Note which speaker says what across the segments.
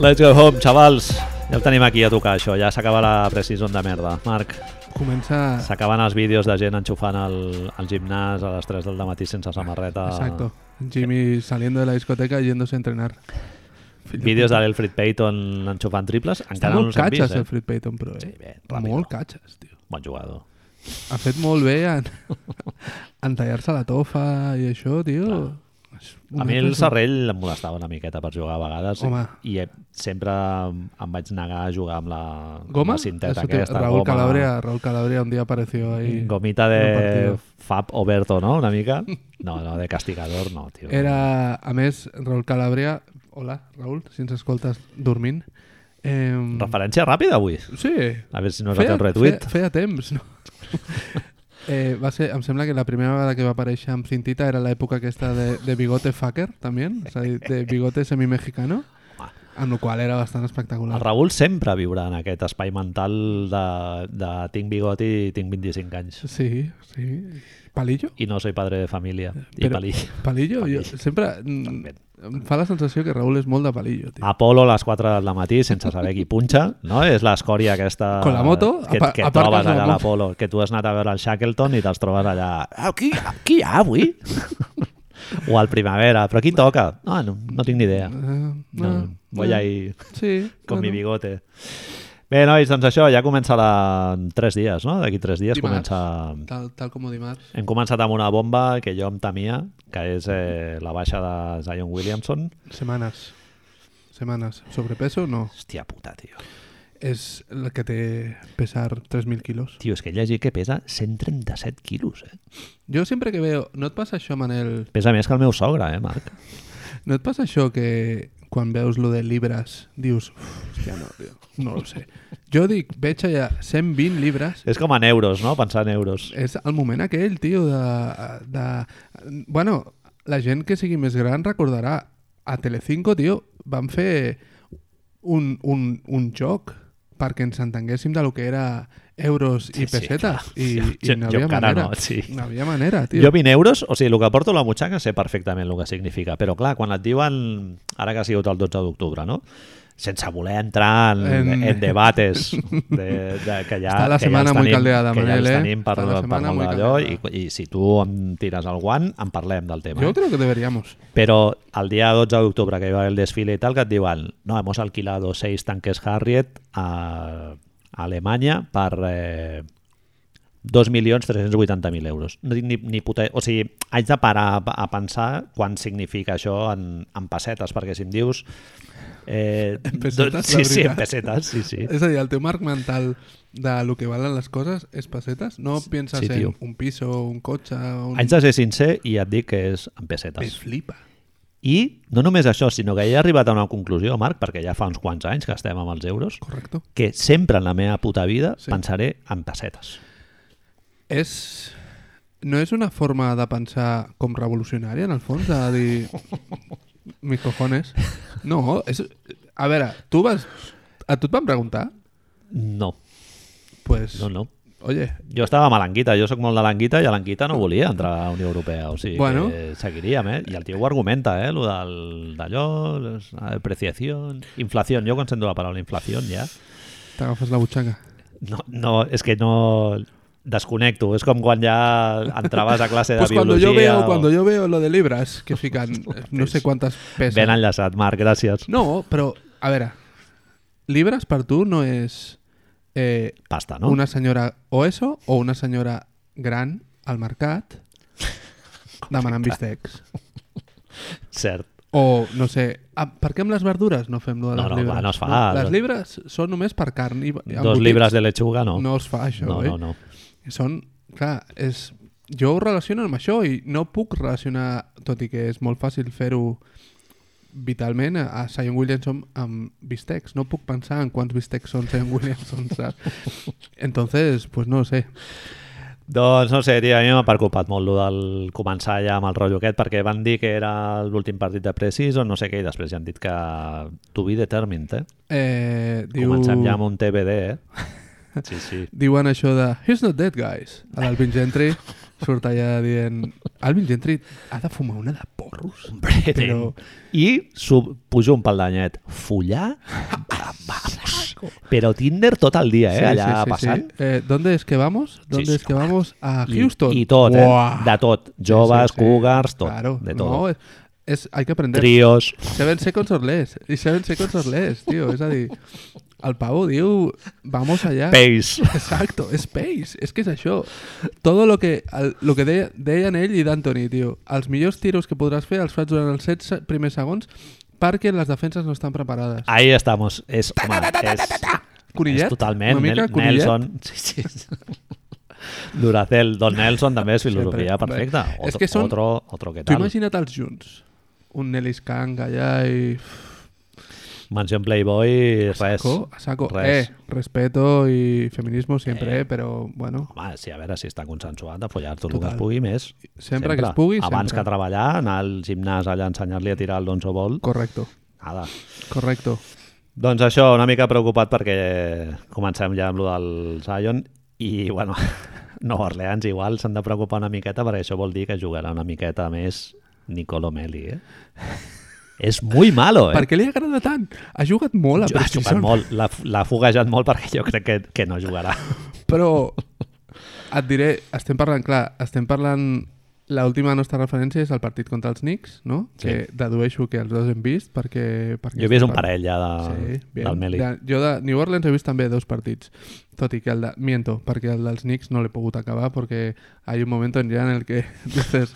Speaker 1: Let's go home, xavals. Ja el tenim aquí a tocar, això. Ja s'acaba la precision de merda. Marc,
Speaker 2: Comença...
Speaker 1: s'acaben els vídeos de gent enxufant el, el gimnàs a les 3 del matí sense samarreta.
Speaker 2: Exacto. Jimmy saliendo de la discoteca y yéndose a entrenar. Fill
Speaker 1: Vídeos de
Speaker 2: puta.
Speaker 1: l'Elfrid Payton enxufant triples.
Speaker 2: Està
Speaker 1: Encara no
Speaker 2: molt
Speaker 1: els hem
Speaker 2: catxes
Speaker 1: vist,
Speaker 2: el
Speaker 1: eh?
Speaker 2: Fred Payton, però, eh?
Speaker 1: Sí, bé, ràpid.
Speaker 2: molt catxes, tio.
Speaker 1: Bon jugador.
Speaker 2: Ha fet molt bé en, en tallar-se la tofa i això, tio. És
Speaker 1: A
Speaker 2: un
Speaker 1: mi el
Speaker 2: altre-
Speaker 1: Serrell em molestava una miqueta per jugar a vegades
Speaker 2: Home.
Speaker 1: i eh, sempre em vaig negar a jugar amb la, amb
Speaker 2: Goma?
Speaker 1: la cinteta
Speaker 2: Eso te-
Speaker 1: aquesta.
Speaker 2: Raúl
Speaker 1: goma.
Speaker 2: Calabria, Raúl Calabria un día apareció ahí.
Speaker 1: Gomita
Speaker 2: en un
Speaker 1: de
Speaker 2: partido.
Speaker 1: Fab Oberto, ¿no? Una mica. No, no, de castigador no, tío.
Speaker 2: Era, a més, Raúl Calabria... Hola, Raúl, si ens escoltes dormint. Eh,
Speaker 1: Referència ràpida avui.
Speaker 2: Sí.
Speaker 1: A veure si no és el retuit.
Speaker 2: Feia, feia temps, no? eh, va ser, em sembla que la primera vegada que va aparèixer amb cintita era l'època aquesta de, de bigote fucker, també, és a dir, de bigote semimexicano, amb el qual era bastant
Speaker 1: El
Speaker 2: espectacular.
Speaker 1: Raül sempre viurà en aquest espai mental de, de tinc bigot i tinc 25 anys.
Speaker 2: Sí, sí. Palillo?
Speaker 1: I no soy padre de família. I
Speaker 2: Però-
Speaker 1: palí.
Speaker 2: Palillo?
Speaker 1: Palillo.
Speaker 2: Jo, sempre... mm,
Speaker 1: També. Ah.
Speaker 2: Em fa la sensació que Raúl és molt de palillo, tio.
Speaker 1: Apolo a les 4 del matí sense saber qui punxa, no? És l'escòria aquesta...
Speaker 2: Con la moto,
Speaker 1: que,
Speaker 2: apa-
Speaker 1: que
Speaker 2: aparques
Speaker 1: trobes allà
Speaker 2: la
Speaker 1: a
Speaker 2: moto.
Speaker 1: l'Apolo, que tu has anat a veure el Shackleton i te'ls trobes allà... Ah, qui, qui hi ha avui? o al Primavera, però qui toca? Ah, no, no tinc ni idea.
Speaker 2: Eh,
Speaker 1: No, voy a ir
Speaker 2: Sí.
Speaker 1: con mi
Speaker 2: bueno.
Speaker 1: bigote. Bé, nois, doncs això, ja comença la... en tres dies, no? D'aquí tres dies
Speaker 2: Dimarts.
Speaker 1: comença...
Speaker 2: Tal, tal com ho dimarts.
Speaker 1: Hem començat amb una bomba que jo em temia, que és eh, la baixa de Zion Williamson.
Speaker 2: Setmanes. Setmanes. Sobrepeso, no.
Speaker 1: Hòstia puta, tio.
Speaker 2: És el que té pesar 3.000 quilos.
Speaker 1: Tio, és que he llegit que pesa 137 quilos, eh?
Speaker 2: Jo sempre que veo... No et passa això, Manel?
Speaker 1: Pesa més que el meu sogre, eh, Marc?
Speaker 2: No et passa això que quan veus lo de libres dius... "Uf, Hòstia, no, tio. No ho sé. Jo dic, veig allà 120 libres
Speaker 1: És com en euros, no? Pensar en euros.
Speaker 2: És el moment aquell, tio, de, de... Bueno, la gent que sigui més gran recordarà. A Telecinco, tio, van fer un, un, un joc perquè ens entenguéssim de lo que era euros
Speaker 1: Sí,
Speaker 2: i
Speaker 1: sí,
Speaker 2: pessetes.
Speaker 1: clar.
Speaker 2: I,
Speaker 1: Jo-
Speaker 2: i
Speaker 1: jo
Speaker 2: no havia
Speaker 1: encara
Speaker 2: manera.
Speaker 1: no, sí.
Speaker 2: No havia manera, tio.
Speaker 1: Tio. Jo 20 euros, o sigui, el que porto a la butxaca sé perfectament el que significa, però clar, quan et diuen, ara que ha sigut el 12 d'octubre, no? sense voler entrar en, en,
Speaker 2: En-
Speaker 1: en debates de, de, que ja,
Speaker 2: Està la
Speaker 1: que
Speaker 2: setmana
Speaker 1: ja els
Speaker 2: muy
Speaker 1: tenim,
Speaker 2: caldeada,
Speaker 1: que ja els
Speaker 2: Manel, eh?
Speaker 1: tenim per,
Speaker 2: Està la
Speaker 1: per
Speaker 2: setmana muy
Speaker 1: molt d'allò i,
Speaker 2: caldeada.
Speaker 1: i si tu em tires el guant en parlem del tema
Speaker 2: Yo
Speaker 1: eh?
Speaker 2: creo que deberíamos.
Speaker 1: però el dia 12 d'octubre que hi va haver el desfile i tal que et diuen no, hemos alquilado seis tanques Harriet a, a Alemanya per eh, 2.380.000 euros. No tinc ni, ni puta... O sigui, haig de parar a, a pensar quan significa això en, en pessetes, perquè si em dius... Eh,
Speaker 2: En
Speaker 1: dos-
Speaker 2: pessetes,
Speaker 1: sí, sí,
Speaker 2: la
Speaker 1: en
Speaker 2: veritat.
Speaker 1: pessetes, sí, sí.
Speaker 2: És a dir, el teu marc mental de lo que valen les coses és pessetes? No pienses
Speaker 1: sí, tio.
Speaker 2: en un piso, un cotxe... Un...
Speaker 1: Haig de ser sincer i et dic que és en
Speaker 2: Me
Speaker 1: pessetes.
Speaker 2: flipa.
Speaker 1: I no només això, sinó que he arribat a una conclusió, Marc, perquè ja fa uns quants anys que estem amb els euros,
Speaker 2: Correcto.
Speaker 1: que sempre en la meva puta vida sí.
Speaker 2: Sí.
Speaker 1: pensaré en pessetes.
Speaker 2: És... No és una forma de pensar com revolucionària, en el fons, de dir... Mis cojones. No, és... A veure, tu vas... A tu et van preguntar?
Speaker 1: No,
Speaker 2: Pues,
Speaker 1: no, no.
Speaker 2: oye,
Speaker 1: Jo estava amb l'Anguita, jo sóc molt de l'Anguita i l'Anguita no volia entrar a la Unió Europea, o sigui bueno.
Speaker 2: Bueno.
Speaker 1: que seguiríem, eh? I el tio ho argumenta, eh? Lo del, d'allò, les- la depreciació, inflació, jo quan sento la paraula inflació ja,
Speaker 2: t'agafes la butxaca.
Speaker 1: no, no, és que no desconnecto, és com quan ja entraves a classe de
Speaker 2: Pues cuando
Speaker 1: biologia.
Speaker 2: yo veo,
Speaker 1: o-
Speaker 2: cuando yo veo lo de libras que fican, no sé quantes peces...
Speaker 1: Ben enllaçat, Marc, gràcies.
Speaker 2: No, però, a veure, libras per tu no és eh,
Speaker 1: Pasta, no?
Speaker 2: no? una senyora o eso o una senyora gran al mercat demanant bistecs.
Speaker 1: Cert.
Speaker 2: O, no sé, ah, per què amb les verdures no fem lo de
Speaker 1: No,
Speaker 2: les
Speaker 1: no,
Speaker 2: libres?
Speaker 1: clar, no es fa.
Speaker 2: les libres són només per carn i embotits.
Speaker 1: Dos llibres de lechuga, no.
Speaker 2: No es fa això,
Speaker 1: no,
Speaker 2: eh?
Speaker 1: no, no.
Speaker 2: Són, clar, és... Jo ho relaciono amb això i no puc relacionar, tot i que és molt fàcil fer-ho vitalment, a- a Sion Williamson amb bistecs. No puc pensar en quants bistecs són Sion Williamson, saps? Entonces, pues no ho sé.
Speaker 1: Doncs no sé, tio, a mi m'ha preocupat molt lo del començar ja amb el rotllo aquest, perquè van dir que era l'últim partit de precis o no sé què, i després ja han dit que to be determined, eh?
Speaker 2: Eh, diu...
Speaker 1: Comencem ja amb un TBD, eh? Sí, sí.
Speaker 2: Diuen això de He's not dead, guys, a l'Alvin Gentry. surt allà dient Alvin Gentry ha de fumar una de porros?
Speaker 1: Hombre,
Speaker 2: Però-
Speaker 1: I sub, pujo un peldanyaet. Follar? Va, Vamos. Però Tinder tot el dia, eh? allà passant.
Speaker 2: Eh, ¿Dónde es que vamos? ¿Dónde
Speaker 1: sí,
Speaker 2: es que vamos? A
Speaker 1: I-
Speaker 2: Houston.
Speaker 1: I, tot, eh?
Speaker 2: Uah.
Speaker 1: De tot. Joves,
Speaker 2: Sí, sí, sí.
Speaker 1: cougars, tot.
Speaker 2: Claro,
Speaker 1: de tot.
Speaker 2: no, es, es- hay que aprender.
Speaker 1: Trios.
Speaker 2: Seven Seconds or Less. I Seven Seconds or Less, tio. És a dir, el pavo diu, vamos allá.
Speaker 1: Pace.
Speaker 2: Exacto, Space, és que és això. Todo lo que, el, lo que deia, deien ell i d'Anthony, tio. Els millors tiros que podràs fer els fas durant els 7 se- primers segons perquè les defenses no estan preparades.
Speaker 1: Ahí estamos. És, home, Ah, és, és
Speaker 2: Conillet?
Speaker 1: totalment
Speaker 2: Una mica
Speaker 1: Nel-
Speaker 2: Conillet?
Speaker 1: Nelson. Sí, sí. Duracell, Don Nelson també és filosofia
Speaker 2: Sempre.
Speaker 1: perfecta.
Speaker 2: Bé,
Speaker 1: Otro,
Speaker 2: és que són-
Speaker 1: otro, otro que
Speaker 2: Tu
Speaker 1: tal.
Speaker 2: imagina't els junts. Un Nelly Skang allà i...
Speaker 1: Mansió en Playboy, res.
Speaker 2: Co, a saco.
Speaker 1: Res.
Speaker 2: Eh, respeto i feminismo sempre, eh. però bueno...
Speaker 1: Home, sí, a veure si està consensuat de follar tot el
Speaker 2: Total.
Speaker 1: que es pugui més.
Speaker 2: Sempre que es pugui,
Speaker 1: Abans
Speaker 2: sempre.
Speaker 1: que treballar, anar al gimnàs allà a ensenyar-li a tirar el donzo vol.
Speaker 2: Correcto,
Speaker 1: Nada.
Speaker 2: correcto.
Speaker 1: Doncs això, una mica preocupat perquè comencem ja amb lo del Zion i, bueno, Nova Orleans igual s'han de preocupar una miqueta perquè això vol dir que jugarà una miqueta més Nicolo Meli, eh? És muy malo, eh?
Speaker 2: Per què li agrada tant? Ha jugat molt a
Speaker 1: Jo- ha
Speaker 2: Precision.
Speaker 1: jugat molt, l'ha l'ha foguejat molt perquè jo crec que, que no jugarà.
Speaker 2: Però et diré, estem parlant, clar, estem parlant... L'última nostra referència és el partit contra els Knicks, no?
Speaker 1: Sí.
Speaker 2: Sí. Que dedueixo que els dos hem vist perquè... perquè
Speaker 1: Jo he vist un
Speaker 2: estem
Speaker 1: parell
Speaker 2: parlant-
Speaker 1: ja de,
Speaker 2: Sí, bien.
Speaker 1: del Ah, Meli.
Speaker 2: De, jo de New Orleans he vist també dos partits, tot i que el de... Miento, perquè el dels Knicks no l'he pogut acabar perquè hay un moment en ja en el que dices...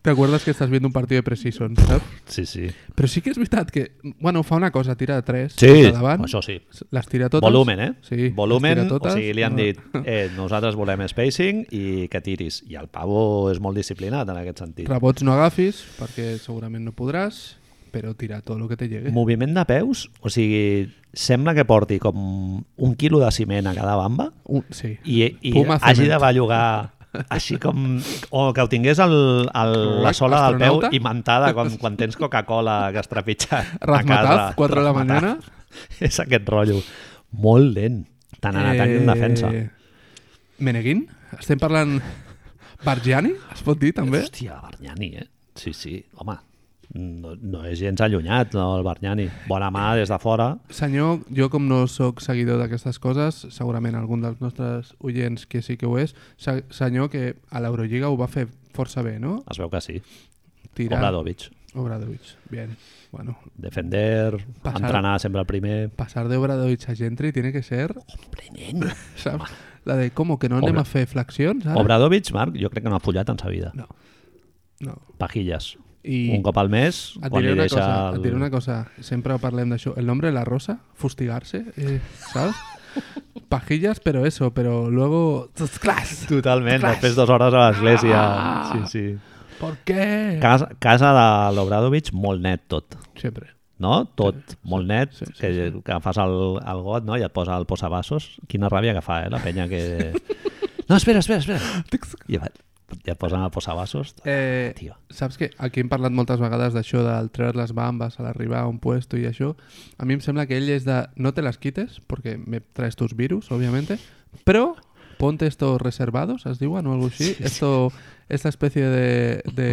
Speaker 2: ¿Te acuerdas que estás viendo un partido de Precision, saps?
Speaker 1: Sí, sí.
Speaker 2: Però sí que és veritat que, bueno, fa una cosa, tira de tres,
Speaker 1: Sí,
Speaker 2: de davant,
Speaker 1: això sí.
Speaker 2: les tira totes.
Speaker 1: Volumen, eh?
Speaker 2: Sí, les
Speaker 1: Volumen,
Speaker 2: tira totes.
Speaker 1: o sigui, li han
Speaker 2: No.
Speaker 1: dit eh, nosaltres volem spacing i que tiris. I el Pavo és molt disciplinat en aquest sentit.
Speaker 2: Rebots no agafis, perquè segurament no podràs, però tira tot el que te llegue.
Speaker 1: Moviment de peus, o sigui, sembla que porti com un quilo de ciment a cada bamba
Speaker 2: Un, sí.
Speaker 1: i, i
Speaker 2: Puma
Speaker 1: hagi
Speaker 2: cement.
Speaker 1: de bellugar així com... O que ho tingués el, el, la sola del peu
Speaker 2: Astronauta?
Speaker 1: imantada, com quan tens Coca-Cola que es trepitja a casa.
Speaker 2: Razmataz, 4 de la
Speaker 1: Razzmatazz.
Speaker 2: mañana.
Speaker 1: És aquest rotllo. Molt lent, tant en atac
Speaker 2: Eh,
Speaker 1: i en defensa.
Speaker 2: Meneguin? Estem parlant... Bargiani, es pot dir, també?
Speaker 1: Hòstia, Barnyani, eh? Sí, sí, home, no, no és gens allunyat, no, el Barnyani. Bona mà des de fora.
Speaker 2: Senyor, jo com no sóc seguidor d'aquestes coses, segurament algun dels nostres oients que sí que ho és, se- senyor que a l'Eurolliga ho va fer força bé, no?
Speaker 1: Es veu que sí.
Speaker 2: Tirar...
Speaker 1: Obradovic.
Speaker 2: Obradovic. Bien. Bueno,
Speaker 1: Defender,
Speaker 2: Passar-
Speaker 1: entrenar sempre el primer...
Speaker 2: pasar de Obradovic a Gentry tiene que ser,
Speaker 1: Hombre, nen.
Speaker 2: saps? La de, com, que no anem
Speaker 1: Obra-
Speaker 2: a fer flexions, ara?
Speaker 1: Obradovic, Marc, jo crec que no ha follat en sa vida.
Speaker 2: No. No.
Speaker 1: Pajilles.
Speaker 2: I
Speaker 1: Un cop al mes,
Speaker 2: et
Speaker 1: quan
Speaker 2: diré,
Speaker 1: li
Speaker 2: una
Speaker 1: deixa...
Speaker 2: cosa,
Speaker 1: el-
Speaker 2: et diré una cosa, sempre parlem d'això. El nombre de la rosa, fustigar-se, eh, saps? Pajillas, però eso, però luego... ¡Clas!
Speaker 1: Totalment,
Speaker 2: Clash.
Speaker 1: després dues hores a l'església.
Speaker 2: Ah!
Speaker 1: Sí, sí.
Speaker 2: ¿Por qué?
Speaker 1: Casa, casa de l'Obradovic, molt net tot.
Speaker 2: Sempre.
Speaker 1: no? Tot sí, molt net, sí,
Speaker 2: sí,
Speaker 1: sí, que, sí. que fas el, el got no? i et posa el posabassos. Quina ràbia que fa, eh, la penya que... No, espera, espera, espera. I, va, i et posen el posabassos.
Speaker 2: Eh,
Speaker 1: Tio.
Speaker 2: saps que aquí hem parlat moltes vegades d'això del treure les bambes a l'arribar a un puesto i això. A mi em sembla que ell és de no te las quites, perquè me traes tus virus, obviamente, però ponte estos reservados, es diuen, o algo així. Esto, esta especie de... de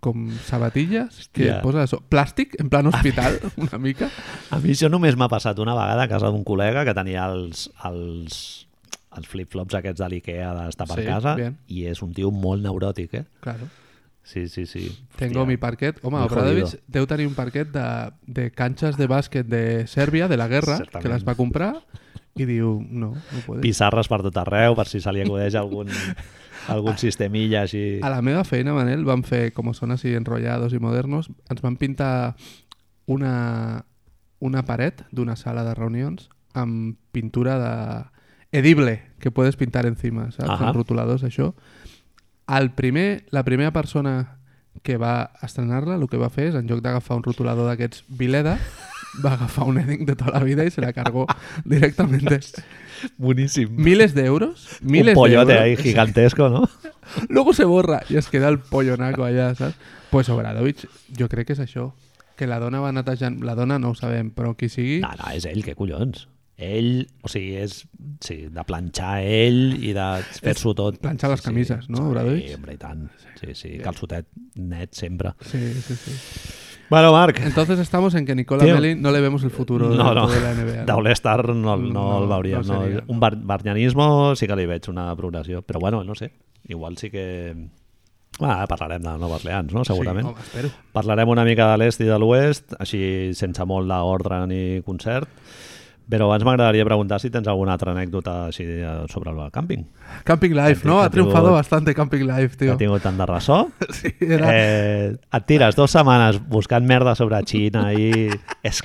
Speaker 2: com sabatilles que
Speaker 1: Hòstia.
Speaker 2: et poses això. plàstic, en plan hospital, una mica.
Speaker 1: A mi això només m'ha passat una vegada a casa d'un col·lega que tenia els, els, els flip-flops aquests de l'Ikea d'estar per
Speaker 2: Sí,
Speaker 1: casa
Speaker 2: bien.
Speaker 1: i és un tio molt neuròtic, eh?
Speaker 2: Claro.
Speaker 1: Sí, sí, sí.
Speaker 2: Tengo mi parquet. Home,
Speaker 1: Muy
Speaker 2: Obradovic
Speaker 1: jodido.
Speaker 2: deu tenir un parquet de, de canxes de bàsquet de Sèrbia, de la guerra,
Speaker 1: Certament.
Speaker 2: que les va comprar i diu, no, no puede.
Speaker 1: Pissarres per tot arreu, per si se li acudeix algun, algun sistemilla així.
Speaker 2: A la meva feina, Manel, van fer, com són així enrotllados i modernos, ens van pintar una, una paret d'una sala de reunions amb pintura de edible, que puedes pintar encima, saps?
Speaker 1: Ahà.
Speaker 2: Amb rotuladors, això. El primer, la primera persona que va estrenar-la, el que va fer és, en lloc d'agafar un rotulador d'aquests Vileda, va agafar un Edding de tota la vida i se la cargó directament.
Speaker 1: Boníssim.
Speaker 2: Miles de euros. Miles
Speaker 1: un pollote
Speaker 2: de
Speaker 1: ahí
Speaker 2: euros.
Speaker 1: gigantesco, ¿no?
Speaker 2: Luego se borra i es queda el pollonaco allà, saps? Pues Obradovic, jo crec que és això. Que la dona va netejant... La dona no ho sabem, però qui sigui...
Speaker 1: No, no, és ell, que collons. Ell, o sigui, és sí, de planxar ell i de fer-s'ho tot.
Speaker 2: planxar les
Speaker 1: Sí, sí.
Speaker 2: camises, no, Obradovich?
Speaker 1: Sí, hombre, i tant. Sí, sí, calçotet net sempre.
Speaker 2: Sí, sí, sí.
Speaker 1: Bueno, Marc,
Speaker 2: Entonces estamos en que Nicola
Speaker 1: Tío.
Speaker 2: Melli no le vemos el futuro
Speaker 1: No, no.
Speaker 2: de la NBA.
Speaker 1: de
Speaker 2: ¿no?
Speaker 1: All-Star no, no,
Speaker 2: No,
Speaker 1: el veuria.
Speaker 2: no
Speaker 1: No,
Speaker 2: seria,
Speaker 1: Un bar barnianisme sí que li veig una progressió, però bueno, no sé, igual sí que... Va, parlarem de Nova Orleans, no? Segurament.
Speaker 2: Sí, home, espero.
Speaker 1: Parlarem una mica de l'est i de l'oest, així sense molt d'ordre ni concert, però abans m'agradaria preguntar si tens alguna altra anècdota així eh, sobre el càmping,
Speaker 2: Camping Life,
Speaker 1: Que
Speaker 2: ¿no? Ha
Speaker 1: tingut-
Speaker 2: triunfado bastante Camping Life,
Speaker 1: que
Speaker 2: tío.
Speaker 1: ha tingut tant de ressò.
Speaker 2: Sí, era-
Speaker 1: Eh, et tires dues setmanes buscant merda sobre Xina i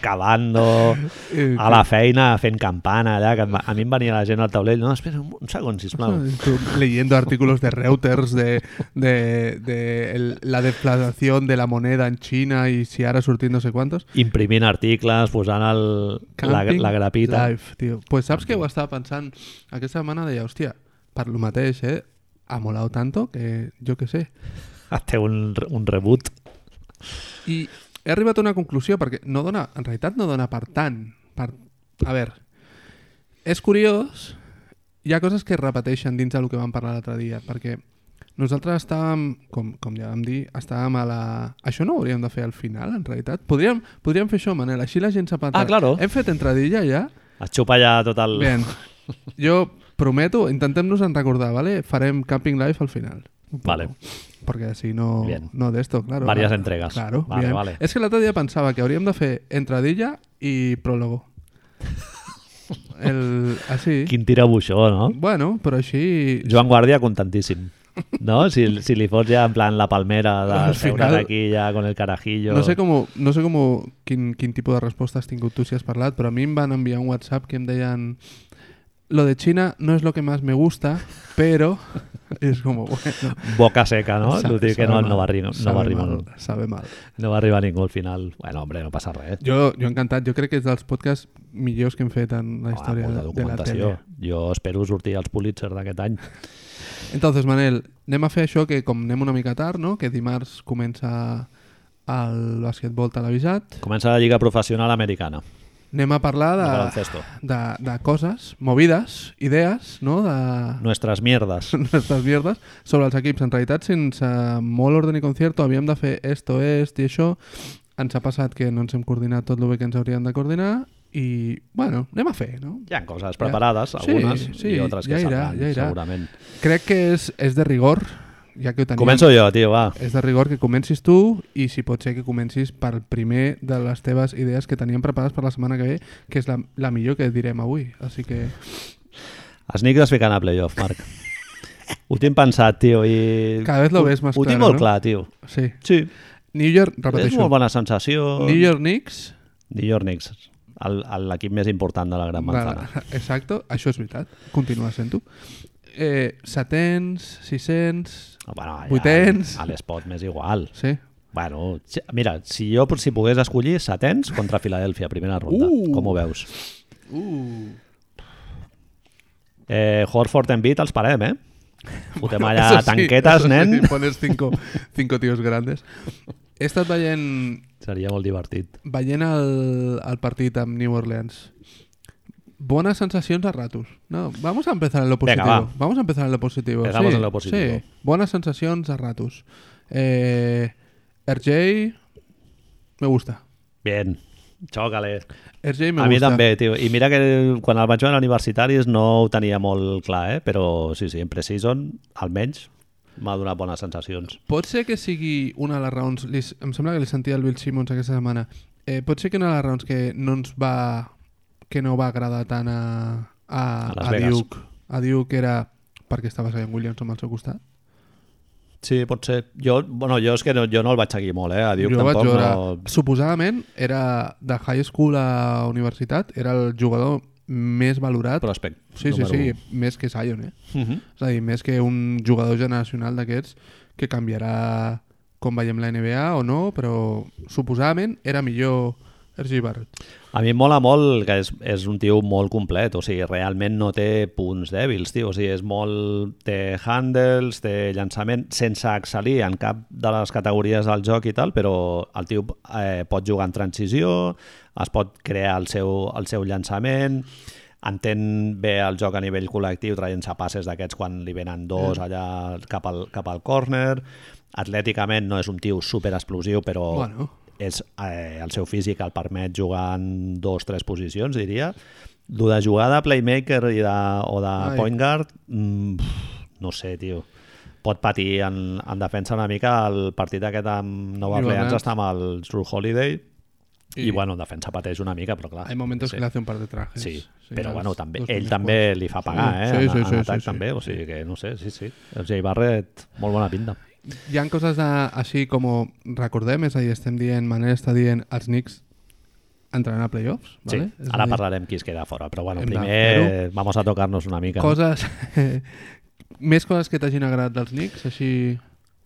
Speaker 1: excavando
Speaker 2: eh,
Speaker 1: a la feina fent campana allà, que em va- a mi em venia la gent al taulell no, espera un, un segon, sisplau
Speaker 2: Tú leyendo artículos de Reuters de, de- de el- la deflación de la moneda en China y si ahora surtir no sé cuántos.
Speaker 1: imprimint articles, posant el, la,
Speaker 2: Camping
Speaker 1: la grapita
Speaker 2: Life, tio. Pues saps què ho estava pensant aquesta setmana? Deia, hòstia, per lo mateix, eh? Ha molat tanto que jo què sé.
Speaker 1: té un, re- un reboot
Speaker 2: I he arribat a una conclusió perquè no dona, en realitat no dona per tant. Per... A veure, és curiós, hi ha coses que es repeteixen dins del que vam parlar l'altre dia, perquè nosaltres estàvem, com, com ja vam dir, estàvem a la... Això no ho hauríem de fer al final, en realitat. Podríem, podríem fer això, Manel, així la gent s'apantarà.
Speaker 1: Ah, claro.
Speaker 2: Hem fet entradilla ja?
Speaker 1: es xupa allà tot el...
Speaker 2: Bien. Jo prometo, intentem-nos en recordar, ¿vale? farem Camping Life al final. Un poco.
Speaker 1: Vale.
Speaker 2: Porque así no,
Speaker 1: Bien.
Speaker 2: no de esto, claro.
Speaker 1: Varias
Speaker 2: Claro.
Speaker 1: entregas.
Speaker 2: Claro,
Speaker 1: Vale,
Speaker 2: bien.
Speaker 1: vale.
Speaker 2: Es que el otro día pensaba que habríamos de fer entradilla y prólogo. El, así.
Speaker 1: quin tira buixó, no?
Speaker 2: Bueno, pero así...
Speaker 1: Joan Guàrdia contentíssim no? Si, si li fots ja en plan la palmera de
Speaker 2: Al
Speaker 1: seure's
Speaker 2: final-
Speaker 1: aquí ja con el carajillo
Speaker 2: No sé, com, no sé com, quin, quin tipus de resposta has tingut tu si has parlat, però a mi em van enviar un WhatsApp que em deien lo de China no es lo que más me gusta, pero... I és com, bueno...
Speaker 1: boca seca, no?
Speaker 2: Sa-
Speaker 1: L'últim que
Speaker 2: sabe
Speaker 1: no, no,
Speaker 2: mal,
Speaker 1: va arribar, no,
Speaker 2: sabe
Speaker 1: va arribar,
Speaker 2: mal, Sabe mal.
Speaker 1: no va arribar ningú al final bueno, hombre, no passa res
Speaker 2: Jo, jo encantat, jo crec que és dels podcasts millors que hem fet en la història
Speaker 1: Home, molta
Speaker 2: de, de la
Speaker 1: documentació.
Speaker 2: tele.
Speaker 1: Jo espero sortir als Pulitzer d'aquest any.
Speaker 2: Entonces, Manel, anem a fer això que com anem una mica tard, no? que dimarts comença el basquetbol televisat,
Speaker 1: Comença la Lliga Professional Americana.
Speaker 2: anem a parlar
Speaker 1: De
Speaker 2: de,
Speaker 1: baloncesto.
Speaker 2: de, de coses, movides, idees, no? de
Speaker 1: Nuestras mierdas.
Speaker 2: nostres mierdes sobre els equips. En realitat, sense molt ordre ni concierto, havíem de fer esto, est i això. Ens ha passat que no ens hem coordinat tot el bé que ens hauríem de coordinar i, bueno, anem a fer, no?
Speaker 1: Hi ha coses preparades,
Speaker 2: Ja. Sí,
Speaker 1: algunes,
Speaker 2: sí,
Speaker 1: i altres
Speaker 2: ja
Speaker 1: que
Speaker 2: hi irà,
Speaker 1: sabran,
Speaker 2: ja hi irà.
Speaker 1: segurament.
Speaker 2: Crec que és, és de rigor, ja que ho teníem.
Speaker 1: Començo jo, tio, va.
Speaker 2: És de rigor que comencis tu i si pot ser que comencis pel primer de les teves idees que teníem preparades per la setmana que ve, que és la, la millor que direm avui. Així que...
Speaker 1: Els Knicks es fiquen a playoff, Marc. Ho tinc pensat, tio, i...
Speaker 2: Cada vez lo
Speaker 1: ho-
Speaker 2: ves más
Speaker 1: Ho tinc
Speaker 2: claro,
Speaker 1: molt
Speaker 2: no?
Speaker 1: clar, tio.
Speaker 2: Sí.
Speaker 1: Sí,
Speaker 2: New
Speaker 1: és
Speaker 2: York,
Speaker 1: molt
Speaker 2: repeteixo.
Speaker 1: bona sensació.
Speaker 2: New York Knicks...
Speaker 1: New York Knicks, el- el- l'equip més important de la Gran Manzana.
Speaker 2: Vale, Exacto, això és veritat. Continua sent-ho. Eh, setens, sisens...
Speaker 1: Bueno, allà,
Speaker 2: Vuitens.
Speaker 1: A l'espot m'és igual.
Speaker 2: Sí.
Speaker 1: Bueno, si- mira, si jo si pogués escollir setens contra Filadèlfia, primera ronda,
Speaker 2: Uh.
Speaker 1: com ho veus?
Speaker 2: Uh.
Speaker 1: Eh, Horford en Beat els parem, eh? Fotem allà
Speaker 2: Eso sí,
Speaker 1: tanquetes,
Speaker 2: eso
Speaker 1: nen.
Speaker 2: Sí, pones cinco, cinco tíos grandes. He estat veient
Speaker 1: Seria molt divertit.
Speaker 2: veient el, el partit amb New Orleans, bones sensacions a ratos. No, vamos a empezar en lo positivo.
Speaker 1: Venga, va.
Speaker 2: Vamos a empezar en lo positivo.
Speaker 1: Empezamos
Speaker 2: sí,
Speaker 1: en lo positivo.
Speaker 2: Sí, bones sensacions a ratos. Eh, RJ, me gusta.
Speaker 1: Bien, xòcale.
Speaker 2: RJ me
Speaker 1: A mi
Speaker 2: gusta.
Speaker 1: també, tio. I mira que quan el vaig veure a universitaris no ho tenia molt clar, eh? Però sí, sí, en preseason, almenys, m'ha donat bones sensacions.
Speaker 2: Pot ser que sigui una de les raons... Li, em sembla que li sentia el Bill Simmons aquesta setmana. Eh, pot ser que una de les raons que no ens va... que no va agradar tant a, a,
Speaker 1: A Las
Speaker 2: a
Speaker 1: Vegas.
Speaker 2: Duke. A Duke era perquè estava Zion Williamson al seu costat.
Speaker 1: Sí, pot ser. Jo, bueno, jo és que no, jo no el vaig seguir molt, eh? A Duke
Speaker 2: jo vaig
Speaker 1: tampoc
Speaker 2: veure,
Speaker 1: no...
Speaker 2: suposadament, era de high school a universitat, era el jugador més valorat.
Speaker 1: Prospect.
Speaker 2: sí, sí, sí, més que Zion, eh?
Speaker 1: sí. Uh -huh.
Speaker 2: És a dir, més que un jugador generacional d'aquests que canviarà com veiem la NBA o no, però suposadament era millor RG Barrett.
Speaker 1: A mi em mola molt que és, és un tio molt complet, o sigui, realment no té punts dèbils, tio, o sigui, és molt... té handles, té llançament, sense excel·lir en cap de les categories del joc i tal, però el tio eh, pot jugar en transició, es pot crear el seu, el seu llançament, entén bé el joc a nivell col·lectiu traient-se passes d'aquests quan li venen dos allà cap al, cap al córner atlèticament no és un tio super explosiu però
Speaker 2: Bueno.
Speaker 1: és, eh, el seu físic el permet jugar en dos tres posicions diria Lo de jugar de playmaker i de, o de
Speaker 2: Ai.
Speaker 1: point guard mm, pff, no sé tio pot patir en, en defensa una mica el partit aquest amb Nova
Speaker 2: New
Speaker 1: Orleans
Speaker 2: Orleans.
Speaker 1: està amb el True Holiday i,
Speaker 2: I-
Speaker 1: bueno, en defensa pateix una mica però clar
Speaker 2: Hay momentos que le hace un par de trajes.
Speaker 1: Sí,
Speaker 2: Sí,
Speaker 1: però
Speaker 2: els
Speaker 1: bueno, també,
Speaker 2: dos
Speaker 1: ell
Speaker 2: primers
Speaker 1: també
Speaker 2: quarts.
Speaker 1: li fa
Speaker 2: Sí,
Speaker 1: pagar, eh?
Speaker 2: sí, sí,
Speaker 1: en,
Speaker 2: sí,
Speaker 1: en
Speaker 2: sí,
Speaker 1: atac
Speaker 2: sí.
Speaker 1: també, o sigui que no sé, sí, sí. El Jay Barrett, molt bona pinta.
Speaker 2: Hi ha coses de, així com recordem, és a dir, estem dient, Manel està dient, els Knicks entraran a playoffs,
Speaker 1: Sí,
Speaker 2: vale? És a
Speaker 1: ara
Speaker 2: dir,
Speaker 1: parlarem qui es queda fora, però bueno,
Speaker 2: Hem de
Speaker 1: primer vamos a tocar-nos una mica. no?
Speaker 2: Coses... més coses que t'hagin agradat dels Knicks, així...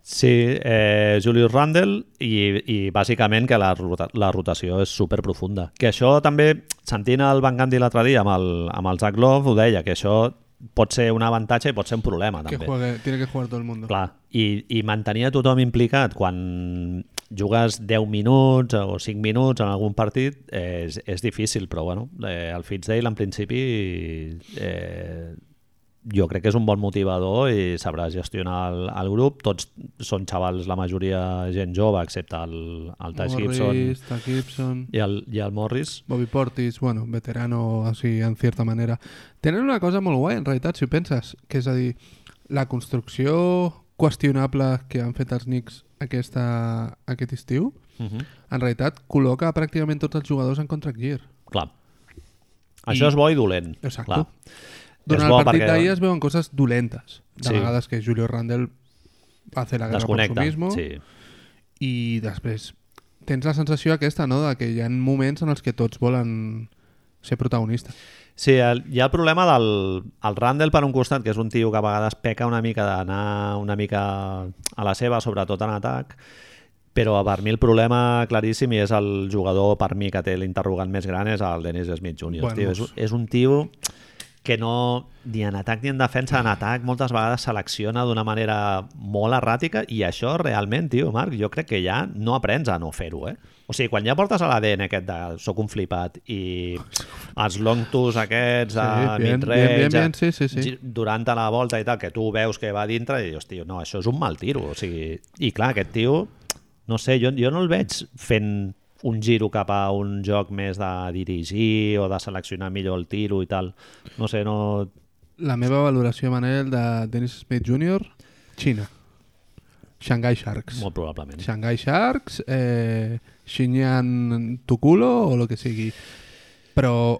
Speaker 1: Sí, eh, Julius Randle i, i bàsicament que la, rota, la rotació és super profunda. Que això també, sentint el Van Gandhi l'altre dia amb el, amb el Zach Love, ho deia, que això pot ser un avantatge i pot ser un problema
Speaker 2: Que
Speaker 1: també.
Speaker 2: juegue, tiene que jugar todo el mundo.
Speaker 1: Clar, i, i mantenir a tothom implicat quan jugues 10 minuts o 5 minuts en algun partit eh, és, és difícil, però bueno, eh, el Fitzdale en principi eh, jo crec que és un bon motivador i sabrà gestionar el, el grup. Tots són xavals, la majoria gent jove, excepte el, el Taj Gibson
Speaker 2: Morris, Taj Gibson,
Speaker 1: i el, i el Morris.
Speaker 2: Bobby Portis, bueno, veterano así en cierta manera. Tenen una cosa molt guai, en realitat, si ho penses, que és a dir, la construcció qüestionable que han fet els Knicks aquesta, aquest estiu,
Speaker 1: Uh -huh.
Speaker 2: en realitat col·loca pràcticament tots els jugadors en contract year.
Speaker 1: Clar. Això és bo i dolent.
Speaker 2: Exacte.
Speaker 1: Clar.
Speaker 2: Durant
Speaker 1: És bo
Speaker 2: el partit
Speaker 1: perquè-
Speaker 2: d'ahir es veuen coses dolentes. De
Speaker 1: Sí.
Speaker 2: vegades que Julio Randle hace la guerra por su
Speaker 1: Desconnecta.
Speaker 2: mismo
Speaker 1: Sí.
Speaker 2: i després tens la sensació aquesta, no?, de que hi ha moments en els que tots volen ser protagonistes.
Speaker 1: Sí, el, hi ha el problema del el Randall per un costat, que és un tio que a vegades peca una mica d'anar una mica a la seva, sobretot en atac, però per mi el problema claríssim i és el jugador per mi que té l'interrogant més gran és el Dennis Smith Jr.
Speaker 2: Bueno.
Speaker 1: Bueno. Tio, és, és un tio que no, ni en atac ni en defensa, en atac moltes vegades selecciona d'una manera molt erràtica i això realment, tio, Marc, jo crec que ja no aprens a no fer-ho, eh? O sigui, quan ja portes a l'ADN aquest de soc un flipat i els long twos aquests sí,
Speaker 2: Sí,
Speaker 1: a
Speaker 2: bien,
Speaker 1: mid-range,
Speaker 2: bien, bien, bien,
Speaker 1: a-
Speaker 2: sí, sí, sí.
Speaker 1: gi- durant a la volta i tal, que tu veus que va a dintre i dius, tio, no, això és un mal tiro. O sigui, I clar, aquest tio, no sé, jo, jo no el veig fent un giro cap a un joc més de dirigir o de seleccionar millor el tiro i tal. No sé, no...
Speaker 2: La meva valoració, Manel, de Dennis Smith Jr., Xina. Shanghai Sharks.
Speaker 1: Molt probablement.
Speaker 2: Shanghai Sharks, eh, Xinjiang Tuculo o lo que sigui. Però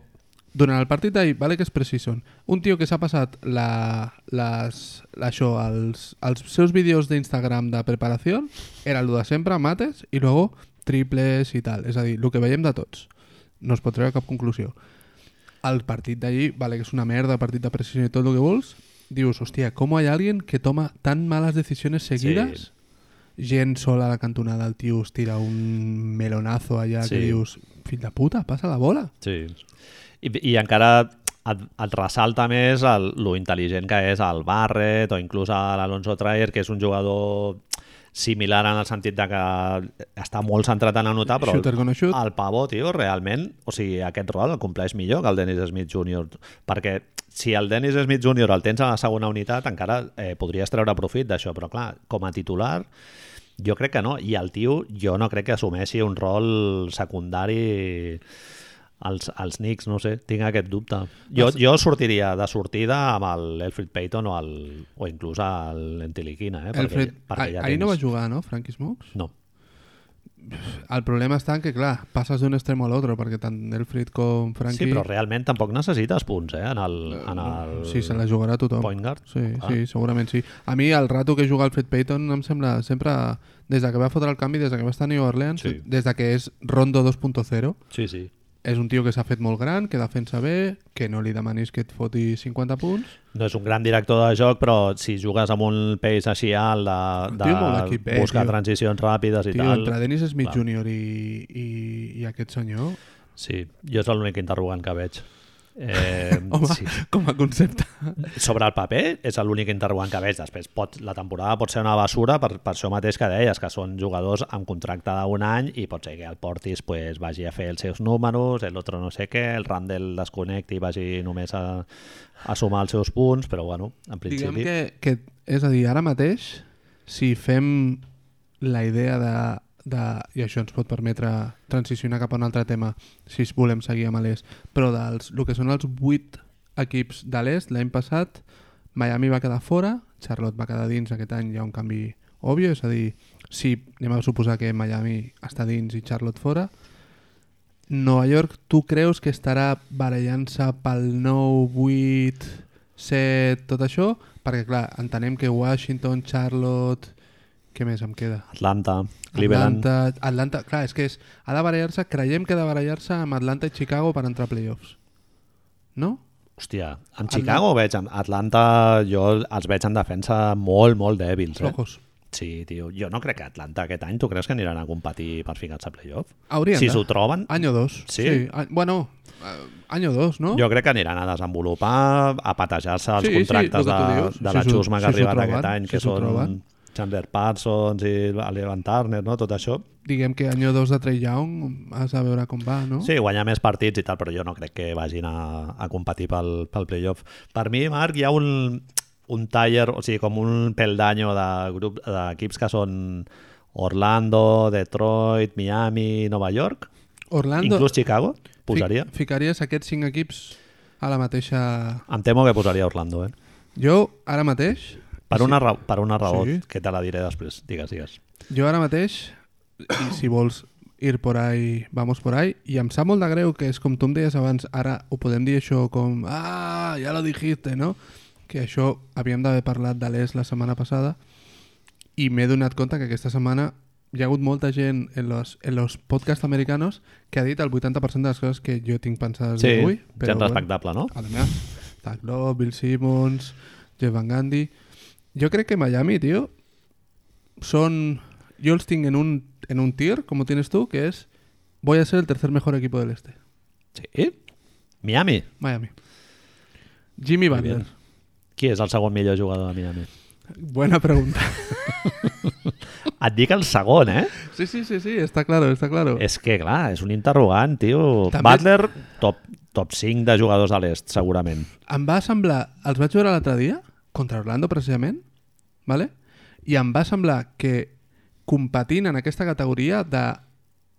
Speaker 2: durant el partit d'ahir, vale que és precision, un tio que s'ha passat la, les, això, els, els seus vídeos d'Instagram de preparació era el de sempre, mates, i luego triples i tal. És a dir, el que veiem de tots. No es pot treure cap conclusió. El partit d'ahir, vale que és una merda, partit de precisió i tot el que vols, dius, hòstia, com hi ha alguien que toma tan males decisions seguides
Speaker 1: Sí.
Speaker 2: gent sola a la cantonada, el tio us tira un melonazo allà sí. que
Speaker 1: Sí.
Speaker 2: dius, fill de puta, passa la bola.
Speaker 1: Sí. I, i encara et, et ressalta més el, lo intel·ligent que és el Barret o inclús a l'Alonso Traer, que és un jugador similar en el sentit de que està molt centrat en anotar, però
Speaker 2: Shooter gonna shoot.
Speaker 1: el pavó, tio, realment, o sigui, aquest rol el compleix millor que el Dennis Smith Jr. Perquè si el Dennis Smith Jr. el tens a la segona unitat, encara eh, podries treure profit d'això, però clar, com a titular, jo crec que no, i el tio jo no crec que assumeixi un rol secundari als, als Knicks, no ho sé, tinc aquest dubte. Jo,
Speaker 2: Doncs-
Speaker 1: jo sortiria de sortida amb l'Elfrid Payton o, el, o inclús l'Entiliquina, eh?
Speaker 2: Alfred, ah, ahir no va
Speaker 1: tens-
Speaker 2: jugar, no, Frankie Smokes?
Speaker 1: No,
Speaker 2: El problema està en que, clar, passes d'un extrem a l'altre, perquè tant Alfred com Frankie...
Speaker 1: sí, però realment tampoc necessites punts, eh? En el, en el
Speaker 2: Sí, se la jugarà tothom.
Speaker 1: point guard.
Speaker 2: Sí,
Speaker 1: Ah.
Speaker 2: sí, segurament sí. A mi el rato que juga Alfred Payton em sembla sempre... Des de que va fotre el canvi, des de que va estar a New Orleans,
Speaker 1: Sí.
Speaker 2: des de que és Rondo 2.0,
Speaker 1: Sí, sí.
Speaker 2: és un tio que s'ha fet molt gran, que defensa bé, que no li demanis que et foti 50 punts,
Speaker 1: No és un gran director de joc, però si jugues amb un pace així alt de,
Speaker 2: tio molt
Speaker 1: de
Speaker 2: d'equip, eh,
Speaker 1: buscar
Speaker 2: tio.
Speaker 1: transicions ràpides i
Speaker 2: Tio,
Speaker 1: tal...
Speaker 2: entre Dennis Smith
Speaker 1: Clar.
Speaker 2: Jr. I, i, i aquest senyor
Speaker 1: Sí, jo és l'únic interrogant que veig. Eh,
Speaker 2: Home,
Speaker 1: sí.
Speaker 2: sí. com a concepte.
Speaker 1: Sobre el paper és l'únic interrogant que veig. Després pot, la temporada pot ser una basura per, per això mateix que deies, que són jugadors amb contracte d'un any i pot ser que el Portis pues, vagi a fer els seus números, l'altre no sé què, el Randall desconnecti i vagi només a, a sumar els seus punts, però bueno, en
Speaker 2: Diguem
Speaker 1: principi...
Speaker 2: que, que, és a dir, ara mateix, si fem la idea de, de, i això ens pot permetre transicionar cap a un altre tema, si es volem seguir amb l'est, però dels el que són els 8 equips de l'est, l'any passat Miami va quedar fora, Charlotte va quedar dins, aquest any hi ha un canvi obvi, és a dir, si anem a suposar que Miami està dins i Charlotte fora, Nova York, tu creus que estarà barallant-se pel 9, 8, 7, tot això? Perquè, clar, entenem que Washington, Charlotte... Què més em queda?
Speaker 1: Atlanta, Cleveland...
Speaker 2: Atlanta, Atlanta, clar, és que és, ha de barallar-se, creiem que ha de barallar-se amb Atlanta i Chicago per entrar a playoffs. No?
Speaker 1: Hòstia, amb Chicago veig, amb Atlanta jo els veig en defensa molt, molt dèbils. Eh?
Speaker 2: Locos.
Speaker 1: Sí, tio. Jo no crec que Atlanta aquest any, tu creus que aniran a competir per ficar-se a playoff?
Speaker 2: Haurien
Speaker 1: si
Speaker 2: de.
Speaker 1: s'ho troben,
Speaker 2: Any o dos.
Speaker 1: Sí.
Speaker 2: a- bueno, eh, any o dos, no?
Speaker 1: jo crec que aniran a desenvolupar, a patejar-se els
Speaker 2: Sí, sí,
Speaker 1: contractes
Speaker 2: el que tu
Speaker 1: de,
Speaker 2: dius.
Speaker 1: de
Speaker 2: Si
Speaker 1: la
Speaker 2: s'ho-
Speaker 1: Xusma que
Speaker 2: si
Speaker 1: ha
Speaker 2: s'ho
Speaker 1: arribat
Speaker 2: troben,
Speaker 1: aquest any,
Speaker 2: si
Speaker 1: que
Speaker 2: s'ho
Speaker 1: són
Speaker 2: troben.
Speaker 1: Chandler Parsons i Evan Turner, no? tot això.
Speaker 2: Diguem que any o dos de Trey Young has de veure com va, no?
Speaker 1: Sí, guanyar més partits i tal, però jo no crec que vagin a, a competir pel, pel playoff. Per mi, Marc, hi ha un, un taller, o sigui, com un peldanyo de grup d'equips que són Orlando, Detroit, Miami, Nova York,
Speaker 2: Orlando,
Speaker 1: inclús Chicago, posaria.
Speaker 2: Fi- Ficaries aquests cinc equips a la mateixa...
Speaker 1: Em temo que posaria Orlando, eh?
Speaker 2: Jo ara mateix,
Speaker 1: Per una, ra per una raó
Speaker 2: Sí.
Speaker 1: que te la diré després, digues, digues.
Speaker 2: jo ara mateix, i si vols ir por ahí, vamos por ahí, i em sap molt de greu que és com tu em deies abans, ara ho podem dir això com, ah, ja lo dijiste, no? Que això havíem d'haver parlat de l'ES la setmana passada i m'he donat compte que aquesta setmana hi ha hagut molta gent en los, en los podcasts americanos que ha dit el 80% de les coses que jo tinc pensades
Speaker 1: Sí,
Speaker 2: d'avui. Doncs però
Speaker 1: gent respectable, no?
Speaker 2: Además, Zach Lowe, Bill Simmons, Jeff Van Gundy... Jo crec que Miami, tio, són... Jo els tinc en un, en un tier, com ho tienes tu, que és... Voy a ser el tercer mejor equipo del este.
Speaker 1: Sí? Miami.
Speaker 2: Miami. Jimmy
Speaker 1: Muy
Speaker 2: Butler.
Speaker 1: bien. Qui és el segon millor jugador de Miami?
Speaker 2: Buena pregunta.
Speaker 1: Et dic el segon, eh?
Speaker 2: Sí, sí, sí, sí, está claro, está claro.
Speaker 1: És que, clar, és un interrogant, tio.
Speaker 2: També-
Speaker 1: Butler, top, top 5 de jugadors de l'est, segurament.
Speaker 2: Em va semblar... Els vaig veure l'altre dia, contra Orlando precisament, vale? i em va semblar que competint en aquesta categoria de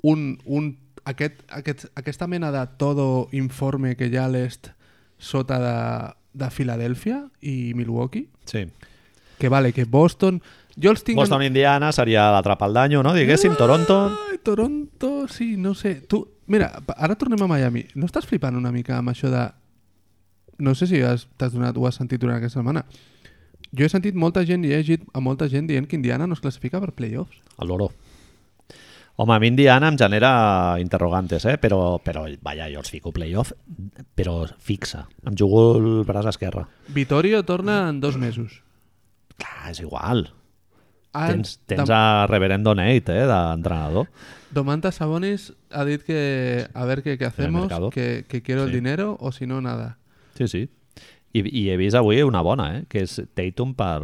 Speaker 2: un, un, aquest, aquest, aquesta mena de todo informe que hi ha a l'est sota de, de Filadèlfia i Milwaukee,
Speaker 1: Sí.
Speaker 2: que vale, que Boston... Jo els tinc... en-
Speaker 1: Boston, Indiana, seria l'altre pel danyo, no? Diguéssim, Toronto...
Speaker 2: Ai, Ah, Toronto, sí, no sé. Tu, mira, pa- ara tornem a Miami. No estàs flipant una mica amb això de... No sé si has- t'has donat o has sentit durant aquesta setmana. Jo he sentit molta gent i he llegit a molta gent dient que Indiana no es classifica per playoffs.
Speaker 1: El loro. Home, a mi Indiana em genera interrogantes, eh? Però, però vaja, jo els fico playoff, però fixa. Em jugo el braç esquerre.
Speaker 2: Vitorio torna en dos mesos.
Speaker 1: Clar, és igual.
Speaker 2: Ah,
Speaker 1: Tens, tens
Speaker 2: Dom-
Speaker 1: a Reverendo Nate, eh, d'entrenador.
Speaker 2: Domantas Sabonis ha dit que a ver qué, qué hacemos,
Speaker 1: mercado.
Speaker 2: que, que quiero el
Speaker 1: Sí.
Speaker 2: dinero o si no nada.
Speaker 1: Sí, sí. I, I he vist avui una bona, eh? Que és Tatum per,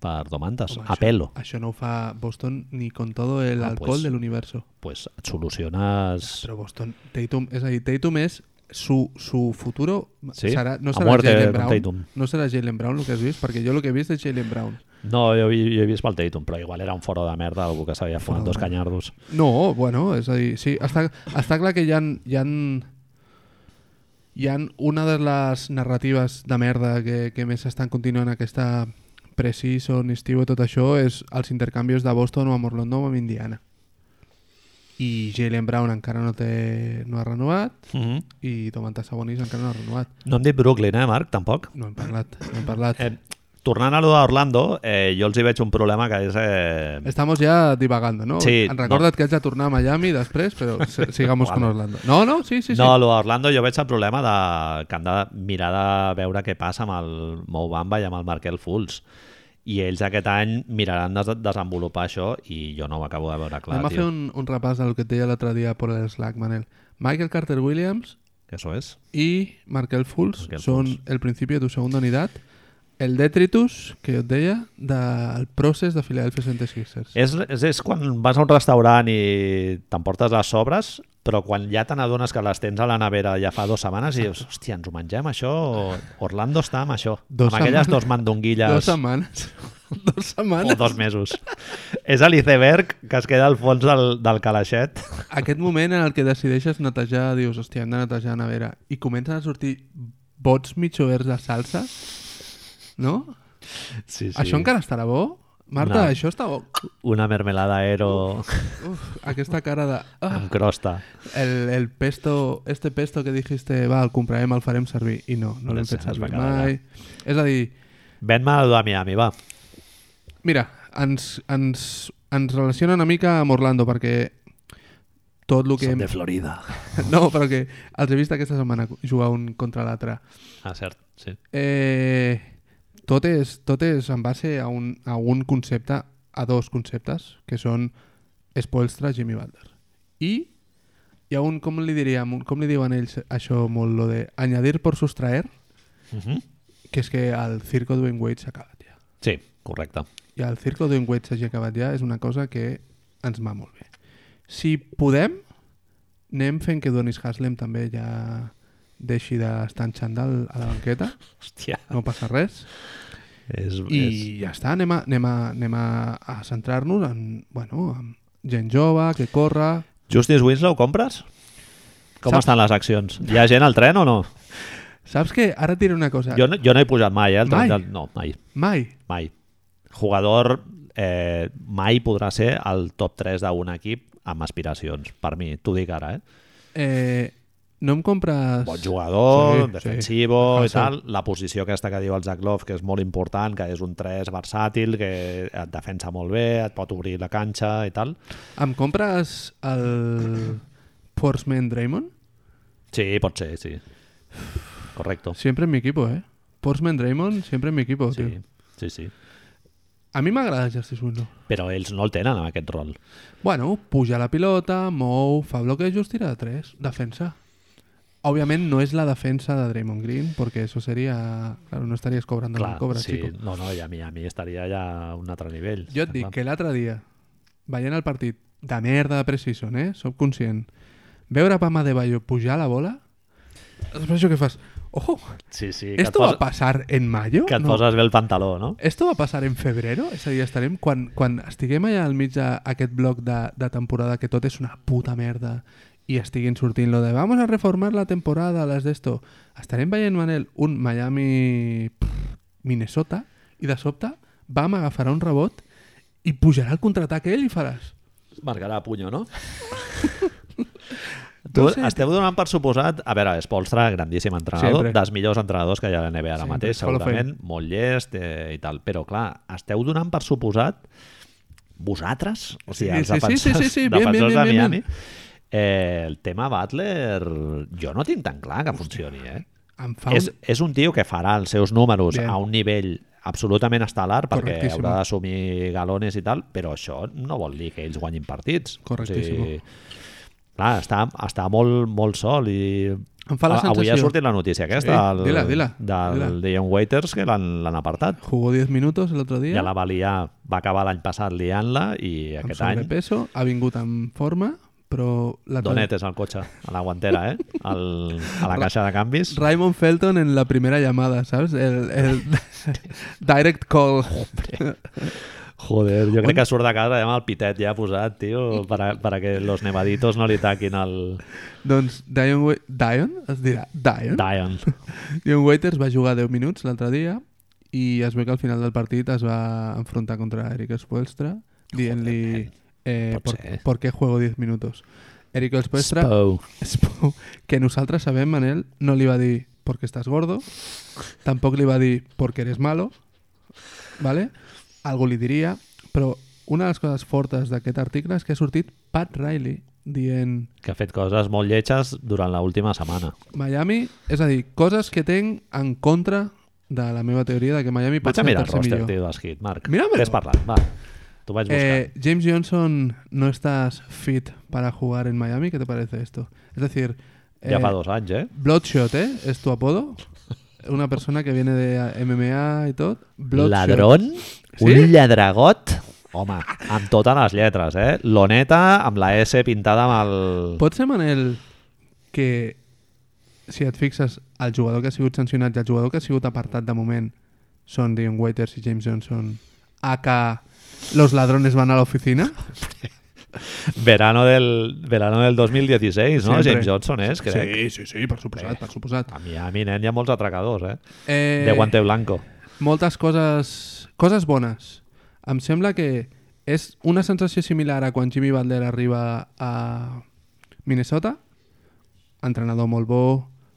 Speaker 1: per Domantas.
Speaker 2: Home,
Speaker 1: a pelo.
Speaker 2: Això no ho fa Boston ni con todo el
Speaker 1: Ah,
Speaker 2: alcohol
Speaker 1: pues.
Speaker 2: del universo.
Speaker 1: Pues et soluciones...
Speaker 2: Pero Boston, Tatum, es ahí, Tatum es su, su futuro.
Speaker 1: Sí,
Speaker 2: será- no
Speaker 1: a
Speaker 2: será
Speaker 1: muerte
Speaker 2: Jalen
Speaker 1: con
Speaker 2: Brown.
Speaker 1: Tatum.
Speaker 2: No será Jalen Brown lo que has visto, porque yo lo que he visto es Jalen Brown.
Speaker 1: No, jo, vi- jo he vist pel Tatum, però igual era un foro de merda, algú que s'havia fumat dos canyardos.
Speaker 2: No, bueno, és a dir, sí, està, està clar que hi ha, hi ha, hi ha una de les narratives de merda que, que més estan continuant aquesta pre-season, estiu i tot això és els intercanvis de Boston o amb Orlando o amb Indiana. I Jalen Brown encara no, té, no ha renovat
Speaker 1: Mm -hmm.
Speaker 2: i Domantas Sabonis encara no ha renovat.
Speaker 1: No hem dit Brooklyn, eh, Marc, tampoc?
Speaker 2: No hem parlat, no hem parlat.
Speaker 1: Eh, tornant a lo d'Orlando, eh, jo els hi veig un problema que és... Eh,
Speaker 2: Estamos ya divagando, ¿no?
Speaker 1: Sí,
Speaker 2: Em recorda't que haig de tornar a Miami després, però se- sigamos con Orlando. No, no, sí, sí, sí.
Speaker 1: No, lo d'Orlando jo veig el problema de, que han de mirar de veure què passa amb el Mo Bamba i amb el Markel Fultz. I ells aquest any miraran de desenvolupar això i jo no ho acabo de veure clar,
Speaker 2: Anem a
Speaker 1: tio.
Speaker 2: fer un, un repàs del que et deia l'altre dia per l'Slack, Manel. Michael Carter Williams
Speaker 1: Eso es.
Speaker 2: y Markel Fools
Speaker 1: Markel
Speaker 2: són
Speaker 1: Fools.
Speaker 2: el principi de tu segona unitat, el Detritus, que jo et deia, del procés de Philadelphia 76ers.
Speaker 1: És, és, és quan vas a un restaurant i t'emportes les sobres, però quan ja te n'adones que les tens a la nevera ja fa dues setmanes i dius, hòstia, ens ho mengem això? O Orlando està amb això.
Speaker 2: Dos
Speaker 1: amb aquelles
Speaker 2: setmanes.
Speaker 1: dos
Speaker 2: Dos
Speaker 1: mandonguilles
Speaker 2: setmanes. Dos
Speaker 1: o
Speaker 2: setmanes.
Speaker 1: dos mesos. és a l'iceberg que es queda al fons del, del calaixet.
Speaker 2: Aquest moment en el que decideixes netejar, dius, hòstia, hem de netejar la nevera, i comencen a sortir bots mitjoverts de salsa, no?
Speaker 1: Sí, sí.
Speaker 2: Sí. Això encara estarà bo? Marta,
Speaker 1: No.
Speaker 2: no. això està bo.
Speaker 1: Una mermelada aero
Speaker 2: Uf, aquesta cara de... Ah,
Speaker 1: amb crosta.
Speaker 2: el, el pesto, este pesto que dijiste, va, el comprarem, el farem servir, i no, no l'hem
Speaker 1: Es-
Speaker 2: fet
Speaker 1: es va
Speaker 2: servir
Speaker 1: quedar allà.
Speaker 2: mai. És a dir,
Speaker 1: Ven-me a la Miami, va.
Speaker 2: Mira, ens, ens, ens relaciona una mica amb Orlando, perquè tot el que...
Speaker 1: Som
Speaker 2: Hem...
Speaker 1: de Florida.
Speaker 2: No, però que els he vist aquesta setmana jugar un contra l'altre.
Speaker 1: Ah, cert, sí.
Speaker 2: Eh, tot, és, tot és en base a un, a un concepte, a dos conceptes, que són Spoelstra, Jimmy Butler. I hi ha un, com li diríem, un- com li diuen ells això molt, lo de añadir por sustraer,
Speaker 1: Uh -huh.
Speaker 2: que és que el circo Dwayne Wade s'ha acabat ja.
Speaker 1: Sí, correcte.
Speaker 2: I el Circo d'un Wet s'hagi acabat ja és una cosa que ens va molt bé. Si podem, anem fent que Donis Haslem també ja deixi d'estar en xandall a la banqueta,
Speaker 1: Hòstia,
Speaker 2: no passa res.
Speaker 1: és, és...
Speaker 2: I ja està, anem a, anem a, anem a, a centrar-nos en, bueno, en gent jove, que corre...
Speaker 1: Justice Winslow, compres? Com
Speaker 2: Saps-
Speaker 1: estan les accions? Hi ha gent al tren o no?
Speaker 2: Saps què? Ara et diré una cosa.
Speaker 1: Jo no, jo no he pujat mai, eh? El tren
Speaker 2: Mai?
Speaker 1: Del... No, mai,
Speaker 2: Mai.
Speaker 1: mai. Jugador eh, mai podrà ser el top 3 d'un equip amb aspiracions, per mi, t'ho dic ara, eh?
Speaker 2: Eh, no em compres...
Speaker 1: Bon jugador,
Speaker 2: Sí,
Speaker 1: sí,
Speaker 2: sí.
Speaker 1: defensivo sí. i
Speaker 2: Defensa.
Speaker 1: tal, la posició aquesta que diu el Zaglov, que és molt important, que és un 3 versàtil, que et defensa molt bé, et pot obrir la canxa i tal.
Speaker 2: Em compres el Forceman Draymond?
Speaker 1: Sí, pot ser, sí. Correcto.
Speaker 2: Siempre en mi equipo, eh? Portsman Draymond, siempre en mi equipo, sí.
Speaker 1: Sí,
Speaker 2: tio.
Speaker 1: sí, sí.
Speaker 2: A mi m'agrada Justice Winslow.
Speaker 1: Però ells no el tenen, en aquest rol.
Speaker 2: Bueno, puja la pilota, mou, fa bloquejos, tira de 3, defensa. Òbviament no és la defensa de Draymond Green, perquè eso seria... Claro, no estaries cobrant
Speaker 1: Clar,
Speaker 2: el cobra,
Speaker 1: sí.
Speaker 2: chico.
Speaker 1: No, no, i a mi, a mi estaria ja a un altre nivell.
Speaker 2: Jo et dic que l'altre dia, veient el partit de merda de Precision, eh? Soc conscient. Veure Pama de Bayo pujar la bola... Després això que fas... Ojo,
Speaker 1: Sí, sí, que et,
Speaker 2: esto va
Speaker 1: posa,
Speaker 2: a pasar en mayo?
Speaker 1: que et poses bé el pantaló, no?
Speaker 2: Esto va passar en febrero? És a dir, estarem quan, quan estiguem allà al mig d'aquest bloc de, de temporada que tot és una puta merda i estiguin sortint lo de vamos a reformar la temporada, les d'esto. Estarem veient, Manel, un Miami pff, Minnesota i de sobte vam agafarà un rebot i pujarà el contraatac ell i faràs.
Speaker 1: Marcarà punyo, no?
Speaker 2: No
Speaker 1: tu
Speaker 2: sé.
Speaker 1: esteu donant per suposat... A veure, Spolstra, grandíssim entrenador,
Speaker 2: Sempre.
Speaker 1: dels millors entrenadors que hi ha a la NBA ara
Speaker 2: Sempre,
Speaker 1: mateix,
Speaker 2: Hall of Fame.
Speaker 1: segurament, molt llest eh, i tal. Però, clar, esteu donant per suposat vosaltres, o sigui, els
Speaker 2: Sí, sí, sí,
Speaker 1: defensors,
Speaker 2: sí, sí, bien,
Speaker 1: defensors
Speaker 2: bien, bien,
Speaker 1: de
Speaker 2: bien,
Speaker 1: Miami, eh, el tema Butler jo no tinc tan clar que funcioni, eh?
Speaker 2: Em fa
Speaker 1: és,
Speaker 2: un...
Speaker 1: és un tio que farà els seus números
Speaker 2: Bien.
Speaker 1: a un nivell absolutament estel·lar perquè
Speaker 2: Correctíssim.
Speaker 1: haurà d'assumir galones i tal, però això no vol dir que ells guanyin partits.
Speaker 2: Correctíssim.
Speaker 1: clar, està, està molt, molt sol i...
Speaker 2: Em fa la
Speaker 1: a- Avui ha
Speaker 2: sensació-
Speaker 1: sortit la notícia aquesta
Speaker 2: Sí,
Speaker 1: del,
Speaker 2: dila, dila,
Speaker 1: del
Speaker 2: dila.
Speaker 1: Dion Waiters que l'han l'han apartat.
Speaker 2: Jugó 10 minuts l'altre dia,
Speaker 1: Ja la va liar, va acabar l'any passat liant-la i
Speaker 2: amb
Speaker 1: aquest any
Speaker 2: sobrepeso, ha vingut en forma, però... La
Speaker 1: donetes al cotxe, a la guantera, eh? Al, a la caixa de canvis.
Speaker 2: Raymond Felton en la primera llamada, ¿sabes? El, el direct call.
Speaker 1: Joder, jo crec que surt de casa ja amb el pitet ja posat, tio, para, para que los nevaditos no li taquin el
Speaker 2: doncs Dion, Wai- Dion? Es dirà Dion?
Speaker 1: Dion.
Speaker 2: Dion Waiters va jugar 10 minuts l'altre dia i es veu que al final del partit es va enfrontar contra Eric Spoelstra dient-li eh,
Speaker 1: Pot
Speaker 2: por,
Speaker 1: ser.
Speaker 2: por què juego 10 minuts? Eric Spoelstra
Speaker 1: Spou.
Speaker 2: Spo- que nosaltres sabem, Manel, no li va dir porque estás gordo, tampoc li va dir porque eres malo, ¿vale? Algo li diria, però una de les coses fortes d'aquest article és que ha sortit Pat Riley dient
Speaker 1: Que ha fet coses molt lletges durant l'última setmana.
Speaker 2: Miami, és a dir, coses que tenc en contra de la meva teoria de que Miami pot
Speaker 1: Vaig a
Speaker 2: ser el
Speaker 1: mirar el
Speaker 2: tercer
Speaker 1: roster,
Speaker 2: millor.
Speaker 1: tio, dels hit, Marc.
Speaker 2: Mira-me'l.
Speaker 1: Ves parlant, va. T'ho vaig buscant.
Speaker 2: Eh, James Johnson, no estás fit para jugar en Miami, ¿qué te parece esto? Es decir,
Speaker 1: Ja fa dos anys, eh?
Speaker 2: Bloodshot, ¿eh? Es tu apodo. Una persona que viene de MMA y todo. Bloodshot.
Speaker 1: Ladrón, un
Speaker 2: Sí?
Speaker 1: lladragot... Home, amb totes les lletres, eh? L'oneta amb la S pintada amb el...
Speaker 2: Pot ser, Manel, que si et fixes, el jugador que ha sigut sancionat i el jugador que ha sigut apartat de moment són Dion Waiters i James Johnson a que los ladrones van a la oficina?
Speaker 1: Verano del, verano del 2016, no?
Speaker 2: Sempre.
Speaker 1: James Johnson és, crec.
Speaker 2: Sí, sí, sí, per suposat, per suposat.
Speaker 1: A Miami, nen, hi ha molts atracadors, eh?
Speaker 2: Eh,
Speaker 1: De guante blanco.
Speaker 2: moltes coses, coses bones. Em sembla que és una sensació similar a quan Jimmy Butler arriba a Minnesota, entrenador molt bo,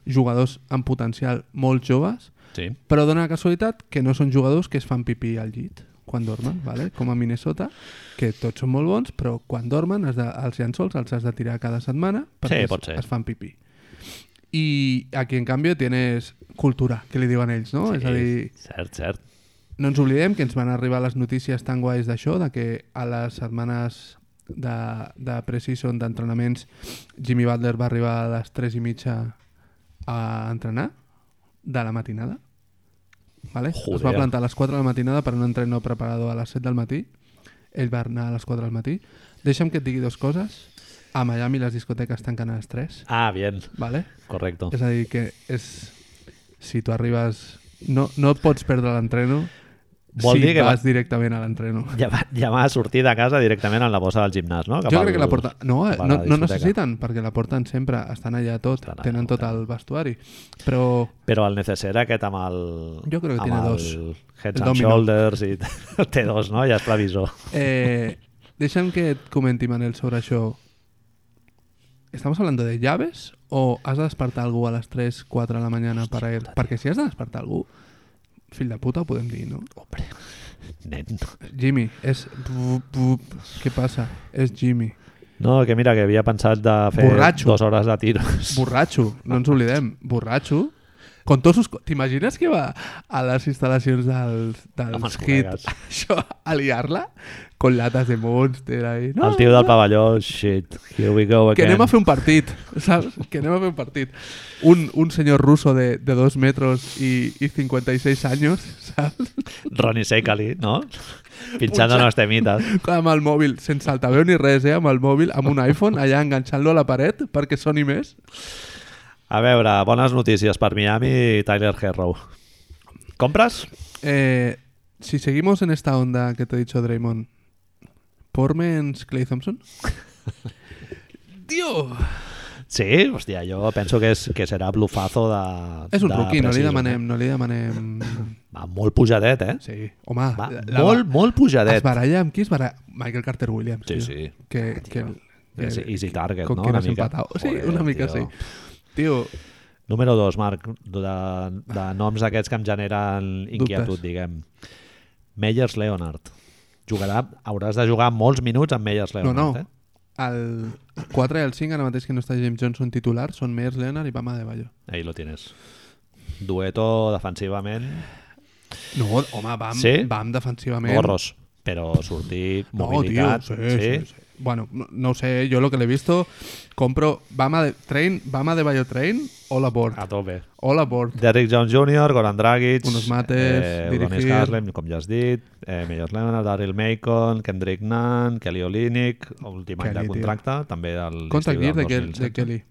Speaker 2: jugadors amb potencial molt joves,
Speaker 1: Sí.
Speaker 2: però dona la casualitat que no són jugadors que es fan pipí al llit quan dormen, vale? com a Minnesota, que tots són molt bons, però quan dormen has de, els llençols els has de tirar cada setmana perquè
Speaker 1: Sí, pot ser.
Speaker 2: es, es fan pipí. I aquí, en canvi, tienes cultura, que li diuen ells, no?
Speaker 1: sí.
Speaker 2: És a dir,
Speaker 1: Cert, cert.
Speaker 2: no ens oblidem que ens van arribar les notícies tan guais d'això, de que a les setmanes de, de preseason d'entrenaments Jimmy Butler va arribar a les 3 i mitja a entrenar de la matinada. Vale? Es va
Speaker 1: Joder.
Speaker 2: plantar a les 4 de la matinada per un entrenador preparador a les 7 del matí. Ell va anar a les 4 del matí. Deixa'm que et digui dues coses. A Miami les discoteques tanquen a les 3.
Speaker 1: Ah, bien,
Speaker 2: Vale?
Speaker 1: correcto.
Speaker 2: És a dir, que és... Si tu arribes... No, no et pots perdre l'entreno
Speaker 1: Vol
Speaker 2: si
Speaker 1: dir que
Speaker 2: vas
Speaker 1: va-
Speaker 2: directament a l'entreno.
Speaker 1: Ja va, ja va sortir de casa directament amb la bossa del gimnàs, no?
Speaker 2: Jo crec
Speaker 1: al-
Speaker 2: que la porta... No, eh,
Speaker 1: cap a
Speaker 2: no,
Speaker 1: la
Speaker 2: no
Speaker 1: discoteca.
Speaker 2: necessiten, perquè la porten sempre, estan allà tot,
Speaker 1: Estan allà, eh.
Speaker 2: tenen tot el vestuari. Però
Speaker 1: Però el necessera aquest amb el...
Speaker 2: Jo crec que
Speaker 1: amb
Speaker 2: tiene
Speaker 1: el
Speaker 2: dos.
Speaker 1: Heads
Speaker 2: El
Speaker 1: and
Speaker 2: domino.
Speaker 1: shoulders i té dos, no? Ja és previsor.
Speaker 2: eh, deixa'm que et comenti, Manel, sobre això. ¿Estamos hablando de llaves o has de despertar algú a les 3, 4 de la mañana para ir? Perquè si has de despertar algú, fill de puta ho podem dir, no?
Speaker 1: Hombre, nen.
Speaker 2: Jimmy, és... Què passa? És Jimmy.
Speaker 1: No, que mira, que havia pensat de fer
Speaker 2: Borratxo.
Speaker 1: dues hores de tiros.
Speaker 2: Borratxo, no ens oblidem. Borratxo. Con tots sus... co- T'imagines que va a les instal·lacions dels,
Speaker 1: Amb els
Speaker 2: dels
Speaker 1: col·legues.
Speaker 2: hits això, a liar-la? Con latas de Monster ahí. No,
Speaker 1: el tio del
Speaker 2: no,
Speaker 1: pavelló, shit, here we go again.
Speaker 2: Que anem a fer un partit, saps? Que anem a fer un partit. Un, un senyor russo de, de dos metros i, i 56 anys, saps?
Speaker 1: Ronnie Sekali, no? Pinchando los temitas.
Speaker 2: Amb el mòbil, sense altaveu ni res, eh? Amb el mòbil, amb un iPhone, allà enganxant-lo a la paret perquè soni més.
Speaker 1: A veure, bones notícies per Miami i Tyler Herrow. Compres?
Speaker 2: Eh, si seguimos en esta onda que te he dicho, Draymond, ¿Pormens Clay Thompson? ¡Tío!
Speaker 1: Sí, hòstia, jo penso que, és, que serà blufazo de...
Speaker 2: És un
Speaker 1: de
Speaker 2: rookie, no li
Speaker 1: precision,
Speaker 2: demanem, no li demanem...
Speaker 1: eh? Va molt pujadet, eh?
Speaker 2: Sí, home,
Speaker 1: Va,
Speaker 2: la- la-
Speaker 1: molt, molt pujadet.
Speaker 2: es baralla amb qui es baralla? Michael Carter Williams,
Speaker 1: Sí,
Speaker 2: tio.
Speaker 1: sí.
Speaker 2: Que, que, que,
Speaker 1: És easy target,
Speaker 2: con
Speaker 1: no?
Speaker 2: qui
Speaker 1: Una
Speaker 2: n'has
Speaker 1: mica.
Speaker 2: empatat. Sí,
Speaker 1: Joder,
Speaker 2: una mica
Speaker 1: tio.
Speaker 2: sí. Tio,
Speaker 1: Número 2, Marc, de, de noms aquests que em generen inquietud, diguem. Meyers Leonard. Jugarà, hauràs de jugar molts minuts amb Meyers
Speaker 2: no,
Speaker 1: Leonard,
Speaker 2: no.
Speaker 1: eh?
Speaker 2: El 4 i el 5, ara mateix que no està James Johnson titular, són Meyers Leonard i Bama de Bayo.
Speaker 1: Ahí lo tienes. Dueto defensivament,
Speaker 2: No, home, Bam,
Speaker 1: Sí?
Speaker 2: Bam defensivament...
Speaker 1: gorros, però sortir,
Speaker 2: No,
Speaker 1: mobilitat...
Speaker 2: tío, sí, sí, sí. Bueno, no, no sé, yo lo que le he visto, compro Bama de Train, Bama de Bayo Train, all aboard.
Speaker 1: A tope.
Speaker 2: All aboard.
Speaker 1: Derrick Jones Jr., Goran Dragic, eh,
Speaker 2: Unos mates,
Speaker 1: Udonis
Speaker 2: dirigir.
Speaker 1: Haslem, com ja has dit, eh, Meyers Leonard, Daryl Macon, Kendrick Nunn, Kelly Olynyk, últim any
Speaker 2: Kelly,
Speaker 1: de
Speaker 2: tio.
Speaker 1: contracte, també el l'estiu
Speaker 2: Contact Gear de,
Speaker 1: del
Speaker 2: Kel-
Speaker 1: 2007.
Speaker 2: de Kelly.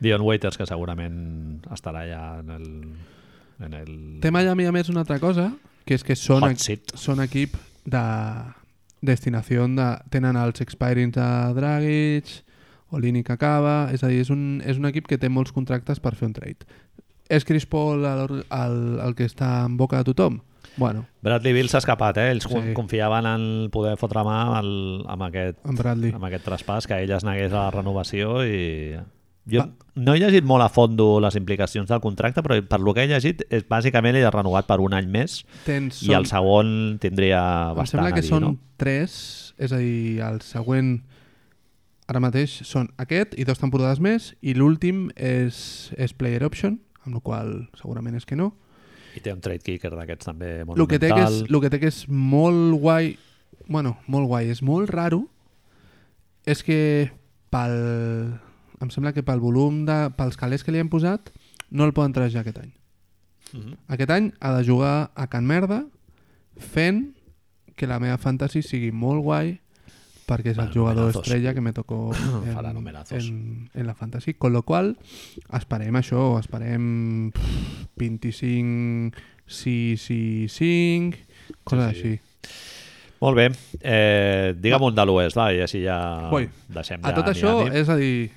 Speaker 1: Dion Waiters, que segurament estarà ja en el... En el...
Speaker 2: Té Miami, a més, una altra cosa, que és que són,
Speaker 1: Hot
Speaker 2: equ-
Speaker 1: seat.
Speaker 2: són equip de destinació de... Tenen els expirings de Dragic, Olini que acaba... És a dir, és un, és un equip que té molts contractes per fer un trade. És Chris Paul el, el, el que està en boca de tothom? Bueno,
Speaker 1: Bradley Bill s'ha escapat, eh? Ells
Speaker 2: Sí.
Speaker 1: sí. confiaven en poder fotre mà amb, el, amb, aquest,
Speaker 2: en Bradley.
Speaker 1: amb aquest traspàs, que ell es negués a la renovació i... Jo
Speaker 2: Va.
Speaker 1: no he llegit molt a fondo les implicacions del contracte, però per lo que he llegit, és, bàsicament ell ha renovat per un any més
Speaker 2: Tens
Speaker 1: i el segon tindria
Speaker 2: Em
Speaker 1: bastant
Speaker 2: sembla que
Speaker 1: a dir,
Speaker 2: són
Speaker 1: no?
Speaker 2: tres, és a dir, el següent ara mateix són aquest i dos temporades més i l'últim és, és player option, amb la qual cosa segurament és que no.
Speaker 1: I té un trade kicker d'aquests també
Speaker 2: El que, té que és,
Speaker 1: monumental.
Speaker 2: lo que té que és molt guai, bueno, molt guai, és molt raro, és que pel em sembla que pel volum, de, pels calés que li han posat, no el poden trajar aquest any.
Speaker 1: Mm -hmm.
Speaker 2: Aquest any ha de jugar a Can Merda fent que la meva fantasy sigui molt guai perquè és el
Speaker 1: Farà
Speaker 2: jugador
Speaker 1: numerazos.
Speaker 2: estrella que me tocó
Speaker 1: Farà
Speaker 2: en,
Speaker 1: numerazos.
Speaker 2: en, en la fantasy. Con lo qual, esperem això, esperem pff, 25, 6, 6, 5, coses
Speaker 1: Sí, sí.
Speaker 2: sí, sí. així.
Speaker 1: Molt bé. Eh, digue'm un de l'oest, va, i així ja
Speaker 2: Ui,
Speaker 1: deixem ja
Speaker 2: A tot
Speaker 1: Miami.
Speaker 2: això, és a dir,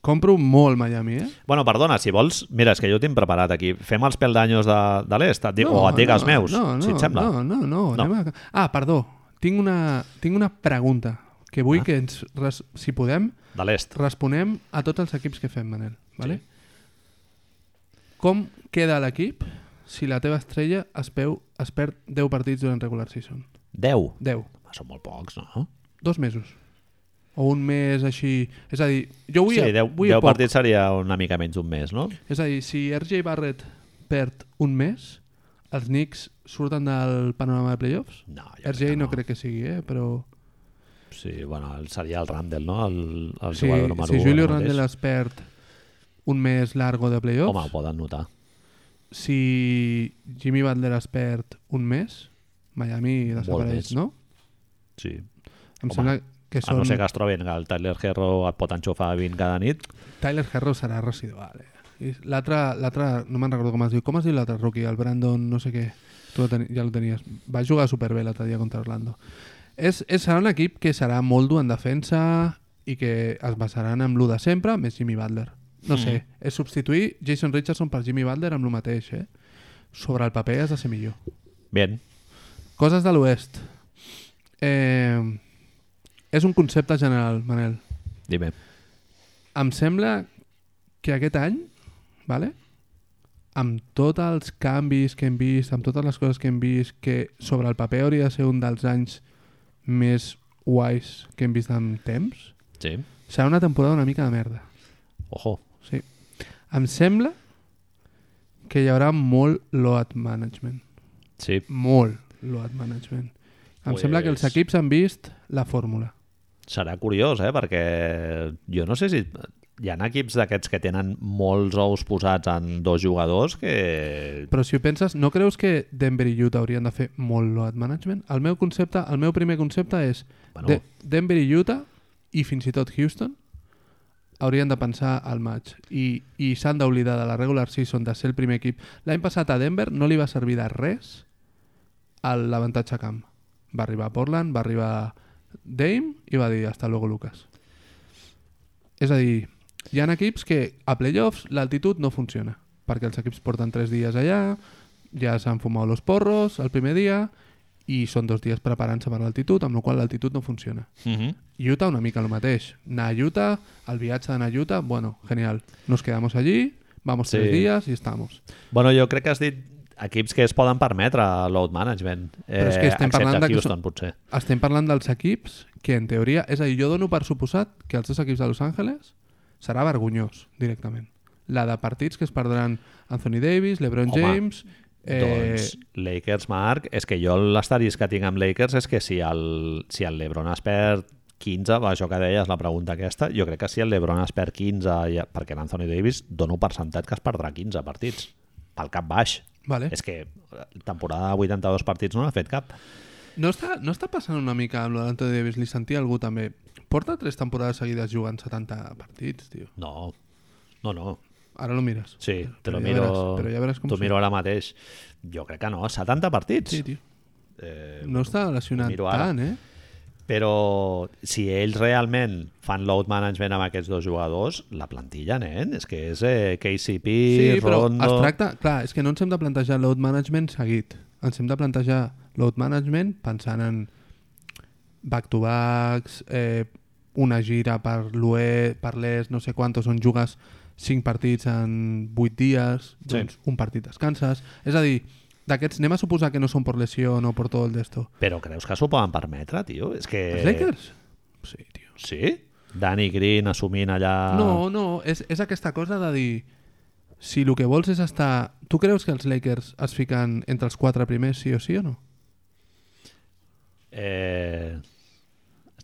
Speaker 2: compro molt Miami, eh?
Speaker 1: Bueno, perdona, si vols, mira, és que jo ho tinc preparat aquí. Fem els peldanyos de, de l'est, et dic- o et dic els meus,
Speaker 2: no, no,
Speaker 1: si et sembla.
Speaker 2: No, no, no.
Speaker 1: No.
Speaker 2: no. Anem a... Ah, perdó. Tinc una, tinc una pregunta que vull
Speaker 1: Ah.
Speaker 2: ah. que ens, res, si podem,
Speaker 1: De l'est.
Speaker 2: responem a tots els equips que fem, Manel. Vale? Com queda l'equip si la teva estrella es, peu, es perd 10 partits durant regular season?
Speaker 1: 10.
Speaker 2: 10.
Speaker 1: Ah, Són molt pocs, no?
Speaker 2: Dos mesos. O un mes així... És a dir, jo vull...
Speaker 1: sí, 10,
Speaker 2: vull
Speaker 1: 10
Speaker 2: poc.
Speaker 1: partits seria una mica menys d'un mes, no?
Speaker 2: És a dir, si RJ Barrett perd un mes, els Knicks surten del panorama de playoffs?
Speaker 1: No, jo
Speaker 2: RJ no crec que sigui, eh? però
Speaker 1: Sí, bueno, el- seria el Randall, no? El, el
Speaker 2: si,
Speaker 1: jugador número
Speaker 2: si
Speaker 1: u
Speaker 2: Julio
Speaker 1: ara mateix.
Speaker 2: Randle es perd un mes largo de playoffs,
Speaker 1: Home, ho poden notar.
Speaker 2: si Jimmy Butler es perd un mes, Miami desapareix,
Speaker 1: més.
Speaker 2: no?
Speaker 1: Sí.
Speaker 2: Em
Speaker 1: Home,
Speaker 2: sembla que
Speaker 1: Són... A
Speaker 2: són...
Speaker 1: no ser que es trobin que el Tyler Herro et pot enxufar 20 cada nit.
Speaker 2: Tyler Herro serà residual, eh? I L'altre, l'altre, no me'n recordo com es diu, com es diu l'altre rookie, el Brandon, no sé què, tu lo teni, ja lo tenies, va jugar superbé l'altre dia contra Orlando. És, és, serà un equip que serà molt dur en defensa i que es basaran en l'1 de sempre, més Jimmy Butler. No sé, és substituir Jason Richardson per Jimmy Butler amb el mateix, eh? Sobre el paper has de ser millor.
Speaker 1: Bien.
Speaker 2: Coses de l'oest. Eh, és un concepte general, Manel
Speaker 1: Dime.
Speaker 2: em sembla que aquest any, vale? amb tots els canvis que hem vist, amb totes les coses que hem vist, que sobre el paper hauria de ser un dels anys més guais que hem vist en temps,
Speaker 1: Sí.
Speaker 2: serà una temporada una mica de merda.
Speaker 1: Ojo.
Speaker 2: Sí. Em sembla que hi haurà molt load management.
Speaker 1: Sí.
Speaker 2: Molt load management. Em
Speaker 1: Pues-
Speaker 2: sembla que els equips han vist la fórmula.
Speaker 1: Serà curiós, eh? Perquè jo no sé si... Hi ha equips d'aquests que tenen molts ous posats en dos jugadors que...
Speaker 2: Però si ho penses, no creus que Denver i Utah haurien de fer molt load management? El meu concepte, el meu primer concepte és
Speaker 1: Bueno.
Speaker 2: bueno. de Denver i Utah i fins i tot Houston haurien de pensar al maig i, i s'han d'oblidar de la regular season de ser el primer equip. L'any passat a Denver no li va servir de res a l'avantatge a camp. Va arribar a Portland, va arribar Dame i va dir hasta luego Lucas. És a dir, hi ha equips que a playoffs l'altitud no funciona, perquè els equips porten 3 dies allà, ja s'han fumat los porros el primer dia i són dos dies preparant-se per l'altitud, amb la qual cosa l'altitud no funciona.
Speaker 1: Uh -huh.
Speaker 2: Utah una mica el mateix. Anar a Utah, el viatge d'anar a Utah, bueno, genial. Nos quedamos allí, vamos
Speaker 1: Sí.
Speaker 2: tres días y estamos.
Speaker 1: Bueno, jo crec que has dit equips que es poden permetre load management. Eh,
Speaker 2: Però és que estem
Speaker 1: excepte
Speaker 2: parlant de que
Speaker 1: Houston, potser.
Speaker 2: Estem parlant dels equips que en teoria... És a dir, jo dono per suposat que els dos equips de Los Angeles serà vergonyós directament. La de partits que es perdran Anthony Davis, LeBron
Speaker 1: Home,
Speaker 2: James...
Speaker 1: Eh... Doncs Lakers, Marc, és que jo l'asterisc que tinc amb Lakers és que si el, si el Lebron es perd 15, va, això que deies, la pregunta aquesta, jo crec que si el Lebron es perd 15, ja, perquè l'Anthony Davis dono per sentat que es perdrà 15 partits, pel cap baix.
Speaker 2: Vale.
Speaker 1: És que eh, temporada de 82 partits no n'ha fet cap.
Speaker 2: No, està, no està passant una mica amb l'Anthony Davis? Li sentia algú també. Porta tres temporades seguides jugant 70 partits, tio.
Speaker 1: No, no, no.
Speaker 2: Ara lo mires.
Speaker 1: Sí, te lo
Speaker 2: Però ja
Speaker 1: miro,
Speaker 2: veràs- però ja veràs com
Speaker 1: t'ho
Speaker 2: surt.
Speaker 1: miro ara mateix. Jo crec que no, 70 partits.
Speaker 2: Sí, tio.
Speaker 1: Eh,
Speaker 2: No està lesionat
Speaker 1: miro ara.
Speaker 2: tant, eh?
Speaker 1: Però si ells realment fan load management amb aquests dos jugadors, la plantilla, nen, és que és eh, KCP,
Speaker 2: Sí, però
Speaker 1: Rondo...
Speaker 2: es tracta... Clar, és que no ens hem de plantejar load management seguit. Ens hem de plantejar load management pensant en back-to-backs, eh, una gira per l'UE, per l'ES, no sé quantos, on jugues 5 partits en 8 dies, doncs un partit descanses. És a dir, d'aquests anem a suposar que no són per lesió o per tot el d'esto.
Speaker 1: Però creus que s'ho poden permetre, tio? És que...
Speaker 2: Els Lakers? Sí, tio.
Speaker 1: Sí? Danny Green assumint allà...
Speaker 2: No, no, és, és aquesta cosa de dir si el que vols és estar... Tu creus que els Lakers es fiquen entre els quatre primers sí o sí o no?
Speaker 1: Eh...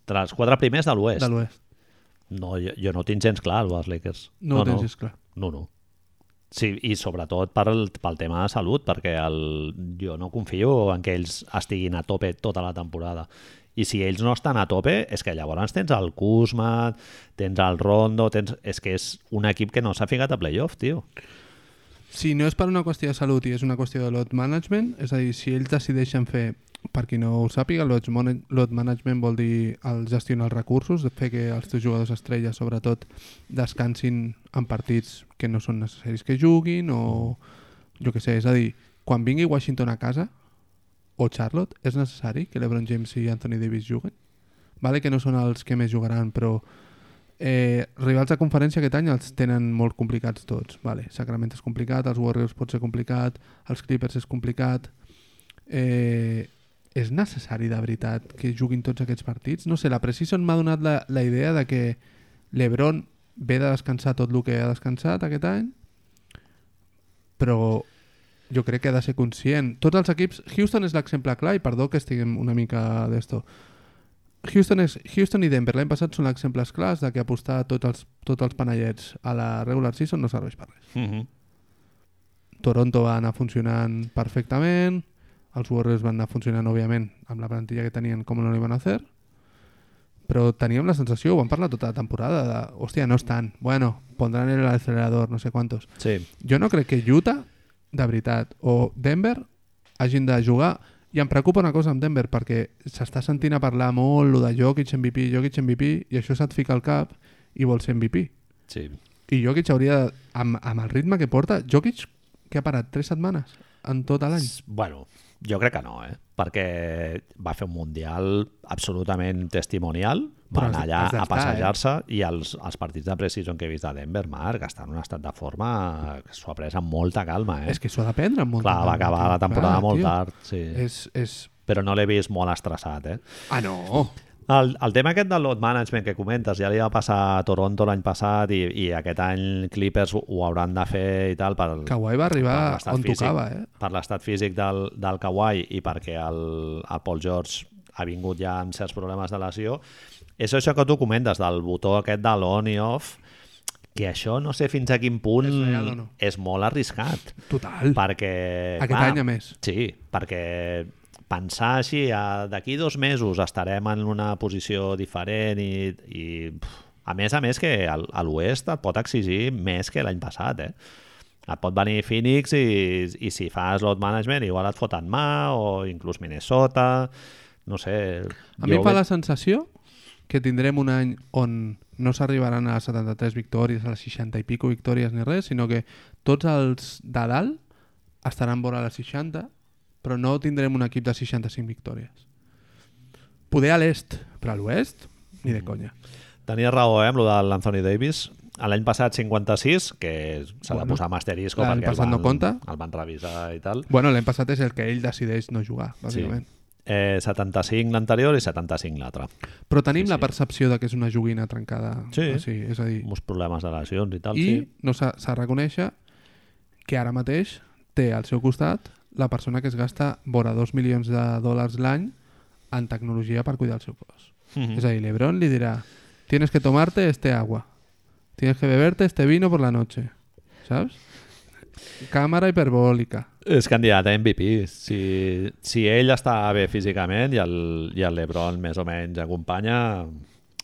Speaker 1: Entre els quatre primers de l'Oest.
Speaker 2: De l'Oest.
Speaker 1: No, jo, jo no ho tinc gens clar, el dels Lakers.
Speaker 2: No, ho tens, és clar.
Speaker 1: No, no. Sí, i sobretot pel, pel tema de salut, perquè el, jo no confio en que ells estiguin a tope tota la temporada. I si ells no estan a tope, és que llavors tens el Kuzma, tens el Rondo, tens... és que és un equip que no s'ha ficat a playoff, tio.
Speaker 2: Si no és per una qüestió de salut i és una qüestió de load management, és a dir, si ells decideixen fer, per qui no ho sàpiga, load, mon- load management vol dir el gestionar els recursos, fer que els teus jugadors estrella, sobretot, descansin en partits que no són necessaris que juguin o jo que sé, és a dir, quan vingui Washington a casa o Charlotte, és necessari que LeBron James i Anthony Davis juguen? Vale que no són els que més jugaran, però Eh, rivals de conferència aquest any els tenen molt complicats tots. Vale, Sacramento és complicat, els Warriors pot ser complicat, els Clippers és complicat. Eh, és necessari, de veritat, que juguin tots aquests partits? No sé, la Precision m'ha donat la, la idea de que l'Ebron ve de descansar tot el que ha descansat aquest any, però jo crec que ha de ser conscient. Tots els equips... Houston és l'exemple clar, i perdó que estiguem una mica d'esto, Houston, és, Houston i Denver l'any passat són exemples clars de que apostar tots els, tots els panellets a la regular season no serveix per res.
Speaker 1: Mm -hmm.
Speaker 2: Toronto va anar funcionant perfectament, els Warriors van anar funcionant, òbviament, amb la plantilla que tenien, com no li van a fer, però teníem la sensació, ho vam parlar tota la temporada, de, hòstia, no estan, bueno, pondran el acelerador, no sé quantos.
Speaker 1: Sí.
Speaker 2: Jo no crec que Utah, de veritat, o Denver hagin de jugar. I em preocupa una cosa amb Denver, perquè s'està sentint a parlar molt lo de Jokic MVP, Jokic MVP, i això se't fica al cap i vol ser MVP.
Speaker 1: sí.
Speaker 2: I Jokic hauria, de- amb, amb el ritme que porta, Jokic, que ha parat tres setmanes en tot l'any.
Speaker 1: Bueno, jo crec que no, eh? perquè va fer un mundial absolutament testimonial, va
Speaker 2: Però has-
Speaker 1: anar
Speaker 2: has
Speaker 1: allà
Speaker 2: d'estar,
Speaker 1: a passejar-se eh? i els, els partits de preseason que he vist de Denver, Marc, està en un estat de forma que s'ho ha pres amb molta calma. Eh?
Speaker 2: És que s'ho ha de prendre amb molta
Speaker 1: Clar, va
Speaker 2: calma,
Speaker 1: acabar
Speaker 2: tio.
Speaker 1: la temporada
Speaker 2: Clar,
Speaker 1: molt
Speaker 2: tio.
Speaker 1: tard, sí.
Speaker 2: És, és...
Speaker 1: però no l'he vist molt estressat. Eh?
Speaker 2: Ah, no!
Speaker 1: El, el tema aquest del load management que comentes, ja li va passar a Toronto l'any passat i, i aquest any Clippers ho, ho hauran de fer i tal per,
Speaker 2: Kawhi va
Speaker 1: per
Speaker 2: arribar
Speaker 1: l'estat
Speaker 2: on
Speaker 1: físic,
Speaker 2: tocava, eh?
Speaker 1: Per l'estat físic del, del Kawhi i perquè el, el Paul George ha vingut ja amb certs problemes de lesió. És això que tu comentes, del botó aquest de l'on i off, que això no sé fins a quin punt
Speaker 2: És real o no?
Speaker 1: és molt arriscat.
Speaker 2: Total.
Speaker 1: Perquè,
Speaker 2: Aquest any, a més.
Speaker 1: Sí, perquè pensar així, a- d'aquí dos mesos estarem en una posició diferent i, i pf, a més a més que al- a l'oest et pot exigir més que l'any passat, eh? Et pot venir Phoenix i, i si fas load management igual et foten mà o inclús Minnesota, no sé...
Speaker 2: A mi em fa la sensació que tindrem un any on no s'arribaran a les 73 victòries, a les 60 i pico victòries ni res, sinó que tots els de dalt estaran vora les 60, però no tindrem un equip de 65 victòries. Poder a l'est, però a l'oest, ni de conya.
Speaker 1: Tenies raó, eh, amb lo de l'Anthony Davis. L'any passat 56, que s'ha de
Speaker 2: Bueno,
Speaker 1: posar amb asterisco
Speaker 2: l'any
Speaker 1: perquè el
Speaker 2: passat
Speaker 1: van,
Speaker 2: no compta.
Speaker 1: el van revisar i tal.
Speaker 2: Bueno, l'any passat és el que ell decideix no jugar, bàsicament. Sí.
Speaker 1: Eh, 75 l'anterior i 75 l'altre.
Speaker 2: Però tenim
Speaker 1: Sí,
Speaker 2: sí, sí. la
Speaker 1: sí.
Speaker 2: percepció de que és una joguina trencada.
Speaker 1: Sí.
Speaker 2: O sigui, és a dir,
Speaker 1: Uns problemes de lesions i tal.
Speaker 2: i
Speaker 1: sí.
Speaker 2: no s'ha s'ha de reconèixer que ara mateix té al seu costat la persona que es gasta vora 2 milions de dòlars l'any en tecnologia per cuidar el seu cos.
Speaker 1: Mhm.
Speaker 2: És a dir, l'Ebron li dirà tienes que tomarte este agua, tienes que beberte este vino por la noche, ¿sabes? Càmera hiperbòlica.
Speaker 1: És candidat a MVP. Si, si ell està bé físicament i el, i el Lebron més o menys acompanya,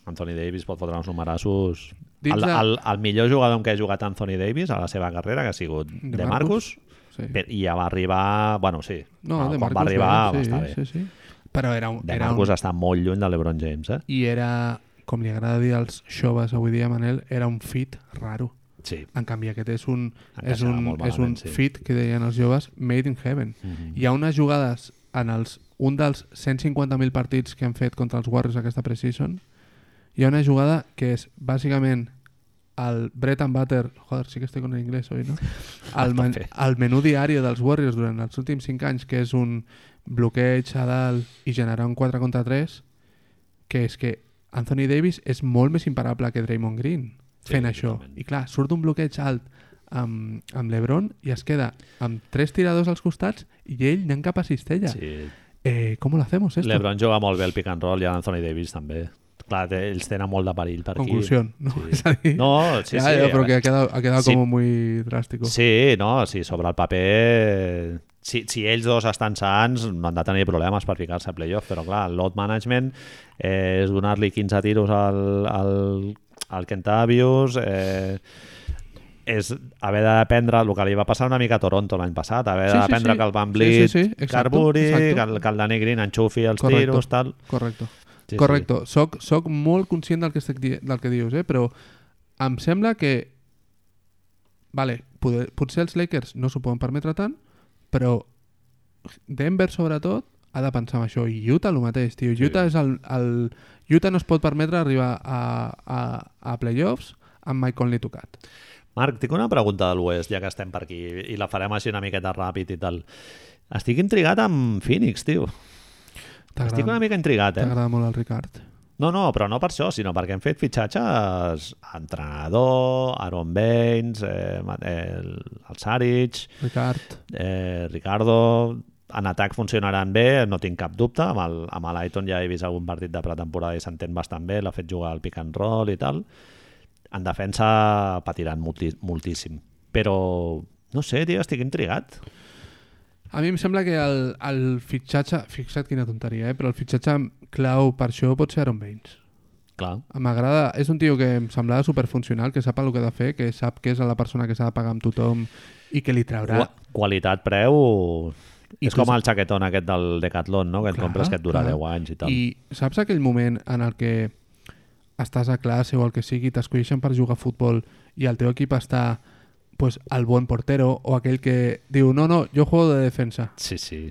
Speaker 1: Anthony Davis pot fotre uns numerassos.
Speaker 2: Dins
Speaker 1: El,
Speaker 2: de-
Speaker 1: el, el millor jugador amb què ha jugat Anthony Davis a la seva carrera, que ha sigut
Speaker 2: De
Speaker 1: de Marcus,
Speaker 2: Sí.
Speaker 1: Pe- i ja va arribar... Bueno, sí.
Speaker 2: No,
Speaker 1: Quan
Speaker 2: de Marcus
Speaker 1: va arribar
Speaker 2: bé,
Speaker 1: va
Speaker 2: sí,
Speaker 1: estar bé.
Speaker 2: Sí, sí. Però era un,
Speaker 1: De
Speaker 2: era
Speaker 1: Marcus
Speaker 2: un,
Speaker 1: està molt lluny de LeBron James, eh?
Speaker 2: i era, com li agrada dir als joves avui dia, Manel, era un fit raro.
Speaker 1: Sí.
Speaker 2: En canvi, aquest és un, és
Speaker 1: Encaixava
Speaker 2: un,
Speaker 1: molt
Speaker 2: és un
Speaker 1: malament, sí.
Speaker 2: fit que deien els joves Made in Heaven. Hi ha unes jugades en els, un dels 150.000 partits que han fet contra els Warriors aquesta preseason. Hi ha una jugada que és bàsicament el bread and butter... Joder, sí que estic con el inglès, oi, no? El, men,
Speaker 1: tope.
Speaker 2: el menú diari dels Warriors durant els últims 5 anys, que és un bloqueig a dalt i generar un 4 contra 3, que és que Anthony Davis és molt més imparable que Draymond Green
Speaker 1: Sí,
Speaker 2: fent això.
Speaker 1: totalment.
Speaker 2: I clar, surt un bloqueig alt amb, amb l'Ebron i es queda amb tres tiradors als costats i ell anant cap a Cistella.
Speaker 1: Sí.
Speaker 2: Eh, ¿Cómo lo hacemos esto?
Speaker 1: LeBron juga molt bé el pick and roll i Anthony Davis també. clar, té- ells tenen molt de perill per aquí.
Speaker 2: Conclusión, ¿no?
Speaker 1: Sí.
Speaker 2: Es ahí.
Speaker 1: No, sí,
Speaker 2: Ya,
Speaker 1: sí.
Speaker 2: ya,
Speaker 1: a
Speaker 2: pero que
Speaker 1: veure.
Speaker 2: ha quedado, ha quedado
Speaker 1: Sí.
Speaker 2: como muy drástico.
Speaker 1: Sí, no, sí, sobre el paper... Si, si ells dos estan sants, no han de tenir problemes per ficar-se a playoff, però clar, el load management eh, és donar-li 15 tiros al, al, al Kentavius, eh, és haver de dependre el que li va passar una mica a Toronto l'any passat, haver
Speaker 2: Sí,
Speaker 1: de
Speaker 2: sí,
Speaker 1: dependre
Speaker 2: sí.
Speaker 1: que el Van
Speaker 2: Sí,
Speaker 1: Vliet
Speaker 2: sí, sí, exacto,
Speaker 1: carburi,
Speaker 2: exacto.
Speaker 1: que el, que el Danny Green enxufi els
Speaker 2: Correcto.
Speaker 1: tiros, tal...
Speaker 2: Correcto.
Speaker 1: Sí,
Speaker 2: Correcto. Soc, soc molt conscient del que, estic di del que dius, eh? però em sembla que... Vale, poder, potser els Lakers no s'ho poden permetre tant, però Denver, sobretot, ha de pensar en això. I Utah, el mateix, tio.
Speaker 1: Sí.
Speaker 2: Utah, és el, el... Utah no es pot permetre arribar a, a, a playoffs amb Mike Conley tocat.
Speaker 1: Marc, tinc una pregunta de l'Oest, ja que estem per aquí, i la farem així una miqueta ràpid i tal. Estic intrigat amb Phoenix, tio. Estic una
Speaker 2: T'agrada
Speaker 1: mica intrigat, eh?
Speaker 2: t'agrada molt el Ricard.
Speaker 1: No, no, però no per això, sinó perquè hem fet fitxatges a entrenador, Aaron Baines, eh, Ma- eh, el Saric,
Speaker 2: Ricard.
Speaker 1: eh, Ricardo... En atac funcionaran bé, no tinc cap dubte. Amb el- amb l'Aiton ja he vist algun partit de pretemporada i s'entén bastant bé, l'ha fet jugar al pick and roll i tal. En defensa patiran multi, moltíssim. Però, no sé, tio, estic intrigat.
Speaker 2: A mi em sembla que el, el fitxatge... Fixa't quina tonteria, eh? però el fitxatge clau per això pot ser Aaron Baines.
Speaker 1: Clar.
Speaker 2: M'agrada, és un tio que em semblava superfuncional, que sap el que ha de fer, que sap que és la persona que s'ha de pagar amb tothom i que li traurà.
Speaker 1: Qua- Qualitat, preu...
Speaker 2: I
Speaker 1: és
Speaker 2: tu
Speaker 1: com el xaquetón aquest del Decathlon, no? Que et
Speaker 2: Clar,
Speaker 1: compres que et dura
Speaker 2: clar.
Speaker 1: 10 anys i tal.
Speaker 2: I saps aquell moment en el que estàs a classe o el que sigui, t'escolleixen per jugar a futbol i el teu equip està pues, el bon portero o aquell que diu no, no, jo juego de defensa.
Speaker 1: Sí, sí.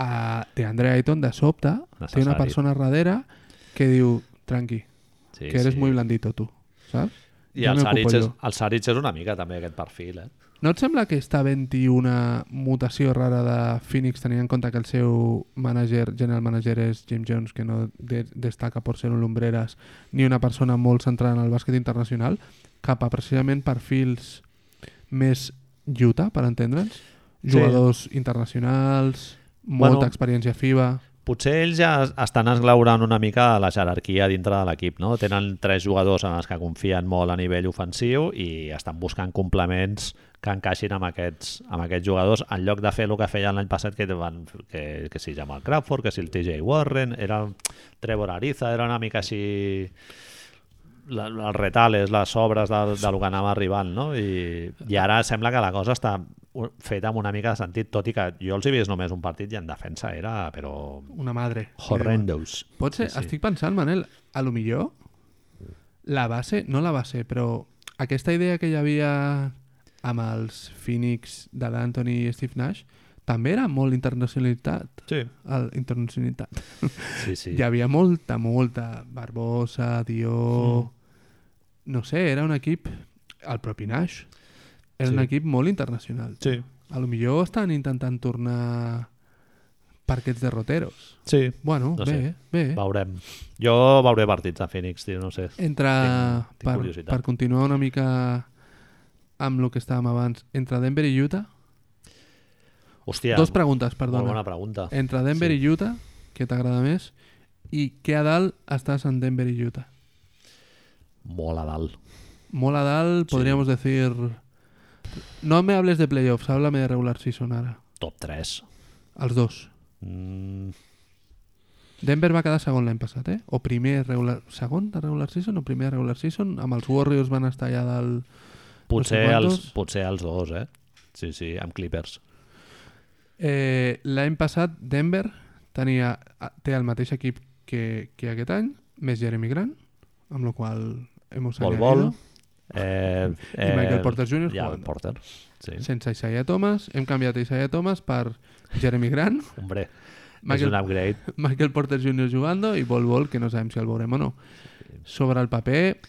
Speaker 2: A DeAndre Ayton, de sobte, té
Speaker 1: Necessari.
Speaker 2: una persona darrere que diu tranqui,
Speaker 1: sí
Speaker 2: que eres
Speaker 1: sí.
Speaker 2: muy blandito tu, saps?
Speaker 1: I
Speaker 2: Ja
Speaker 1: el
Speaker 2: m'hi
Speaker 1: Saric,
Speaker 2: ocupo
Speaker 1: és,
Speaker 2: jo.
Speaker 1: el Saric és una mica també aquest perfil, eh?
Speaker 2: No et sembla que està havent-hi una mutació rara de Phoenix tenint en compte que el seu manager, general manager és Jim Jones, que no de destaca per ser un lombreres ni una persona molt centrada en el bàsquet internacional, cap a precisament perfils més Utah, per entendre'ns?
Speaker 1: Sí.
Speaker 2: Jugadors internacionals, molta
Speaker 1: Bueno.
Speaker 2: experiència FIBA...
Speaker 1: Potser ells ja es- estan esglaurant una mica la jerarquia dintre de l'equip, no? Tenen tres jugadors en els que confien molt a nivell ofensiu i estan buscant complements que encaixin amb aquests, amb aquests jugadors en lloc de fer el que feien l'any passat que, van, que, que si Jamal Crawford, que si el TJ Warren, era el Trevor Ariza, era una mica així la, els retales, les obres del, del que anava arribant, no? I, I ara sembla que la cosa està u- feta amb una mica de sentit, tot i que jo els he vist només un partit i en defensa era, però
Speaker 2: Una madre.
Speaker 1: Horrendos.
Speaker 2: Pot ser, sí, sí. estic pensant, Manel, a lo millor la base, no la base, però aquesta idea que hi havia amb els Phoenix de l'Anthony i Steve Nash també era molt internacionalitat.
Speaker 1: Sí,
Speaker 2: El, internacionalitat.
Speaker 1: sí, sí.
Speaker 2: Sí. Hi havia molta, molta. Barbosa, Dió... Mm. No sé, era un equip... El propi Nash. Era
Speaker 1: Sí.
Speaker 2: sí. un equip molt internacional.
Speaker 1: sí.
Speaker 2: A lo millor estan intentant tornar parquets derroteros.
Speaker 1: sí.
Speaker 2: Bueno,
Speaker 1: No
Speaker 2: no
Speaker 1: sé.
Speaker 2: bé, bé.
Speaker 1: Veurem. Jo veuré partits a Phoenix, tio, no sé.
Speaker 2: entre,
Speaker 1: Tinc- tinc
Speaker 2: per,
Speaker 1: curiositat.
Speaker 2: per continuar una mica amb el que estàvem abans, entre Denver i Utah,
Speaker 1: Hòstia,
Speaker 2: dos preguntes,
Speaker 1: molt
Speaker 2: perdona.
Speaker 1: bona pregunta.
Speaker 2: Entre Denver
Speaker 1: Sí.
Speaker 2: i Utah, què t'agrada més? I què a dalt estàs en Denver i Utah?
Speaker 1: Molt a dalt.
Speaker 2: Molt a dalt,
Speaker 1: Sí.
Speaker 2: podríem sí. dir... No me hables de playoffs, háblame de regular season ara.
Speaker 1: Top 3.
Speaker 2: Els dos.
Speaker 1: Mm,
Speaker 2: Denver va quedar segon l'any passat, eh? O primer regular... Segon de regular season o primer de regular season? Amb els Warriors van estar allà del...
Speaker 1: potser,
Speaker 2: sé quantos.
Speaker 1: els, potser els dos, eh? Sí, sí, amb Clippers.
Speaker 2: Eh, L'any passat Denver tenia, a- té el mateix equip que, que aquest any, més Jeremy Grant, amb la qual hemos
Speaker 1: Vol,
Speaker 2: añadido,
Speaker 1: vol. Eh, eh,
Speaker 2: Michael Porter Jr.
Speaker 1: Ja,
Speaker 2: jugando.
Speaker 1: Porter. Sí,
Speaker 2: sense Isaiah Thomas, hem canviat Isaiah Thomas per Jeremy Grant,
Speaker 1: hombre. És
Speaker 2: Michael-
Speaker 1: un upgrade.
Speaker 2: Michael Porter Jr. jugando i Vol Vol, que no sabem si el veurem o no. Sobre el paper,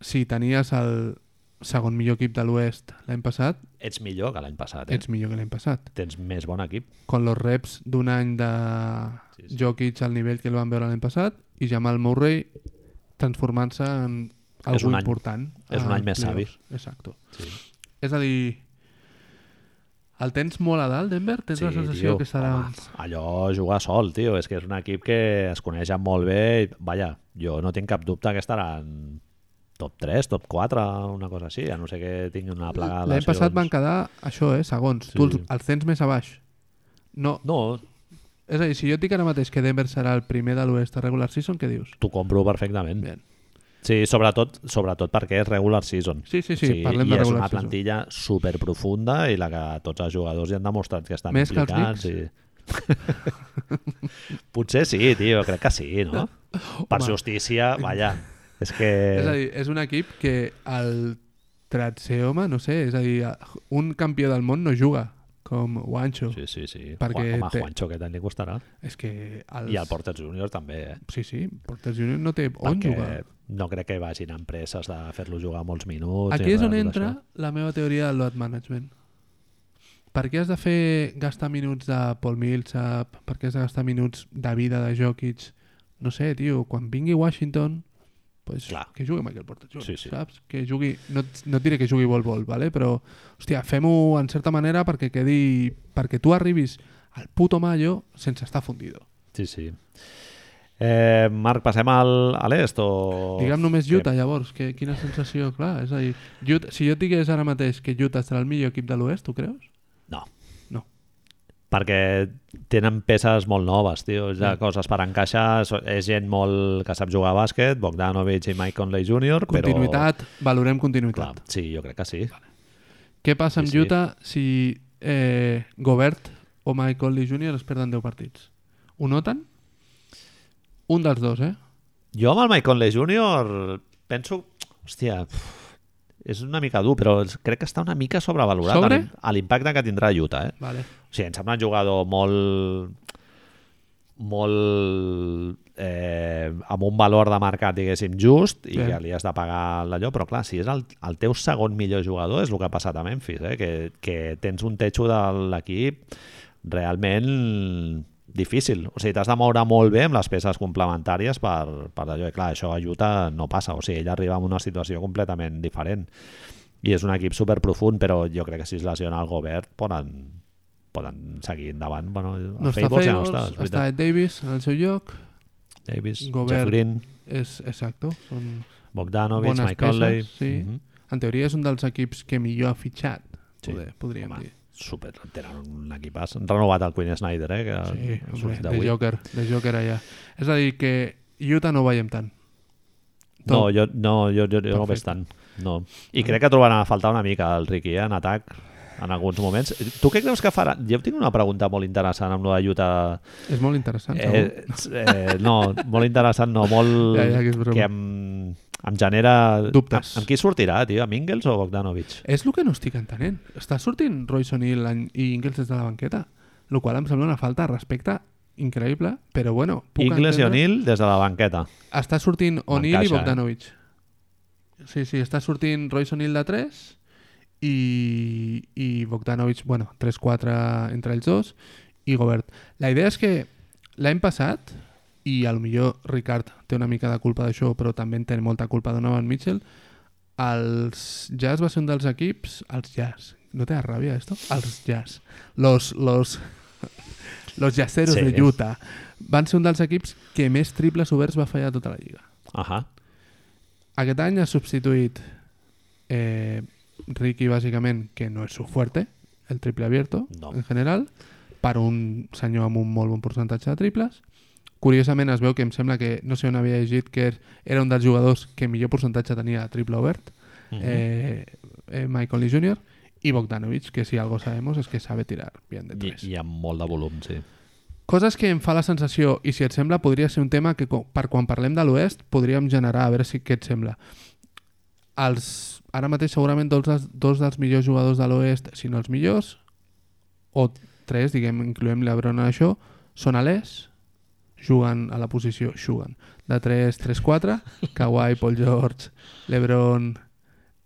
Speaker 2: si tenies el segon millor equip de l'Oest l'any passat,
Speaker 1: Ets millor que l'any passat, eh?
Speaker 2: ets millor que l'any passat.
Speaker 1: Tens més bon equip.
Speaker 2: con los reps d'un any de
Speaker 1: Sí,
Speaker 2: sí,
Speaker 1: sí.
Speaker 2: sí. Jokic al nivell que el van veure l'any passat i Jamal Murray transformant-se en
Speaker 1: És
Speaker 2: algú
Speaker 1: un any-
Speaker 2: important.
Speaker 1: és un
Speaker 2: a
Speaker 1: any més
Speaker 2: playoffs. Exacto.
Speaker 1: Sí.
Speaker 2: És a dir, El tens molt a dalt, Denver? Tens la sensació que serà...
Speaker 1: home, allò jugar sol, tio. És que és un equip que es coneix molt bé. I, vaja, jo no tinc cap dubte que estaran top 3, top 4, una cosa així, a no sé que tingui una plaga de
Speaker 2: L'any passat van quedar, això, eh, segons.
Speaker 1: Sí.
Speaker 2: Tu els, els tens més a baix. No,
Speaker 1: No,
Speaker 2: és a dir, si jo et dic ara mateix que Denver serà el primer de l'oest a regular season, què dius?
Speaker 1: t'ho compro perfectament.
Speaker 2: Bien.
Speaker 1: Sí, sobretot, sobretot perquè és regular season.
Speaker 2: Sí, sí, sí, parlem
Speaker 1: i
Speaker 2: de
Speaker 1: és
Speaker 2: regular
Speaker 1: una
Speaker 2: season.
Speaker 1: plantilla super profunda i la que tots els jugadors ja han demostrat que estan
Speaker 2: Més que els
Speaker 1: implicats. i... Potser sí, tio, crec que sí, no? Per
Speaker 2: Home.
Speaker 1: justícia, vaja, és que...
Speaker 2: És a dir, és un equip que el Tratseoma, no sé, és a dir, un campió del món no juga, com Guancho.
Speaker 1: Sí, sí, sí.
Speaker 2: Perquè
Speaker 1: Juan, home,
Speaker 2: té-
Speaker 1: Juancho, que tant li costarà.
Speaker 2: És que els...
Speaker 1: I el Porter Junior també, eh?
Speaker 2: Sí, sí, Porter Junior no té on
Speaker 1: Perquè
Speaker 2: jugar.
Speaker 1: No crec que vagin a empreses de fer-lo jugar molts minuts.
Speaker 2: Aquí
Speaker 1: i
Speaker 2: és on
Speaker 1: tot
Speaker 2: entra
Speaker 1: això.
Speaker 2: la meva teoria del load management. Per què has de fer gastar minuts de Paul Millsap? Per què has de gastar minuts de vida de Jokic? No sé, tio, quan vingui Washington, pues,
Speaker 1: Clar.
Speaker 2: que jugui Michael Porter Jr.,
Speaker 1: Sí, sí.
Speaker 2: saps? Que jugui, no, et- no et diré que jugui vol-vol, vale? però hòstia, fem-ho en certa manera perquè quedi, perquè tu arribis al puto mayo sense estar fundido.
Speaker 1: Sí, sí. Eh, Marc, passem al, a l'est o...
Speaker 2: Digue'm només
Speaker 1: Què?
Speaker 2: Utah, llavors, que, quina sensació, clar, és a dir, Utah, si jo et digués ara mateix que Utah serà el millor equip de l'oest, tu creus?
Speaker 1: No.
Speaker 2: No.
Speaker 1: Perquè tenen peces molt noves, tio. És de
Speaker 2: Sí.
Speaker 1: coses per encaixar. so- És gent molt que sap jugar a bàsquet, Bogdanovic i Mike Conley Jr.
Speaker 2: Continuïtat, valorem
Speaker 1: Però... Clar,
Speaker 2: continuïtat.
Speaker 1: sí, jo crec que sí.
Speaker 2: Què passa amb
Speaker 1: Sí, sí.
Speaker 2: Utah si eh, Gobert o Mike Conley Jr. es perden 10 partits? Ho noten? Un dels dos, eh?
Speaker 1: Jo amb el Mike Conley Jr. penso... Hòstia, pf, és una mica dur, però és- crec que està una mica sobrevalorat
Speaker 2: Sobre?
Speaker 1: a l'im- a l'impacte que tindrà a Utah. Eh?
Speaker 2: Vale.
Speaker 1: O sigui, em sembla un jugador molt molt eh, amb un valor de mercat, diguéssim, just i
Speaker 2: Bé.
Speaker 1: que li has de pagar d'allò, però clar, si és el, el teu segon millor jugador, és el que ha passat a Memphis, eh? que, que tens un techo de l'equip realment difícil. O sigui, t'has de moure molt bé amb les peces complementàries per, per allò. I clar, això a Utah no passa. O sigui, ell arriba en una situació completament diferent. I és un equip super profund, però jo crec que si es lesiona el Gobert poden, poden seguir endavant. Bueno, el
Speaker 2: No està
Speaker 1: Fables ja
Speaker 2: Fables,
Speaker 1: és
Speaker 2: està,
Speaker 1: veritat.
Speaker 2: Ed Davis en el seu lloc,
Speaker 1: Davis,
Speaker 2: Gobert.
Speaker 1: Jeff Green,
Speaker 2: és exacto, són
Speaker 1: Bogdanovic,
Speaker 2: bones
Speaker 1: Mike Conley...
Speaker 2: peces, sí.
Speaker 1: Mhm.
Speaker 2: En teoria és un dels equips que millor ha fitxat,
Speaker 1: Sí.
Speaker 2: poder, podríem
Speaker 1: Home, eh,
Speaker 2: dir.
Speaker 1: super, tenen un equipàs. Han renovat el Queen Snyder, eh? Que
Speaker 2: Sí,
Speaker 1: ha
Speaker 2: hombre,
Speaker 1: sortit
Speaker 2: de
Speaker 1: avui.
Speaker 2: Joker, de Joker allà. És a dir, que Utah no ho veiem tant.
Speaker 1: No, jo, no, jo, jo, jo no ho
Speaker 2: Perfecte.
Speaker 1: veig tant. No. I crec que trobaran a faltar una mica el Ricky eh, en atac en alguns moments. Tu què creus que farà? Jo tinc una pregunta molt interessant amb la Utah.
Speaker 2: És molt interessant, segur.
Speaker 1: Eh, eh, no, molt interessant, no, molt...
Speaker 2: Ja, ja, que és broma.
Speaker 1: que em, em genera...
Speaker 2: Dubtes.
Speaker 1: Amb, amb qui sortirà, tio? Amb Ingles o Bogdanovic?
Speaker 2: És el que no estic entenent. Està sortint Royce O'Neal en- i Ingles des de la banqueta, el qual em sembla una falta de respecte increïble, però bueno, puc
Speaker 1: Ingles i
Speaker 2: entendre-
Speaker 1: O'Neill des de la banqueta.
Speaker 2: Està sortint O'Neal i
Speaker 1: M'encaixa, eh?
Speaker 2: Bogdanovic. Sí, sí, està sortint Royce O'Neal de 3 i, i Bogdanovic, bueno, 3-4 entre ells dos i Gobert. La idea és que l'any passat, i a lo millor Ricard té una mica de culpa d'això, però també en té molta culpa Donovan Mitchell, els Jazz va ser un dels equips... Els Jazz. No té ràbia, esto? Els Jazz. Los, los, los Yaceros
Speaker 1: Sí.
Speaker 2: de Utah. Van ser un dels equips que més triples oberts va fallar a tota la lliga.
Speaker 1: Ahà.
Speaker 2: Aquest any ha substituït eh, Ricky, bàsicament, que no és su fuerte, el triple abierto,
Speaker 1: No.
Speaker 2: en general, per un senyor amb un molt bon percentatge de triples. Curiosament es veu que em sembla que, no sé on havia llegit, que er- era un dels jugadors que millor percentatge tenia de triple obert,
Speaker 1: Mhm.
Speaker 2: eh, eh, Michael Lee Jr., i Bogdanovic, que si algo sabemos és que sabe tirar bien de
Speaker 1: I,
Speaker 2: tres.
Speaker 1: I amb molt de volum, sí.
Speaker 2: Coses que em fa la sensació, i si et sembla, podria ser un tema que co- per quan parlem de l'oest podríem generar, a veure si què et sembla. Els, ara mateix segurament dos, dels- dos dels millors jugadors de l'oest, si no els millors, o tres, diguem, incloem l'Ebron en això, són a l'est, juguen a la posició, juguen, de 3, 3, 4, Kawhi, Paul George, l'Ebron,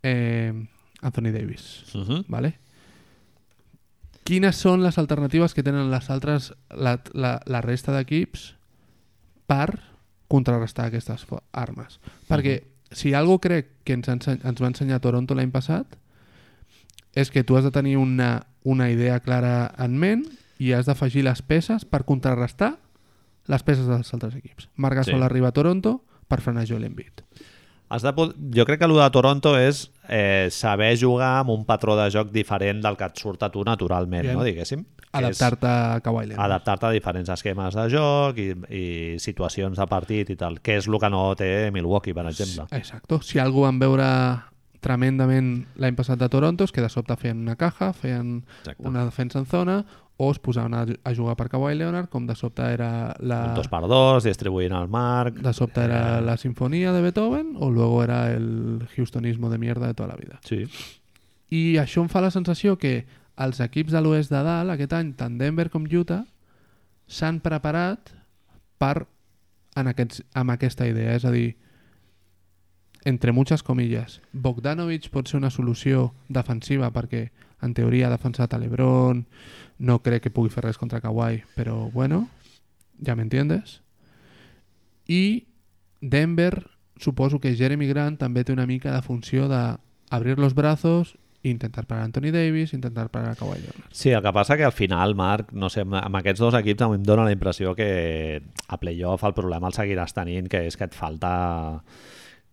Speaker 2: eh, Anthony Davis.
Speaker 1: Uh
Speaker 2: Vale? Quines són les alternatives que tenen les altres, la, la, la resta d'equips per contrarrestar aquestes fo- armes? Perquè si algo crec que ens, enseny, ens va ensenyar Toronto l'any passat és que tu has de tenir una, una idea clara en ment i has d'afegir les peces per contrarrestar les peces dels altres equips. Marc Gasol
Speaker 1: Sí.
Speaker 2: sí. arriba a Toronto per frenar Joel Embiid.
Speaker 1: Has de, po- jo crec que el de Toronto és eh, saber jugar amb un patró de joc diferent del que et surt a tu naturalment,
Speaker 2: Bien.
Speaker 1: no, diguéssim.
Speaker 2: Adaptar-te a Kawhi
Speaker 1: És
Speaker 2: Leonard.
Speaker 1: Adaptar-te a diferents esquemes de joc i, i situacions de partit i tal, que és el que no té Milwaukee, per exemple.
Speaker 2: Exacto. Si algú van veure tremendament l'any passat de Toronto és que de sobte feien una caja, feien
Speaker 1: Exacte.
Speaker 2: una defensa en zona o es posaven a, a jugar per Kawhi Leonard com de sobte era
Speaker 1: Un
Speaker 2: la,
Speaker 1: dos Eh. per dos, distribuint el marc...
Speaker 2: de sobte era la sinfonía de Beethoven o luego era el houstonismo de mierda de toda la vida.
Speaker 1: Sí.
Speaker 2: I això em fa la sensació que els equips de l'oest de dalt aquest any, tant Denver com Utah, s'han preparat per en aquests, amb aquesta idea. És a dir, entre muchas comillas, Bogdanovic pot ser una solució defensiva perquè en teoria ha defensat a l'Ebron, no crec que pugui fer res contra Kawhi, però bueno, ja m'entiendes. I Denver, suposo que Jeremy Grant també té una mica de funció de abrir los brazos, intentar parar a Anthony Davis, intentar parar a Kawhi Leonard.
Speaker 1: Sí, el que passa que al final, Marc, no sé, amb- amb aquests dos equips em dóna la impressió que a playoff el problema el seguiràs tenint, que és que et falta...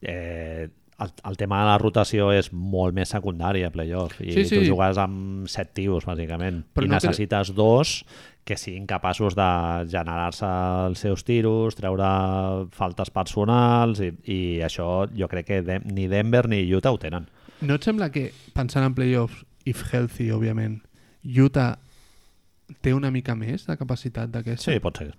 Speaker 1: Eh, el, el tema de la rotació és molt més secundari a playoff i
Speaker 2: Sí, sí.
Speaker 1: tu jugues amb set tios, bàsicament,
Speaker 2: Però
Speaker 1: i
Speaker 2: no
Speaker 1: necessites dos que siguin capaços de generar-se els seus tiros, treure faltes personals i, i això jo crec que de, ni Denver ni Utah ho tenen.
Speaker 2: No et sembla que, pensant en playoffs, if healthy, òbviament, Utah té una mica més de capacitat d'aquesta?
Speaker 1: Sí, pot ser.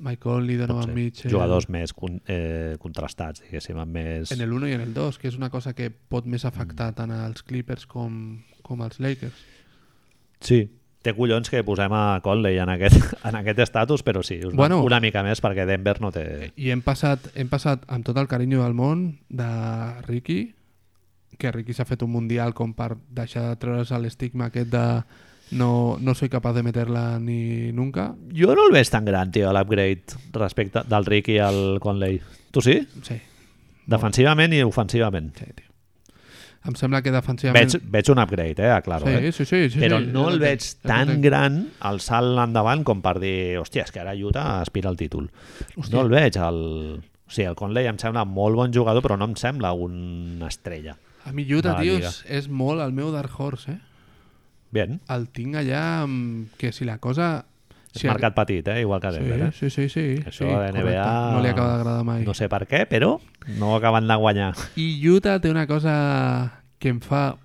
Speaker 2: Michael Lee,
Speaker 1: Pot
Speaker 2: Donovan
Speaker 1: ser.
Speaker 2: Mitchell...
Speaker 1: Jugadors més con, eh, contrastats, diguéssim, amb més...
Speaker 2: En el 1 i en el 2, que és una cosa que pot més afectar tant als Clippers com, com als Lakers.
Speaker 1: Sí. Té collons que posem a Conley en aquest, en aquest estatus, però sí, una, bueno,
Speaker 2: Bueno.
Speaker 1: una mica més perquè Denver no té...
Speaker 2: I hem passat, hem passat amb tot el carinyo del món de Ricky, que Ricky s'ha fet un mundial com per deixar de treure's l'estigma aquest de no, no soy capaz de meterla ni nunca.
Speaker 1: Jo no el veig tan gran, tio, l'upgrade respecte del Ricky al Conley. Tu sí?
Speaker 2: Sí,
Speaker 1: Defensivament i ofensivament.
Speaker 2: sí, tio. Em sembla que defensivament...
Speaker 1: Veig, veig un upgrade, eh? Claro,
Speaker 2: sí,
Speaker 1: eh?
Speaker 2: sí, sí, sí,
Speaker 1: però
Speaker 2: sí,
Speaker 1: no
Speaker 2: ja
Speaker 1: el
Speaker 2: t'entenc,
Speaker 1: veig
Speaker 2: ja
Speaker 1: tan
Speaker 2: t'entenc.
Speaker 1: gran el salt endavant com per dir, hòstia, és que ara Utah aspira al títol.
Speaker 2: Hòstia.
Speaker 1: No el veig, el... O sigui, el Conley em sembla molt bon jugador, però no em sembla una estrella.
Speaker 2: A mi
Speaker 1: de
Speaker 2: Utah,
Speaker 1: la
Speaker 2: tio,
Speaker 1: lliga.
Speaker 2: és, és molt el meu Dark Horse, eh?
Speaker 1: Bien,
Speaker 2: El tinc allà amb... que si la cosa...
Speaker 1: és
Speaker 2: Si a-
Speaker 1: mercat petit, eh? igual que Denver. eh?
Speaker 2: Sí, sí, sí, sí.
Speaker 1: Això
Speaker 2: sí,
Speaker 1: a la NBA
Speaker 2: correcte. No li acaba d'agradar mai.
Speaker 1: No sé per què, però no acaben de guanyar.
Speaker 2: I Utah té una cosa que em fa...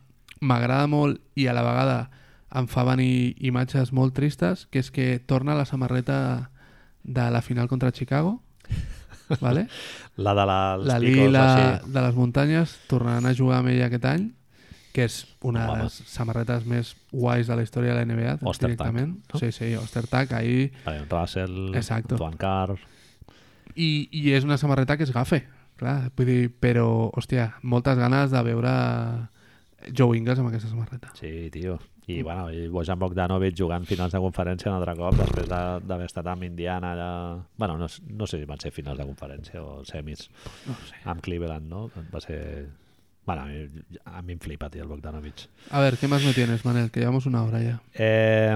Speaker 2: M'agrada molt i a la vegada em fa venir imatges molt tristes, que és que torna la samarreta de la final contra Chicago, vale?
Speaker 1: La de la, els
Speaker 2: la
Speaker 1: picos,
Speaker 2: lila
Speaker 1: així.
Speaker 2: de les muntanyes tornaran a jugar amb ella aquest any, que és una
Speaker 1: Home.
Speaker 2: de les samarretes més guais de la història de la NBA,
Speaker 1: Oster Tag,
Speaker 2: directament.
Speaker 1: no?
Speaker 2: Sí, sí, Oster Tag, ahir...
Speaker 1: Brian Russell,
Speaker 2: Exacto.
Speaker 1: Juan Carr...
Speaker 2: I, I és una samarreta que és gafe, clar, vull dir, però, hòstia, moltes ganes de veure Joe Ingles amb aquesta samarreta.
Speaker 1: Sí, tio. I,
Speaker 2: Mm.
Speaker 1: bueno, i Bojan Bogdanovic jugant finals de conferència un altre cop després de- d'haver estat amb Indiana allà... Bueno, no, s- no sé si van ser finals de conferència o semis.
Speaker 2: No ho sé.
Speaker 1: Amb Cleveland, no? Va ser... Bueno, a mi, a mi em flipa, tio, el Bogdanovic.
Speaker 2: A ver, ¿qué más me tienes, Manel? Que llevamos una hora ya.
Speaker 1: Eh,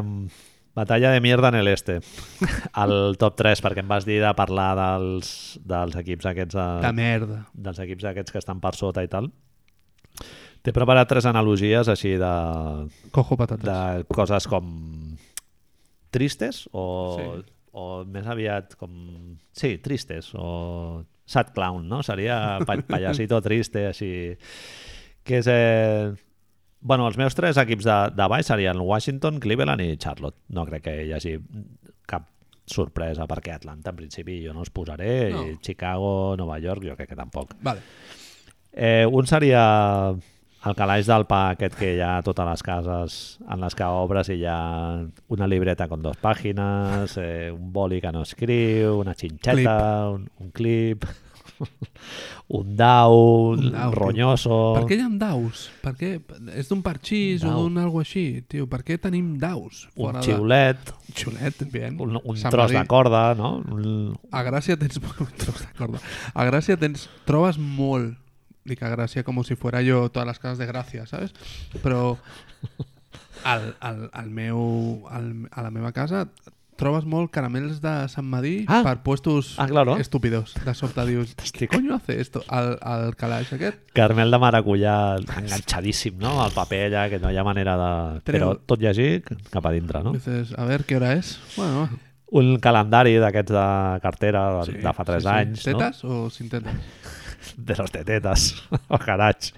Speaker 1: batalla de mierda en el este. Al top 3, perquè em vas dir de parlar dels, dels equips aquests... De...
Speaker 2: La merda.
Speaker 1: dels equips aquests que estan per sota i tal. T'he preparat tres analogies així de,
Speaker 2: Cojo patatas.
Speaker 1: de coses com tristes o,
Speaker 2: Sí.
Speaker 1: o més aviat com... Sí, tristes o sad clown, no? Seria pa payasito triste, així... Que és... Eh... Bueno, els meus tres equips de, de baix serien Washington, Cleveland i Charlotte. No crec que hi hagi cap sorpresa perquè Atlanta en principi jo no els posaré no.
Speaker 2: No.
Speaker 1: i Chicago, Nova York jo crec que tampoc
Speaker 2: Vale.
Speaker 1: Eh, un seria el calaix del pa aquest que hi ha a totes les cases en les que obres i hi ha una libreta amb dos pàgines, eh, un boli que no escriu, una xinxeta, un, un clip, un dau,
Speaker 2: Un
Speaker 1: un
Speaker 2: dau, tio.
Speaker 1: ronyoso...
Speaker 2: Per què hi ha daus? Per què? És d'un parxís
Speaker 1: Oh. Dau.
Speaker 2: o d'un algo així, tio. Per què tenim daus?
Speaker 1: Un
Speaker 2: fora
Speaker 1: xiulet,
Speaker 2: De... Xulet, bien.
Speaker 1: un, un
Speaker 2: Sant
Speaker 1: tros
Speaker 2: Marí.
Speaker 1: de corda, no? Un,
Speaker 2: A Gràcia tens... un tros de corda. A Gràcia tens... Trobes molt... Dic a Gràcia com si fuera jo totes les cases de Gràcia, ¿sabes? Però al, al, al meu, al, a la meva casa trobes molt caramels de Sant Madí
Speaker 1: Ah.
Speaker 2: per puestos
Speaker 1: Ah, claro.
Speaker 2: estúpidos. De sobte dius, què coño hace esto? Al, al calaix aquest
Speaker 1: Carmel de Maracuyà enganxadíssim, no? Al paper allà, que no hi ha manera de...
Speaker 2: Treu-
Speaker 1: Però tot llegir cap a dintre, no?
Speaker 2: dices, a ver, ¿qué hora es? Bueno, va.
Speaker 1: Un calendari d'aquests de cartera de,
Speaker 2: Sí,
Speaker 1: de fa 3
Speaker 2: sí, sí.
Speaker 1: anys,
Speaker 2: Tetes o sin tetes?
Speaker 1: no? De los tetetes, al garatge.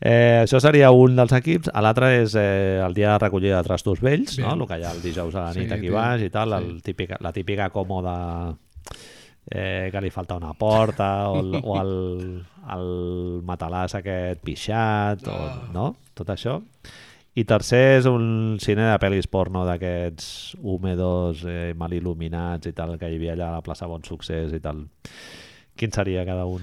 Speaker 1: Eh, això seria un dels equips. A L'altre és eh, el dia de recollida de trastos vells,
Speaker 2: Bien.
Speaker 1: no? el que hi ha el dijous a la
Speaker 2: Sí,
Speaker 1: nit sí, aquí
Speaker 2: bien.
Speaker 1: baix i tal, el
Speaker 2: Sí.
Speaker 1: típica, la típica còmoda eh, que li falta una porta o el, o el, el matalàs aquest pixat, o, no? Tot això. I tercer és un cine de pel·lis porno d'aquests húmedos, eh, mal il·luminats i tal, que hi havia allà a la plaça Bon Succés i tal. Quin seria cada un?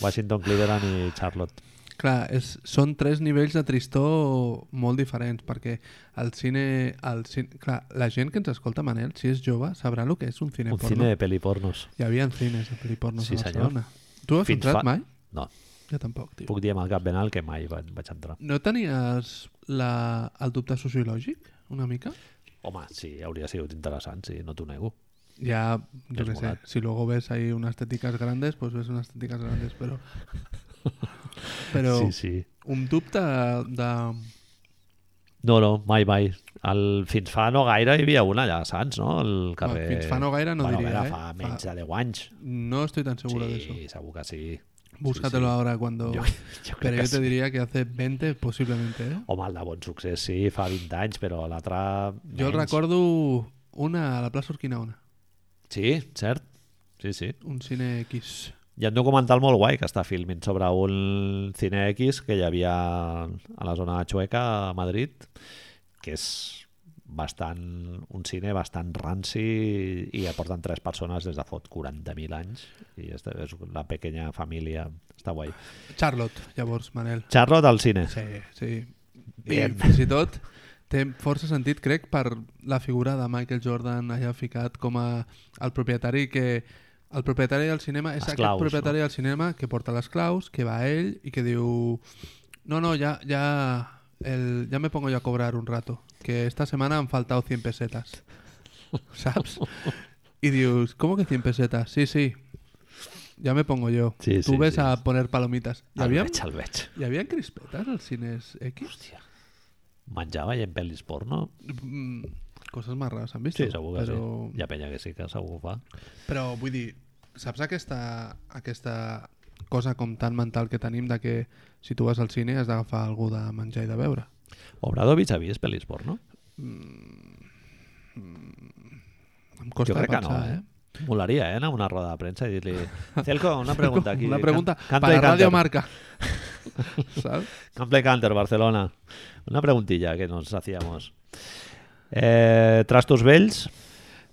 Speaker 1: Washington, Cleveland i Charlotte.
Speaker 2: Clar, és, són tres nivells de tristor molt diferents, perquè el cine, el cine... Clar, la gent que ens escolta, Manel, si és jove, sabrà el que és un cine
Speaker 1: Un
Speaker 2: porno.
Speaker 1: cine de pel·lipornos.
Speaker 2: Hi havia cines de pelipornos
Speaker 1: Sí,
Speaker 2: sí, a
Speaker 1: senyor.
Speaker 2: Barcelona. Tu has
Speaker 1: Fins
Speaker 2: entrat
Speaker 1: fa-
Speaker 2: mai?
Speaker 1: No,
Speaker 2: Jo tampoc, tio.
Speaker 1: puc dir amb el cap ben alt que mai vaig, vaig entrar.
Speaker 2: No tenies la, el dubte sociològic, una mica?
Speaker 1: Home, sí, hauria sigut interessant, sí, no t'ho nego.
Speaker 2: Ja, jo
Speaker 1: És
Speaker 2: què sé,
Speaker 1: molat.
Speaker 2: si luego ves ahí unes tètiques grandes, pues ves unes tètiques grandes, però... però
Speaker 1: Sí,
Speaker 2: sí, sí.
Speaker 1: sí.
Speaker 2: un dubte de...
Speaker 1: No, no, mai, mai. El, fins fa no gaire hi havia una allà a Sants, no? Al carrer...
Speaker 2: fins fa no gaire no
Speaker 1: bueno, a
Speaker 2: diria, eh?
Speaker 1: veure, Fa
Speaker 2: Fa-
Speaker 1: menys de 10 anys.
Speaker 2: No estoy tan seguro de eso.
Speaker 1: sí, segur que sí.
Speaker 2: Búscatelo ahora cuando...
Speaker 1: Yo, yo creo
Speaker 2: Pero
Speaker 1: que
Speaker 2: yo te
Speaker 1: sí.
Speaker 2: diría que hace 20 posiblemente, ¿eh?
Speaker 1: Home, el de bon succés sí, fa 20 anys, però l'altre...
Speaker 2: Yo
Speaker 1: menys.
Speaker 2: recuerdo una a la Plaza Urquinaona,
Speaker 1: Sí, cert. Sí, sí.
Speaker 2: un cine X.
Speaker 1: Hi ha un documental molt guai que està filmint sobre un cine X que hi havia a la zona de Xueca, a Madrid, que és bastant, un cine bastant ranci i ja porten tres persones des de fot 40.000 anys i esta és la pequeña família està guai.
Speaker 2: Charlotte, llavors, Manel.
Speaker 1: Charlotte al cine.
Speaker 2: Sí, sí. I
Speaker 1: Bien.
Speaker 2: fins i tot té força sentit, crec, per la figura de Michael Jordan allà ficat com a el propietari que el propietari del cinema és
Speaker 1: Les claus,
Speaker 2: aquest propietari del cinema que porta les claus, que va a ell i que diu no, no, ja, ja, el, ja me pongo yo a cobrar un rato, que esta semana han faltado 100 pesetas, saps? I dius, ¿cómo que 100 pesetas? Sí, sí, ya me pongo yo.
Speaker 1: Sí,
Speaker 2: Tú
Speaker 1: sí,
Speaker 2: ves
Speaker 1: sí.
Speaker 2: a poner palomitas. Hi
Speaker 1: El
Speaker 2: havia,
Speaker 1: veig, el veig.
Speaker 2: hi havia crispetes als cines X?
Speaker 1: Hòstia. Menjar veient pel·lis porno?
Speaker 2: Mm, coses más raras han vist.
Speaker 1: Sí, segur que
Speaker 2: però,
Speaker 1: sí. Hi ha penya que sí que segur que fa.
Speaker 2: però vull dir, saps aquesta, aquesta cosa com tan mental que tenim de que si tu vas al cine has d'agafar algú de menjar i de beure?
Speaker 1: Obradovich ha vist pel·lis porno?
Speaker 2: Em costa
Speaker 1: jo crec que
Speaker 2: pensar,
Speaker 1: no, eh? Molaria, eh, anar a una roda de premsa i dir-li Celco, una pregunta aquí.
Speaker 2: Una pregunta
Speaker 1: Can- Canto
Speaker 2: para
Speaker 1: i
Speaker 2: Radio
Speaker 1: Canter.
Speaker 2: Marca. ¿Sabes?
Speaker 1: Cample Canter, Barcelona. Una preguntilla que nos hacíamos. Eh, Trastos vells,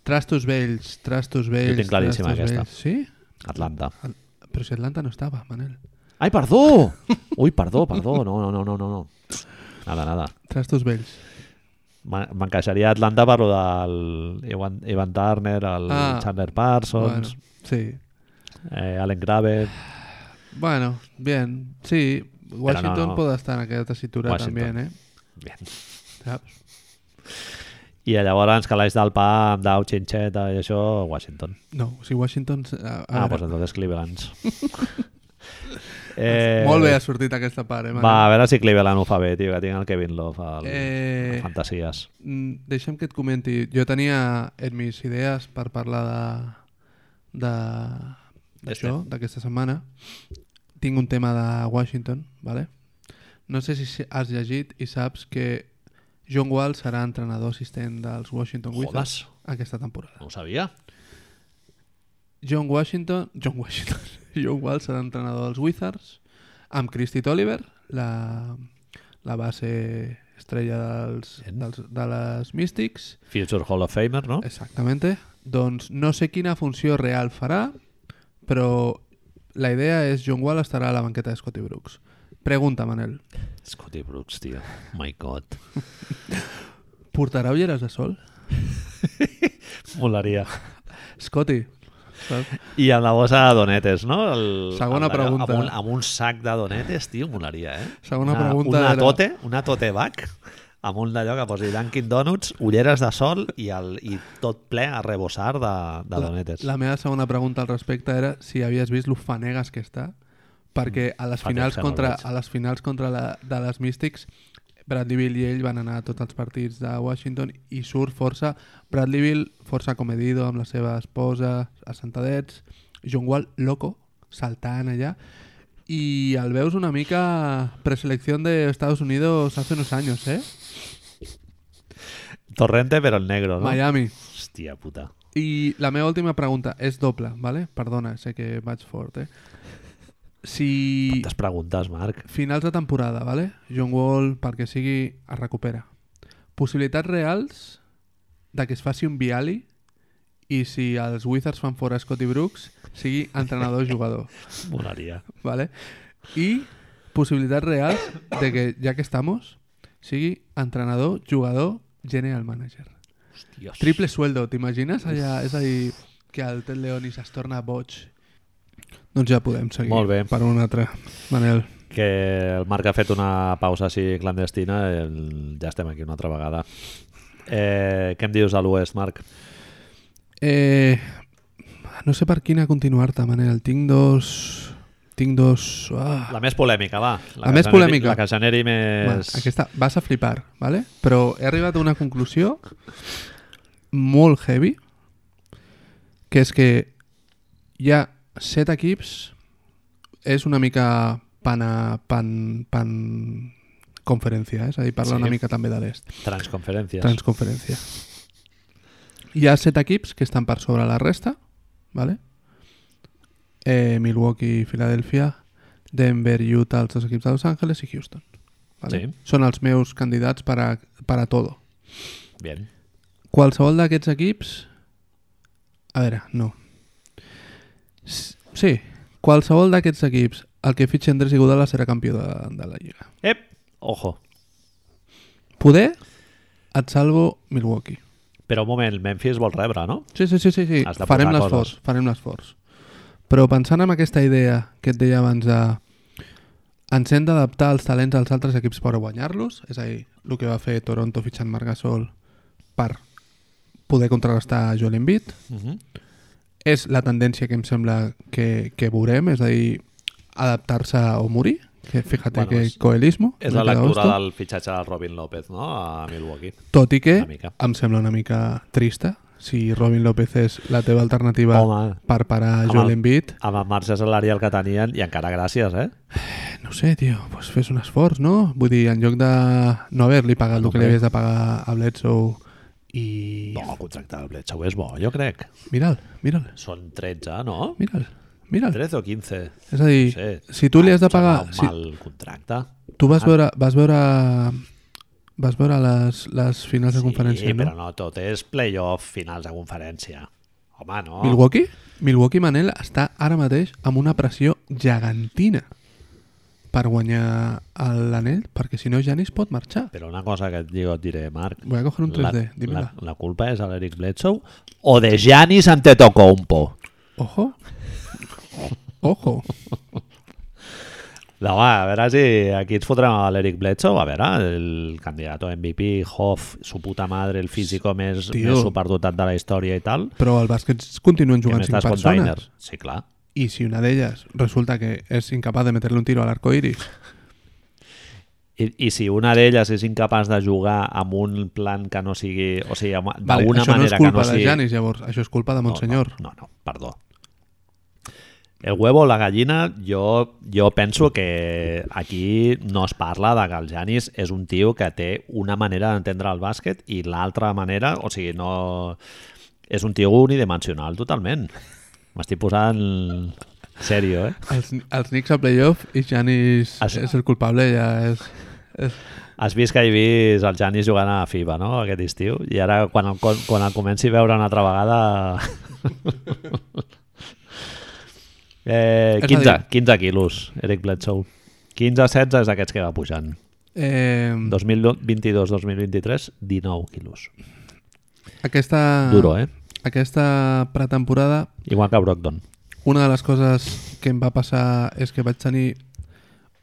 Speaker 2: Trastos vells, trastos vells...
Speaker 1: tinc claríssima,
Speaker 2: trastos
Speaker 1: aquesta.
Speaker 2: vells. Sí?
Speaker 1: Atlanta.
Speaker 2: Però si Atlanta no estava, Manel.
Speaker 1: Ai, perdó! Ui, perdó, perdó. No, no, no, no, no. no. Nada, nada.
Speaker 2: Trastos vells.
Speaker 1: M'en- M'encaixaria Atlanta per lo del Evan, Evan Turner, el
Speaker 2: Ah.
Speaker 1: Chandler Parsons,
Speaker 2: Bueno, sí.
Speaker 1: eh, Allen Grave,
Speaker 2: Bueno, bien. Sí, Washington
Speaker 1: no.
Speaker 2: puede estar en aquella tessitura
Speaker 1: Washington.
Speaker 2: también, eh?
Speaker 1: Bien.
Speaker 2: Saps?
Speaker 1: I llavors, Calaix del Pa, amb Dau, Xinxeta i això, Washington.
Speaker 2: No, si Washington... A, a
Speaker 1: Ah,
Speaker 2: veure,
Speaker 1: doncs entonces Cleveland. eh,
Speaker 2: Molt bé ha sortit aquesta part, eh, Manel?
Speaker 1: Va, a veure si Cleveland ho fa bé, tio, que tinc el Kevin Love al,
Speaker 2: Eh.
Speaker 1: eh... a Fantasies.
Speaker 2: Mm, Deixa'm que et comenti. Jo tenia en mis idees per parlar de... de d'això, d'aquesta setmana. Tinc un tema de Washington, vale? No sé si has llegit i saps que John Wall serà entrenador assistent dels Washington
Speaker 1: Jodes,
Speaker 2: Wizards aquesta temporada.
Speaker 1: no ho sabia.
Speaker 2: John Washington, John Washington, John Wall serà entrenador dels Wizards, amb Christy Tolliver, la, la base estrella dels,
Speaker 1: Bien.
Speaker 2: dels, de les Mystics.
Speaker 1: Future Hall of Famer, no?
Speaker 2: Exactament. Doncs no sé quina funció real farà, però la idea és John Wall estarà a la banqueta de Scotty Brooks. Pregunta, Manel.
Speaker 1: Scotty Brooks, tio. My God.
Speaker 2: Portarà ulleres de sol?
Speaker 1: Molaria.
Speaker 2: Scotty, saps?
Speaker 1: I amb la bossa de donetes, no? El,
Speaker 2: Segona
Speaker 1: amb la-
Speaker 2: pregunta.
Speaker 1: Amb un, amb un sac de donetes, tio, molaria, eh?
Speaker 2: Segona
Speaker 1: una,
Speaker 2: pregunta
Speaker 1: Una
Speaker 2: era-
Speaker 1: tote, una tote bag, amb un d'allò que posi Dunkin Donuts, ulleres de sol i, el, i tot ple a rebossar de, de donetes.
Speaker 2: La meva segona pregunta al respecte era si havies vist l'ufanegues que està, perquè a les
Speaker 1: Mm. Fa temps
Speaker 2: finals
Speaker 1: que no el
Speaker 2: contra,
Speaker 1: veig.
Speaker 2: a les finals contra la, de les Mystics, Bradleyville i ell van anar a tots els partits de Washington i surt força Bradleyville, força comedido amb la seva esposa, assentadets, John Wall, loco, saltant allà, i el veus una mica preselecció de Estados Unidos hace unos años, eh?
Speaker 1: Torrente, però el negro, no?
Speaker 2: Miami.
Speaker 1: Hòstia puta.
Speaker 2: I la meva última pregunta és doble, ¿vale? Perdona, sé que vaig fort, eh? Si
Speaker 1: Quantes preguntes, Marc?
Speaker 2: finals de temporada, ¿vale? John Wall, pel que sigui, es recupera. Possibilitats reals de que es faci un Viali i si els Wizards fan fora Scotty Brooks sigui entrenador o jugador,
Speaker 1: Molaria.
Speaker 2: ¿vale? I possibilitats reals de que, ja que estamos, sigui entrenador, jugador, general manager.
Speaker 1: Hòstia.
Speaker 2: Triple sueldo, t'imagines? Allà, és a dir, que el Ted Leonis es torna boig. Doncs ja podem seguir
Speaker 1: Molt bé.
Speaker 2: per un altre. Manel,
Speaker 1: Que el Marc ha fet una pausa així clandestina, el... ja estem aquí una altra vegada. Eh, què em dius a l'oest, Marc?
Speaker 2: eh, no sé per quina continuar-te, Manel. Tinc dos... Tinc dos... Ah.
Speaker 1: La més polèmica, va.
Speaker 2: La
Speaker 1: que
Speaker 2: més
Speaker 1: generi-
Speaker 2: polèmica.
Speaker 1: La que generi més...
Speaker 2: Bueno, aquesta, vas a flipar, ¿vale? però he arribat a una conclusió molt heavy, que és que hi ha set equips, és una mica pana, pan, pan conferència, eh? és a dir, parla
Speaker 1: Sí.
Speaker 2: sí. una mica també de l'est.
Speaker 1: Transconferències.
Speaker 2: Transconferència. Hi ha set equips que estan per sobre la resta, ¿vale? Eh, Milwaukee, Filadèlfia, Denver, Utah, els dos equips de Los Angeles i Houston. ¿vale?
Speaker 1: Sí.
Speaker 2: Són els meus candidats per a, per a todo.
Speaker 1: Bien.
Speaker 2: Qualsevol d'aquests equips... A veure, no. S- Sí, qualsevol d'aquests equips, el que fitxi Andrés Iguodala serà campió de, de la Lliga.
Speaker 1: Ep! Ojo.
Speaker 2: Poder, et salvo Milwaukee.
Speaker 1: Però un moment, Memphis vol rebre, no?
Speaker 2: Sí, sí, sí, sí, sí.
Speaker 1: Has de
Speaker 2: farem
Speaker 1: posar
Speaker 2: l'esforç, farem l'esforç. Però pensant en aquesta idea que et deia abans de ens hem d'adaptar els talents als altres equips per guanyar-los, és a dir, el que va fer Toronto fitxant Marc Gasol per poder contrarrestar Joel Embiid,
Speaker 1: Uh -huh.
Speaker 2: és la tendència que em sembla que, que veurem, és a dir, adaptar-se o morir, que fíjate
Speaker 1: Bueno,
Speaker 2: bueno,
Speaker 1: és-
Speaker 2: que coelismo.
Speaker 1: És
Speaker 2: una
Speaker 1: la
Speaker 2: mica
Speaker 1: lectura
Speaker 2: d'hosto.
Speaker 1: del fitxatge del Robin López, no? A Milwaukee.
Speaker 2: Tot i que
Speaker 1: Una mica.
Speaker 2: em sembla una mica trista si Robin López és la teva alternativa
Speaker 1: Home.
Speaker 2: per parar
Speaker 1: Amb
Speaker 2: Joel
Speaker 1: el-
Speaker 2: Embiid.
Speaker 1: Amb el marge salarial que tenien, i encara gràcies, eh?
Speaker 2: No ho sé, tio, pues fes un esforç, no? Vull dir, en lloc de no haver-li pagat el que
Speaker 1: Hombre.
Speaker 2: li havies de pagar a Bledsoe i...
Speaker 1: No, contracte del Bledsoe és bo, jo crec.
Speaker 2: Mira'l, mira'l,
Speaker 1: Són 13, no?
Speaker 2: mira'l, mira'l.
Speaker 1: 13 o 15.
Speaker 2: És a dir,
Speaker 1: Sí.
Speaker 2: si tu li has de
Speaker 1: Em sembla
Speaker 2: pagar...
Speaker 1: Un
Speaker 2: Si,
Speaker 1: mal contracte.
Speaker 2: tu vas veure, vas veure, vas veure les, les finals de conferència,
Speaker 1: sí,
Speaker 2: no?
Speaker 1: però no tot és playoff, finals de conferència. Home, no.
Speaker 2: Milwaukee? Milwaukee Manel està ara mateix amb una pressió gegantina per guanyar l'anell, perquè si no Janis pot marxar.
Speaker 1: Però una cosa que et, digo, et diré, Marc.
Speaker 2: Voy a coger un 3D,
Speaker 1: la,
Speaker 2: dímela.
Speaker 1: la culpa és de l'Eric Bledsoe o de Giannis Antetokounmpo.
Speaker 2: Ojo. Ojo.
Speaker 1: No, va, a veure si aquí ens fotrem a l'Eric Bledsoe, a veure, el candidat a MVP, Hoff, su puta madre, el físico més,
Speaker 2: Tio.
Speaker 1: més superdotat de la història i tal.
Speaker 2: Però al bàsquet continuen
Speaker 1: Què
Speaker 2: jugant
Speaker 1: més
Speaker 2: 5
Speaker 1: t'has
Speaker 2: persones.
Speaker 1: container? Sí, clar.
Speaker 2: Y si una de ellas resulta que es incapaz de meterle un tiro al arco iris,
Speaker 1: I, I si una d'elles és incapaç de jugar amb un plan que no sigui... O sigui, amb-
Speaker 2: vale,
Speaker 1: d'alguna
Speaker 2: això no és
Speaker 1: manera
Speaker 2: culpa
Speaker 1: que no sigui...
Speaker 2: de Janis, llavors. Això és culpa de Montsenyor.
Speaker 1: No, no, no, perdó. El huevo o la gallina, jo, jo penso que aquí no es parla de que el Janis és un tio que té una manera d'entendre el bàsquet i l'altra manera, o sigui, no... És un tio unidimensional totalment. M'estic posant serio, eh?
Speaker 2: Els, els Knicks a playoff i Janis
Speaker 1: Es-
Speaker 2: és el culpable, ja és... és...
Speaker 1: Has vist que he vist el Janis jugant a FIBA, no?, aquest estiu, i ara quan el, con- quan el comenci a veure una altra vegada... eh,
Speaker 2: És a
Speaker 1: 15,
Speaker 2: dir-
Speaker 1: 15 quilos, Eric Bledsoe. 15-16 és d'aquests que va pujant.
Speaker 2: Eh,
Speaker 1: 2022-2023, 19 quilos.
Speaker 2: aquesta, Ah.
Speaker 1: Duro, eh?
Speaker 2: aquesta pretemporada
Speaker 1: Igual que Brogdon.
Speaker 2: una de les coses que em va passar és que vaig tenir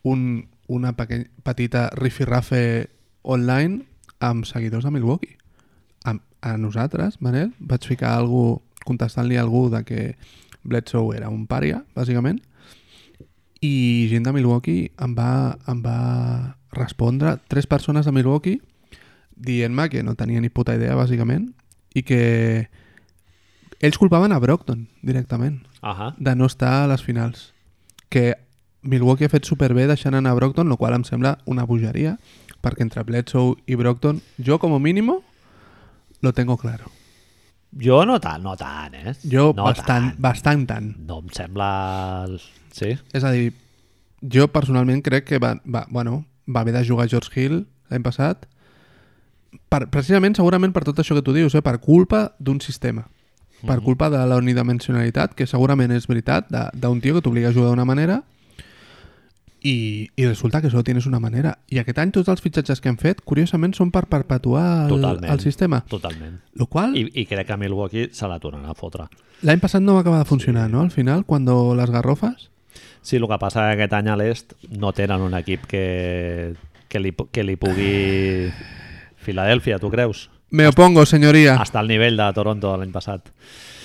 Speaker 2: un, una peque, petita rifirrafe online amb seguidors de Milwaukee. A, a nosaltres, Manel, vaig ficar algú, contestant-li a algú de que Bledsoe era un pària, bàsicament, i gent de Milwaukee em va, em va respondre, tres persones de Milwaukee, dient-me que no tenia ni puta idea, bàsicament, i que ells culpaven a Brockton directament
Speaker 1: Ahà.
Speaker 2: de no estar a les finals. Que Milwaukee ha fet superbé deixant anar a Brockton, el qual em sembla una bogeria, perquè entre Bledsoe i Brockton, jo com a mínim lo tengo claro.
Speaker 1: Jo no tant, no tant, eh?
Speaker 2: Jo
Speaker 1: no
Speaker 2: bastant,
Speaker 1: tant.
Speaker 2: bastant tant.
Speaker 1: No em sembla... el- Sí?
Speaker 2: És a dir, jo personalment crec que va, va, bueno, va haver de jugar George Hill l'any passat per, precisament, segurament per tot això que tu dius, eh, per culpa d'un sistema
Speaker 1: Mhm.
Speaker 2: per culpa de la unidimensionalitat que segurament és veritat, de- d'un tio que t'obliga a jugar d'una manera i, i resulta que solo tienes una manera i aquest any tots els fitxatges que hem fet curiosament són per perpetuar el,
Speaker 1: Totalment.
Speaker 2: el sistema
Speaker 1: Totalment.
Speaker 2: el qual
Speaker 1: I, I crec que a Milwaukee se la tornarà a fotre.
Speaker 2: l'any passat no va acabar de funcionar, no? Al final, quan les garrofes
Speaker 1: Sí, el que passa és que aquest any a l'est no tenen un equip que, que, li, pu- que li pugui... Filadèlfia, tu creus?
Speaker 2: Me opongo, senyoria.
Speaker 1: Està al nivell de Toronto de l'any passat.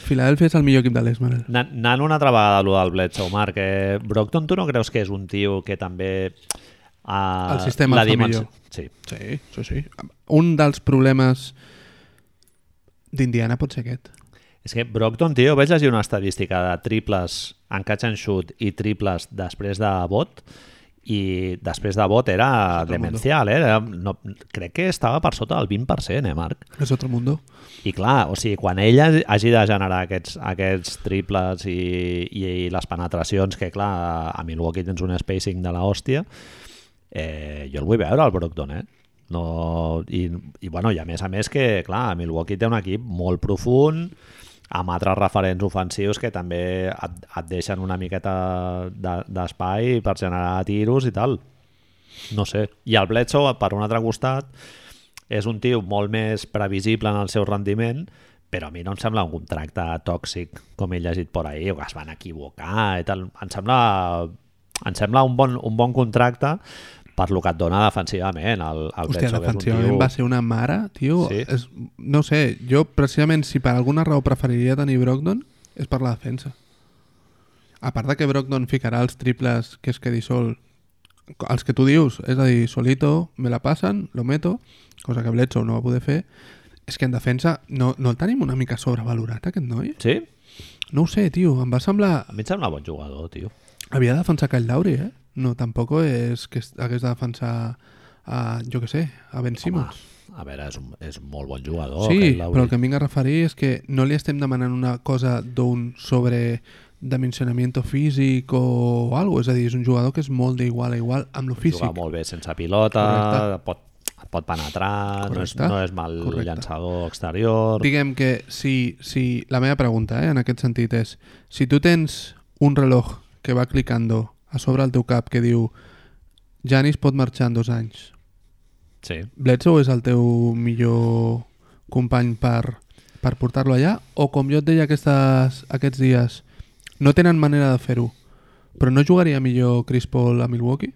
Speaker 2: Filadèlfia és el millor equip de l'est, Manel.
Speaker 1: Na- Anant una altra vegada a lo del Bledsoe, Marc, eh, Brockton, tu no creus que és un tio que també... Eh,
Speaker 2: El sistema el fa
Speaker 1: dimensi-
Speaker 2: millor.
Speaker 1: Sí,
Speaker 2: Sí, sí, sí. Un dels problemes d'Indiana pot ser aquest.
Speaker 1: És que Brockton, tio, vaig llegir una estadística de triples en catch and shoot i triples després de bot i després de bot era
Speaker 2: el mundo.
Speaker 1: demencial, eh? Era, no, crec que estava per sota del 20%, eh, Marc?
Speaker 2: És otro mundo.
Speaker 1: I clar, o sigui, quan ella hagi de generar aquests, aquests triples i, i, i les penetracions, que clar, a Milwaukee tens un spacing de la hòstia, eh, jo el vull veure, el Brockton, eh? No, i, I bueno, i a més a més que, clar, Milwaukee té un equip molt profund, amb altres referents ofensius que també et, et deixen una miqueta de- d'espai per generar tiros i tal. No sé. I el Bledsoe, per un altre costat, és un tio molt més previsible en el seu rendiment, però a mi no em sembla un contracte tòxic, com he llegit per ahí, o que es van equivocar i tal. Em sembla, em sembla un, bon, un bon contracte per lo que et dona defensivament. El, el
Speaker 2: Hòstia,
Speaker 1: Bledsoe, que és un
Speaker 2: defensivament
Speaker 1: tio-
Speaker 2: va ser una mare, tio.
Speaker 1: Sí.
Speaker 2: Sí. És, no sé, jo precisament si per alguna raó preferiria tenir Brogdon és per la defensa. A part de que Brogdon ficarà els triples que es quedi sol, els que tu dius, és a dir, solito, me la passen, lo meto, cosa que Bledsoe no va poder fer, és que en defensa no, no el tenim una mica sobrevalorat, aquest noi?
Speaker 1: Sí?
Speaker 2: No ho sé, tio, em va semblar...
Speaker 1: A mi em sembla bon jugador, tio.
Speaker 2: Havia de defensar Kyle Lowry, eh? No, tampoc és que es- hagués de defensar a, jo que sé, a Ben Simmons.
Speaker 1: Home, a veure, és un, és un molt bon jugador.
Speaker 2: sí,
Speaker 1: aquest Lowry.
Speaker 2: però el que em vinc a referir és que no li estem demanant una cosa d'un sobre dimensionament físic o algo, és a dir, és un jugador que és molt d'igual a igual amb lo físic.
Speaker 1: Juga molt bé sense pilota,
Speaker 2: Correcte.
Speaker 1: pot, pot penetrar, no és,
Speaker 2: Correcte.
Speaker 1: no és mal
Speaker 2: Correcte.
Speaker 1: llançador exterior...
Speaker 2: Diguem que si, si la meva pregunta eh, en aquest sentit és si tu tens un reloj que va clicando a sobre el teu cap que diu Janis pot marxar en dos anys
Speaker 1: Sí.
Speaker 2: Bledsoe és el teu millor company per, per portar-lo allà o com jo et deia aquestes, aquests dies no tenen manera de fer-ho però no jugaria millor Chris Paul a Milwaukee?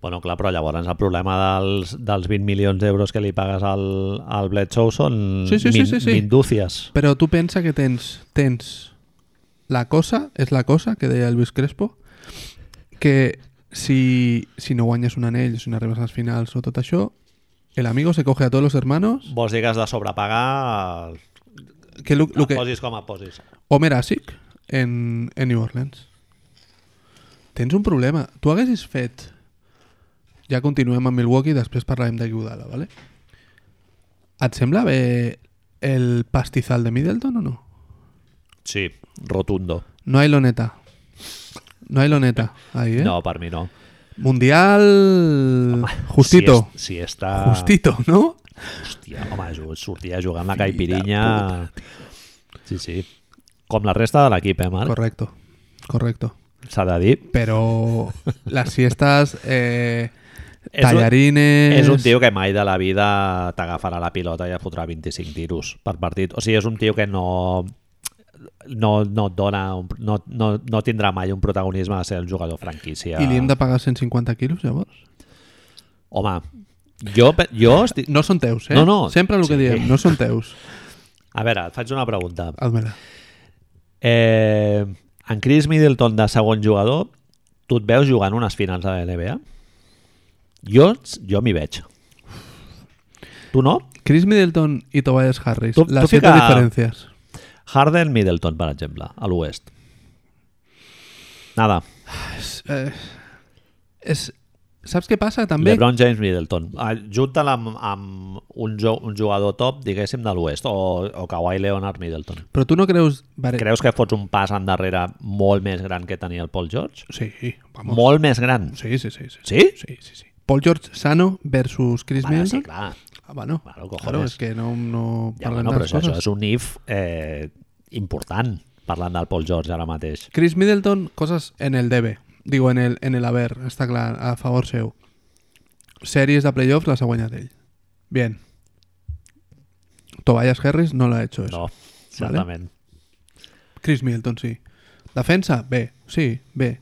Speaker 1: Bueno, clar, però llavors el problema dels, dels 20 milions d'euros que li pagues al, al Bledsoe són
Speaker 2: Sí, sí, sí, sí, sí.
Speaker 1: mindúcies.
Speaker 2: Però tu pensa que tens, tens la cosa, és la cosa que deia Elvis Crespo, que si, si no guanyes un anell, si no arribes a les finals o tot això, el amigo se coge a tots los hermanos,
Speaker 1: Vols dir que has de sobrepagar el
Speaker 2: que lo, lo
Speaker 1: que...
Speaker 2: que,
Speaker 1: posis com a posis.
Speaker 2: Homer Asik en, en New Orleans. Tens un problema. Tu haguessis fet... Ja continuem amb Milwaukee i després parlarem de Iguodala, ¿vale? Et sembla bé el pastizal de Middleton o no?
Speaker 1: Sí, rotundo.
Speaker 2: No hay loneta. No hay loneta. Ahí, ¿eh?
Speaker 1: No, per mi no.
Speaker 2: Mundial... Justito.
Speaker 1: Si, es, si està...
Speaker 2: Justito, ¿no?
Speaker 1: Hòstia, home, jo sortia jugant la caipirinha... Sí, sí. Com la resta de l'equip, eh, Marc?
Speaker 2: Correcto. Correcto.
Speaker 1: S'ha de dir.
Speaker 2: Pero las siestas... eh,
Speaker 1: és un-
Speaker 2: Tallarines...
Speaker 1: És un tio que mai de la vida t'agafarà la pilota i et fotrà 25 tiros per partit. O sigui, és un tio que no no, no et dona, un- no, no, no tindrà mai un protagonisme de ser el jugador franquícia.
Speaker 2: I li hem de pagar 150 quilos, llavors?
Speaker 1: Home, jo, pe- jo estic...
Speaker 2: No són teus, eh?
Speaker 1: No, no.
Speaker 2: Sempre el que
Speaker 1: Sí.
Speaker 2: diem, no són teus.
Speaker 1: A veure, et faig una pregunta.
Speaker 2: Admira.
Speaker 1: Eh, en Chris Middleton de segon jugador, tu et veus jugant unes finals de la NBA? Jo, jo m'hi veig. Tu no?
Speaker 2: Chris Middleton i Tobias Harris.
Speaker 1: Tu-
Speaker 2: las
Speaker 1: tu
Speaker 2: siete
Speaker 1: fica-
Speaker 2: diferencias.
Speaker 1: Harden, Middleton, per exemple, a l'oest. Nada.
Speaker 2: És, eh, és- saps què passa, també?
Speaker 1: LeBron James, Middleton. Ah, Junta-la amb, amb un, jo, un jugador top, diguéssim, de l'oest, o, o Kawhi Leonard, Middleton.
Speaker 2: Però tu no creus... Vale,
Speaker 1: Creus que fots un pas endarrere molt més gran que tenia el Paul George?
Speaker 2: Sí, vamos.
Speaker 1: Molt més gran.
Speaker 2: Sí, sí, sí, sí.
Speaker 1: Sí?
Speaker 2: Sí, sí, sí. Paul George sano versus Chris
Speaker 1: Bueno, sí,
Speaker 2: Middleton.
Speaker 1: clar.
Speaker 2: Ah, bueno,
Speaker 1: Claro, cojones.
Speaker 2: claro, es que no, no
Speaker 1: Ja,
Speaker 2: parlem
Speaker 1: bueno, però
Speaker 2: de
Speaker 1: això,
Speaker 2: coses.
Speaker 1: això és un if eh, important, parlant del Paul George ara mateix.
Speaker 2: Chris Middleton, cosas en el debe. Digo, en el, en el haber, està clar, a favor seu. Sèries de playoffs las ha guanyat ell. Bien. Tobias Harris no l'ha hecho eso.
Speaker 1: No, certament.
Speaker 2: Chris Middleton sí. Defensa, bé. Sí, bé.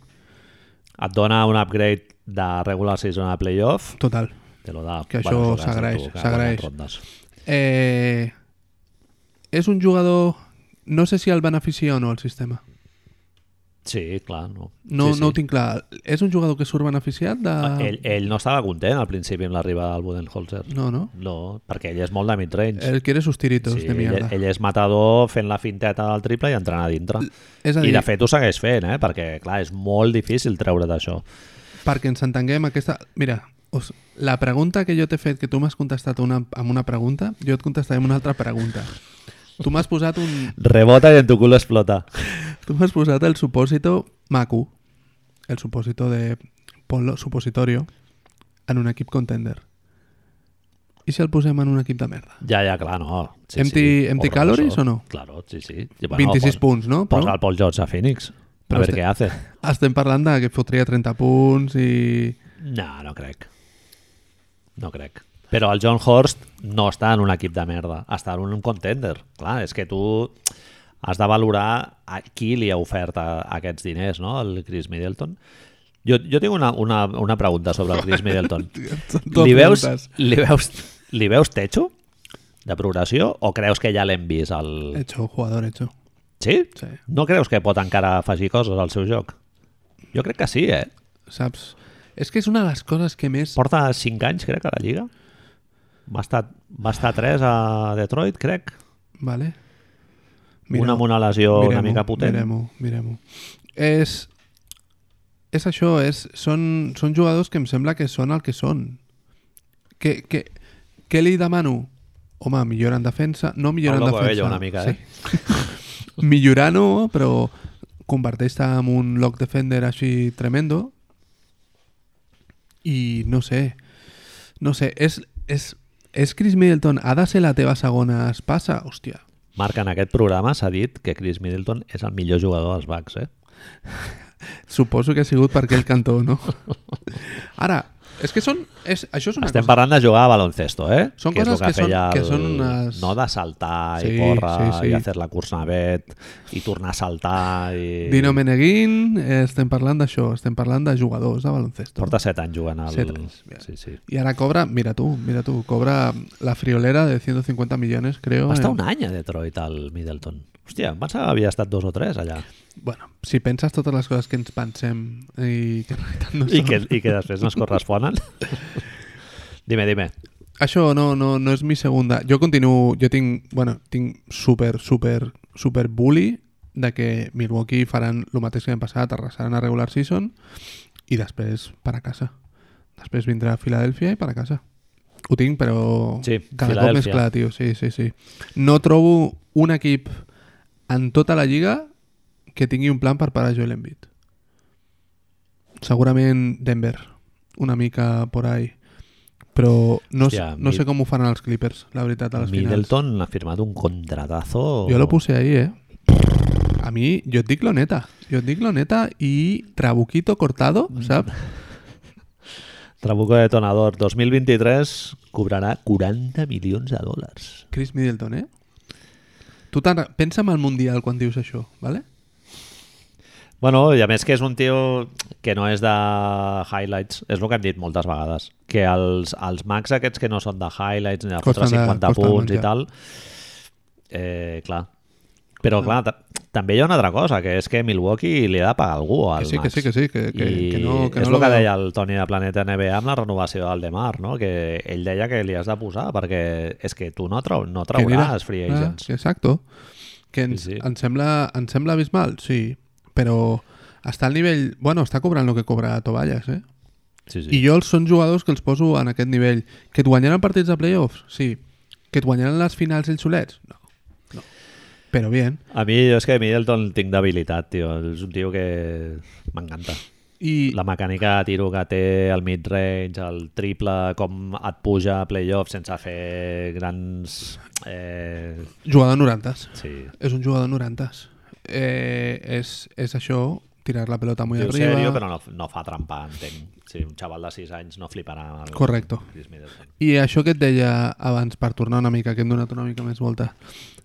Speaker 1: Et dona un upgrade de regular season a playoff,
Speaker 2: Total.
Speaker 1: te lo da.
Speaker 2: Que això
Speaker 1: jugaràs amb
Speaker 2: s'agraeix,
Speaker 1: tu, que
Speaker 2: s'agraeix.
Speaker 1: guanyes rondes.
Speaker 2: Eh, és un jugador... No sé si el beneficia o no el sistema.
Speaker 1: Sí, clar. No,
Speaker 2: No,
Speaker 1: sí, Ah, sí.
Speaker 2: no ho tinc clar. És un jugador que surt beneficiat de...
Speaker 1: Ell, ell no estava content al principi amb l'arribada del Budenholzer.
Speaker 2: No, no.
Speaker 1: No, perquè ell és molt de midrange.
Speaker 2: Él quiere sus tiritos
Speaker 1: Sí,
Speaker 2: de
Speaker 1: ell,
Speaker 2: mierda.
Speaker 1: ell és matador fent la finteta del triple i entrant a dintre.
Speaker 2: és a
Speaker 1: I
Speaker 2: dir,
Speaker 1: de fet ho segueix fent, eh? perquè clar, és molt difícil treure't això.
Speaker 2: perquè ens entenguem aquesta... Mira, us, la pregunta que jo t'he fet, que tu m'has contestat una, amb una pregunta, jo et contestaré amb una altra pregunta. Tu m'has posat un...
Speaker 1: Rebota i en tu cul explota.
Speaker 2: Tu m'has posat el supòsito maco, el supòsito de ponlo supositorio, en un equip contender. I si el posem en un equip de merda?
Speaker 1: Ja, ja, clar, no. Sí,
Speaker 2: Empty-
Speaker 1: sí.
Speaker 2: empty
Speaker 1: Horroroso.
Speaker 2: calories o no?
Speaker 1: Claro, sí, sí. I, bueno, pues,
Speaker 2: 26
Speaker 1: pos-
Speaker 2: punts, no?
Speaker 1: Posa
Speaker 2: Però
Speaker 1: el Paul George a Phoenix. a
Speaker 2: Però
Speaker 1: veure
Speaker 2: este-
Speaker 1: què hace.
Speaker 2: estem parlant de que fotria 30 punts i...
Speaker 1: No, no crec. No crec. Però el John Horst no està en un equip de merda, està en un contender. Clar, és que tu has de valorar a qui li ha ofert a, aquests diners, no?, el Chris Middleton. Jo, jo tinc una, una, una pregunta sobre el Chris Middleton.
Speaker 2: Dos
Speaker 1: li, veus,
Speaker 2: preguntes.
Speaker 1: li, veus, li veus techo de progressió o creus que ja l'hem vist? El...
Speaker 2: Hecho, jugador hecho.
Speaker 1: Sí?
Speaker 2: Eh, Sí.
Speaker 1: No creus que pot encara afegir coses al seu joc? Jo crec que sí, eh?
Speaker 2: Saps? És que és una de les coses que més...
Speaker 1: Porta 5 anys, crec, a la Lliga. Va estar, va estar 3 a Detroit, crec.
Speaker 2: Vale?
Speaker 1: una amb una lesió una mica potent.
Speaker 2: Mirem-ho, mirem-ho. És, és això, és, són, són jugadors que em sembla que són el que són. Que, que, què li demano? Home, millorar en defensa, no millorar en
Speaker 1: Pablo
Speaker 2: defensa.
Speaker 1: Coelho, una mica, eh?
Speaker 2: Sí. millorar no, però converteix-te en un lock defender així tremendo i no sé no sé, és, és, és Chris Middleton ha de ser la teva segona espasa? Hòstia,
Speaker 1: Marc, en aquest programa s'ha dit que Chris Middleton és el millor jugador dels Bucks, eh?
Speaker 2: Suposo que ha sigut per aquell cantó, no? Ara, és que són... És, això és una
Speaker 1: Estem
Speaker 2: cosa...
Speaker 1: parlant de jugar a baloncesto, eh?
Speaker 2: Són
Speaker 1: és
Speaker 2: coses
Speaker 1: lo
Speaker 2: que són-
Speaker 1: feia
Speaker 2: que són unes-
Speaker 1: No de saltar
Speaker 2: Sí,
Speaker 1: i córrer
Speaker 2: sí, sí.
Speaker 1: i fer la cursavet i tornar a saltar i...
Speaker 2: Dino Meneghin, eh, estem parlant d'això, estem parlant de jugadors de baloncesto.
Speaker 1: Porta 7 anys jugant al...
Speaker 2: Set anys, mira.
Speaker 1: sí, sí.
Speaker 2: I ara cobra, mira tu, mira tu, cobra la friolera de 150 millones, creo.
Speaker 1: Va estar
Speaker 2: eh.
Speaker 1: un any a Detroit, al Middleton. Hòstia, em pensava que havia estat dos o tres allà.
Speaker 2: Bueno, si penses totes les coses que ens pensem i que en realitat no
Speaker 1: I
Speaker 2: són...
Speaker 1: que, i que després no es corresponen. dime, dime.
Speaker 2: Això no, no, no és mi segunda. Jo continuo, jo tinc, bueno, tinc super, super, super bully de que Milwaukee faran el mateix que l'any passat, arrasaran a regular season i després per a casa. Després vindrà a Filadèlfia i per a casa. Ho tinc, però
Speaker 1: Sí,
Speaker 2: cada cop més
Speaker 1: Filadèlfia.
Speaker 2: clar, tio. Sí, sí, sí. No trobo un equip en tota la lliga que tingui un plan per parar Joel Embiid. Segurament Denver, una mica por ahí. Però no,
Speaker 1: Hòstia,
Speaker 2: sé, no
Speaker 1: Mid-
Speaker 2: sé com ho faran els Clippers, la veritat, a les finals.
Speaker 1: Middleton ha firmat un contratazo.
Speaker 2: Jo lo puse ahí, eh? A mi, jo et dic lo
Speaker 1: Mm.
Speaker 2: neta. Jo et dic lo neta i trabuquito cortado, saps?
Speaker 1: Trabuco de Tonador, 2023 cobrarà 40 milions de dòlars.
Speaker 2: Chris Middleton, eh? Tu t'en- pensa en el Mundial quan dius això, ¿vale?
Speaker 1: Bueno, i a més que és un tio que no és de highlights, és el que hem dit moltes vegades, que els, els mags aquests que no són de highlights ni de
Speaker 2: Costen
Speaker 1: fotre
Speaker 2: de-
Speaker 1: 50
Speaker 2: costen de
Speaker 1: punts i
Speaker 2: menjar.
Speaker 1: tal, eh, clar. Però clar, ta- també hi ha una altra cosa, que és que Milwaukee li ha de pagar algú al
Speaker 2: Que sí, que
Speaker 1: Max.
Speaker 2: sí, que sí, que, que,
Speaker 1: I
Speaker 2: que no, que
Speaker 1: és
Speaker 2: no
Speaker 1: el que
Speaker 2: veu.
Speaker 1: deia el Toni de Planeta NBA amb la renovació del Demar, no? que ell deia que li has de posar perquè és que tu no, trau, no
Speaker 2: Que anirà.
Speaker 1: trauràs free agents.
Speaker 2: Ah, exacto. Que ens,
Speaker 1: Sí, sí.
Speaker 2: ens, sembla, ens sembla abismal, sí, però està al nivell... Bueno, està cobrant el que cobra Tovalles, eh?
Speaker 1: Sí, sí.
Speaker 2: I jo els són jugadors que els poso en aquest nivell. Que et guanyaran partits de playoffs? Sí. Que et guanyaran les finals ells solets? No. no. Però bien.
Speaker 1: A mi, jo és que Middleton el tinc d'habilitat, tio. És un tio que m'encanta.
Speaker 2: I,
Speaker 1: La mecànica de tiro que té, el mid-range, el triple, com et puja a playoff sense fer grans... Eh...
Speaker 2: Jugador 90.
Speaker 1: Sí.
Speaker 2: És un jugador 90. Eh, és, és això, tirar la pelota muy
Speaker 1: Diu
Speaker 2: arriba.
Speaker 1: serio, però no, no fa trampa, entenc. Sí, un xaval de 6 anys no fliparà amb el
Speaker 2: Correcto.
Speaker 1: Chris Middleton.
Speaker 2: I això que et deia abans, per tornar una mica, que hem donat una mica més volta.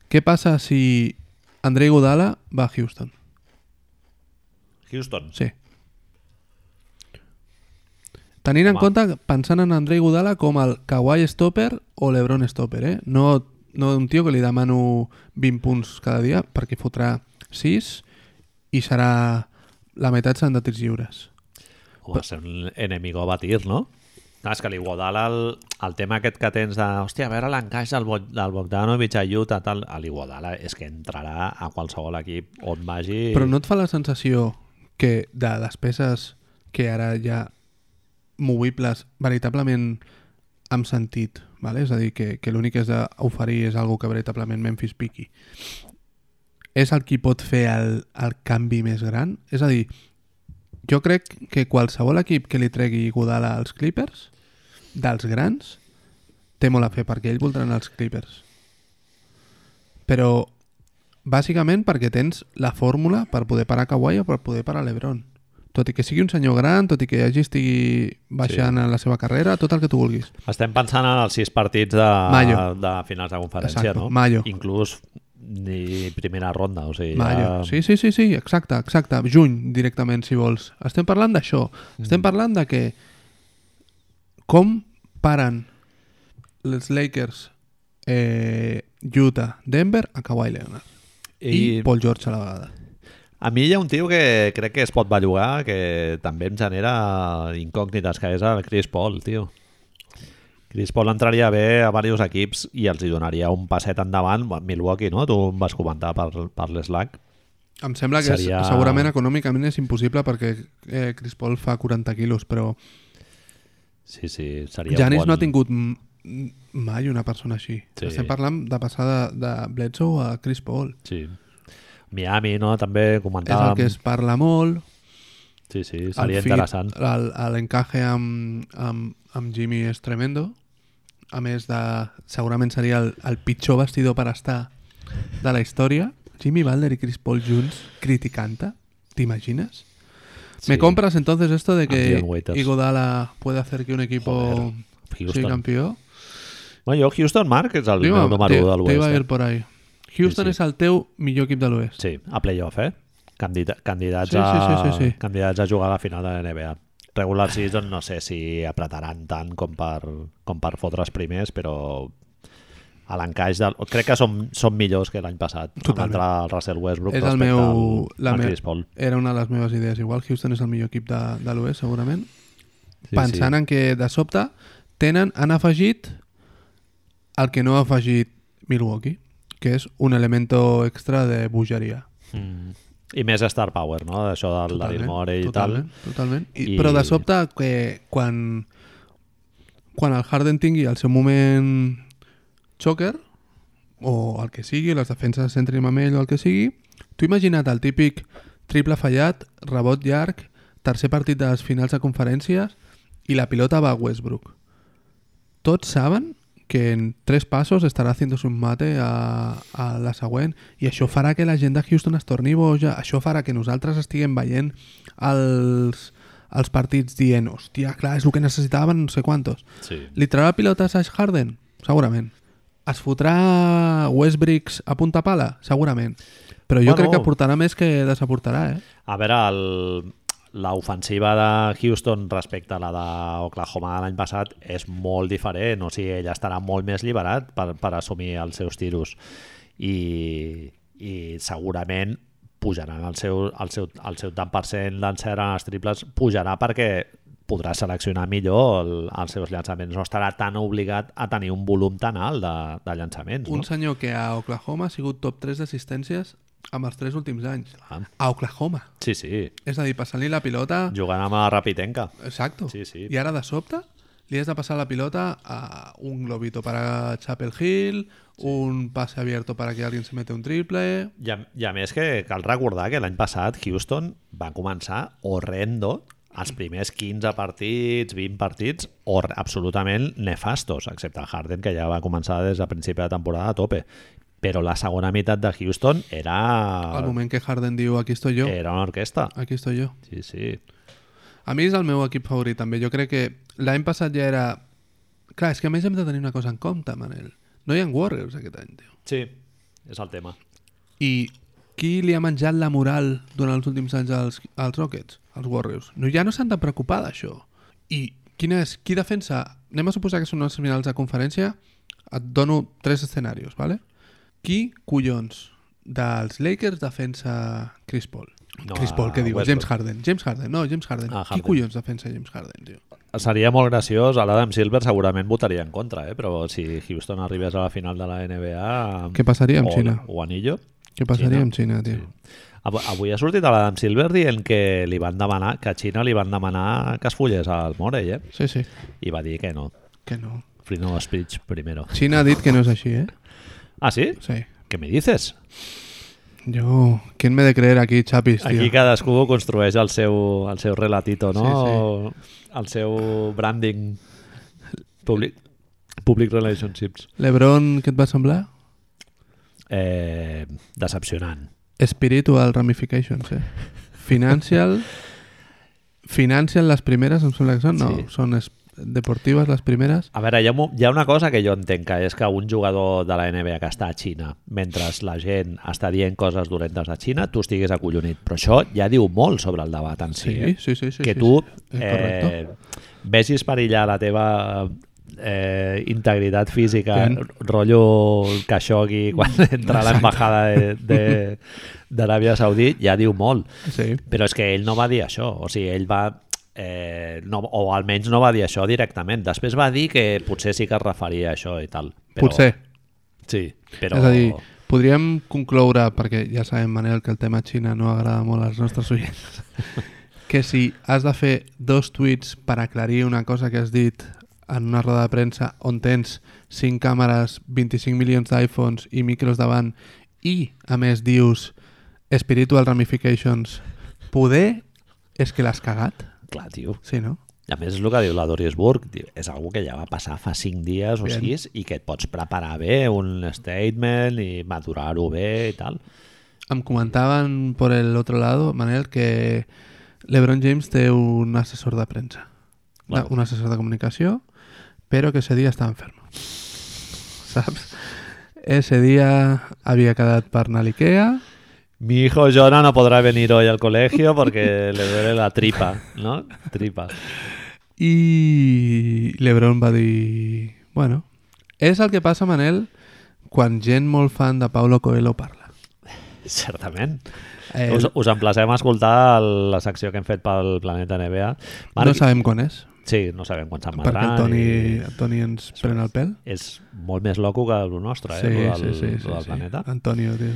Speaker 2: Què passa si Andrei Godala va a Houston?
Speaker 1: Houston.
Speaker 2: Sí. Tenint en
Speaker 1: Home.
Speaker 2: compte, pensant en Andrei Godala com el Kawhi Stopper o l'Ebron Stopper, eh? No, no un tio que li demano 20 punts cada dia perquè fotrà 6 i serà la meitat seran de tirs lliures.
Speaker 1: O va ser un enemigo a batir, no? Clar, és que l'Iguodala, el, el tema aquest que tens de, hòstia, a veure l'encaix del, Bo- del Bogdanovic a Utah, tal, a l'Iguodala és que entrarà a qualsevol equip on vagi...
Speaker 2: Però no et fa la sensació que de les peces que ara ja movibles, veritablement amb sentit, vale? és a dir, que, que l'únic que has d'oferir és algo que veritablement Memphis piqui, és el qui pot fer el, el canvi més gran? És a dir, jo crec que qualsevol equip que li tregui Godala als Clippers, dels grans, té molt a fer perquè ells voldran els Clippers. Però Bàsicament perquè tens la fórmula per poder parar Kawhi o per poder parar l'Ebron. Tot i que sigui un senyor gran, tot i que hagi estigui baixant sí. en la seva carrera, tot el que tu vulguis.
Speaker 1: Estem pensant en els sis partits de,
Speaker 2: Mayo.
Speaker 1: de finals de conferència,
Speaker 2: Exacto,
Speaker 1: no?
Speaker 2: mayo.
Speaker 1: Inclús ni primera ronda, o sigui...
Speaker 2: Mayo. Sí, sí, sí, sí, exacte, exacte. Juny, directament, si vols. Estem parlant d'això. Estem parlant de que com paren els Lakers eh, Utah, Denver, a Kawhi Leonard. I... I
Speaker 1: I,
Speaker 2: Paul George a la vegada.
Speaker 1: a mi hi ha un tio que crec que es pot bellugar, que també em genera incògnites, que és el Chris Paul, tio. Chris Paul entraria bé a diversos equips i els hi donaria un passet endavant. Bueno, Milwaukee, no? Tu em vas comentar per, per l'Slack.
Speaker 2: Em sembla que Seria...
Speaker 1: Seria-
Speaker 2: és, segurament econòmicament és impossible perquè eh, Chris Paul fa 40 quilos, però
Speaker 1: Sí, sí, seria un
Speaker 2: Janis
Speaker 1: bon...
Speaker 2: no ha tingut m- m- mai una persona així.
Speaker 1: Sí.
Speaker 2: Sí. Estem parlant de passar de, de Bledsoe a Chris Paul.
Speaker 1: Sí. Miami, no? També
Speaker 2: És el
Speaker 1: comentàvem.
Speaker 2: que es parla molt.
Speaker 1: Sí, sí,
Speaker 2: el
Speaker 1: seria
Speaker 2: fit,
Speaker 1: interessant.
Speaker 2: el- el- L'encaje amb, amb, amb Jimmy és tremendo. A més de... Segurament seria el, el pitjor vestidor per estar de la història. Jimmy Butler i Chris Paul junts criticant-te. T'imagines?
Speaker 1: Sí.
Speaker 2: ¿Me compras entonces esto de
Speaker 1: Aquí
Speaker 2: que
Speaker 1: en Waiters.
Speaker 2: Igodala puede hacer que un equipo
Speaker 1: Joder,
Speaker 2: sea
Speaker 1: Houston.
Speaker 2: campeón?
Speaker 1: Bueno, jo Houston, Marc, és el
Speaker 2: Te
Speaker 1: meu
Speaker 2: iba-
Speaker 1: número
Speaker 2: te-
Speaker 1: 1 de l'Oest.
Speaker 2: te iba a
Speaker 1: eh?
Speaker 2: ir por ahí. Houston
Speaker 1: Sí, sí.
Speaker 2: es el teu millor equip de l'Oest.
Speaker 1: Sí, a playoff, eh? Candida candidats,
Speaker 2: Sí, sí,
Speaker 1: a,
Speaker 2: sí, sí, sí.
Speaker 1: candidats a jugar a la final de la NBA. Regular season no sé si apretaran tant com per, com per fotre's primers, però a l'encaix del... Crec que som, som millors que l'any passat.
Speaker 2: Totalment.
Speaker 1: Amb l'entrada del Russell Westbrook
Speaker 2: És el
Speaker 1: respecte
Speaker 2: meu-
Speaker 1: al,
Speaker 2: la
Speaker 1: al
Speaker 2: me-
Speaker 1: Chris Paul.
Speaker 2: Era una de les meves idees. Igual Houston és el millor equip de, de l'Oest, segurament.
Speaker 1: Sí,
Speaker 2: Pensant
Speaker 1: sí.
Speaker 2: en que, de sobte, tenen, han afegit el que no ha afegit Milwaukee, que és un elemento extra de bogeria.
Speaker 1: Mm. I més Star Power, no? Això del Daryl Morey i tal.
Speaker 2: totalment, Totalment. I,
Speaker 1: I-
Speaker 2: Però de sobte, que quan, quan el Harden tingui el seu moment xoker, o el que sigui, les defenses centrin amb ell o el que sigui, tu imagina't el típic triple fallat, rebot llarg, tercer partit de les finals de conferències i la pilota va a Westbrook. Tots saben que en tres passos estarà fent un mate a, a la següent i això farà que la gent de Houston es torni boja, això farà que nosaltres estiguem veient els, als partits dient hòstia, clar, és el que necessitaven no sé quantos.
Speaker 1: Sí.
Speaker 2: Li traurà la pilota a Sash Harden? Segurament. Es fotrà Westbricks a punta pala? Segurament. Però
Speaker 1: Bueno.
Speaker 2: jo bueno, crec que aportarà més que desaportarà, eh?
Speaker 1: A veure, el, l'ofensiva de Houston respecte a la d'Oklahoma de l'any passat és molt diferent, o sigui, ell estarà molt més liberat per, per assumir els seus tiros i, i segurament pujaran el seu, el seu, el seu tant per cent d'encert en els triples pujarà perquè podrà seleccionar millor el, els seus llançaments. No estarà tan obligat a tenir un volum tan alt de, de llançaments.
Speaker 2: Un
Speaker 1: No?
Speaker 2: senyor que a Oklahoma ha sigut top 3 d'assistències amb els tres últims anys.
Speaker 1: Ah.
Speaker 2: A Oklahoma.
Speaker 1: Sí, sí.
Speaker 2: És a dir, passant-li la pilota...
Speaker 1: Jugant amb la Rapitenca.
Speaker 2: Exacto.
Speaker 1: Sí, sí.
Speaker 2: I ara, de sobte, li has de passar la pilota a un globito para Chapel Hill, un pase abierto para que alguien se mete un triple...
Speaker 1: I a, I a més que cal recordar que l'any passat Houston va començar horrendo els primers 15 partits, 20 partits, or absolutament nefastos, excepte el Harden, que ja va començar des de principi de temporada a tope. Però la segona meitat de Houston
Speaker 2: Al
Speaker 1: era,
Speaker 2: moment que Harden diu, aquí estoy yo,
Speaker 1: era una orquestra.
Speaker 2: aquí estoy yo.
Speaker 1: Sí, sí.
Speaker 2: A mi és el meu equip favorit, també. Jo crec que l'any passat ja era... Clar, és que a més hem de tenir una cosa en compte, Manel. No hi ha Warriors aquest any, tio.
Speaker 1: Sí, és el tema.
Speaker 2: I qui li ha menjat la moral durant els últims anys als, als Rockets? Els Warriors. No, ja no s'han de preocupar d'això. I quina és, qui defensa... Anem a suposar que són unes finals de conferència. Et dono tres escenaris, ¿vale? Qui, collons, dels Lakers defensa Chris Paul?
Speaker 1: No,
Speaker 2: No, Chris Paul, què
Speaker 1: a
Speaker 2: diu?
Speaker 1: Westbrook.
Speaker 2: James Harden. James Harden, no, James Harden.
Speaker 1: Ah,
Speaker 2: Qui
Speaker 1: Harden.
Speaker 2: collons defensa James Harden, tio?
Speaker 1: Seria molt graciós, a l'Adam Silver segurament votaria en contra, eh? però si Houston arribés a la final de la NBA...
Speaker 2: Què passaria amb
Speaker 1: o-
Speaker 2: Xina?
Speaker 1: O anillo,
Speaker 2: Què passaria
Speaker 1: Xina?
Speaker 2: amb Xina, tio?
Speaker 1: Av- Avui ha sortit a l'Adam Silver dient que li van demanar, que a Xina li van demanar que es follés al Morey, eh?
Speaker 2: Sí, sí.
Speaker 1: I va dir que no.
Speaker 2: Que no.
Speaker 1: Freedom of speech primero.
Speaker 2: Xina ha dit que no és així, eh?
Speaker 1: Ah, sí?
Speaker 2: Sí.
Speaker 1: Què me dices?
Speaker 2: Yo... ¿Quién me de creer aquí, Chapis, tío?
Speaker 1: Aquí cadascú construeix el seu, el seu relatito, no? Sí, sí. El seu branding public, public relationships.
Speaker 2: Lebron, què et va semblar?
Speaker 1: Eh, decepcionant.
Speaker 2: Spiritual ramifications, eh? Financial... Financial les primeres, em sembla que són. No,
Speaker 1: Sí.
Speaker 2: són es- deportives les primeres.
Speaker 1: A veure, hi ha, mo- hi ha una cosa que jo entenc, que és que un jugador de la NBA que està a Xina, mentre la gent està dient coses dolentes a Xina, tu estiguis acollonit. Però això ja diu molt sobre el debat en si. eh?
Speaker 2: sí, sí. sí
Speaker 1: que
Speaker 2: sí,
Speaker 1: tu
Speaker 2: sí. És
Speaker 1: eh,
Speaker 2: correcte.
Speaker 1: vegis perillar la teva eh, integritat física,
Speaker 2: Bien.
Speaker 1: rotllo Khashoggi quan
Speaker 2: Mm,
Speaker 1: entra a l'embajada de- de- d'Aràbia Saudí, ja diu molt.
Speaker 2: Sí.
Speaker 1: Però és que ell no va dir això, o sigui, ell va... Eh, no, o almenys no va dir això directament. Després va dir que potser sí que es referia a això i tal. Però,
Speaker 2: Potser.
Speaker 1: Sí, però...
Speaker 2: És a dir, podríem concloure, perquè ja sabem, Manel, que el tema Xina no agrada molt als nostres oients, que si has de fer dos tuits per aclarir una cosa que has dit en una roda de premsa on tens 5 càmeres, 25 milions d'iPhones i micros davant i, a més, dius spiritual ramifications, poder és que l'has cagat?
Speaker 1: Clar, tio.
Speaker 2: Sí, no?
Speaker 1: A més, és el que diu la Doris Burg, diu, és algo que ja va passar fa 5 dies o
Speaker 2: Bien.
Speaker 1: 6 i que et pots preparar bé un statement i madurar-ho bé i tal.
Speaker 2: Em comentaven por el otro lado, Manel, que LeBron James té un assessor de premsa.
Speaker 1: Bueno.
Speaker 2: Bueno. Un assessor de comunicació, però que ese dia està enfermo. Saps? Ese dia havia quedat per anar a l'Ikea.
Speaker 1: Mi hijo Jonah no podrá venir hoy al colegio porque le duele la tripa, ¿no? Tripa.
Speaker 2: I LeBron va dir... Bueno, és el que passa, Manel, quan gent molt fan de Paulo Coelho parla.
Speaker 1: Certament.
Speaker 2: Eh,
Speaker 1: Us, us emplacem a escoltar el- la secció que hem fet pel Planeta NBA.
Speaker 2: no sabem quan és,
Speaker 1: Sí, no sabem quan
Speaker 2: perquè
Speaker 1: s'emetrà.
Speaker 2: el Toni,
Speaker 1: i
Speaker 2: el Toni ens pren el pèl.
Speaker 1: És molt més loco que el nostre, eh? lo del, lo del planeta.
Speaker 2: Antonio, tio.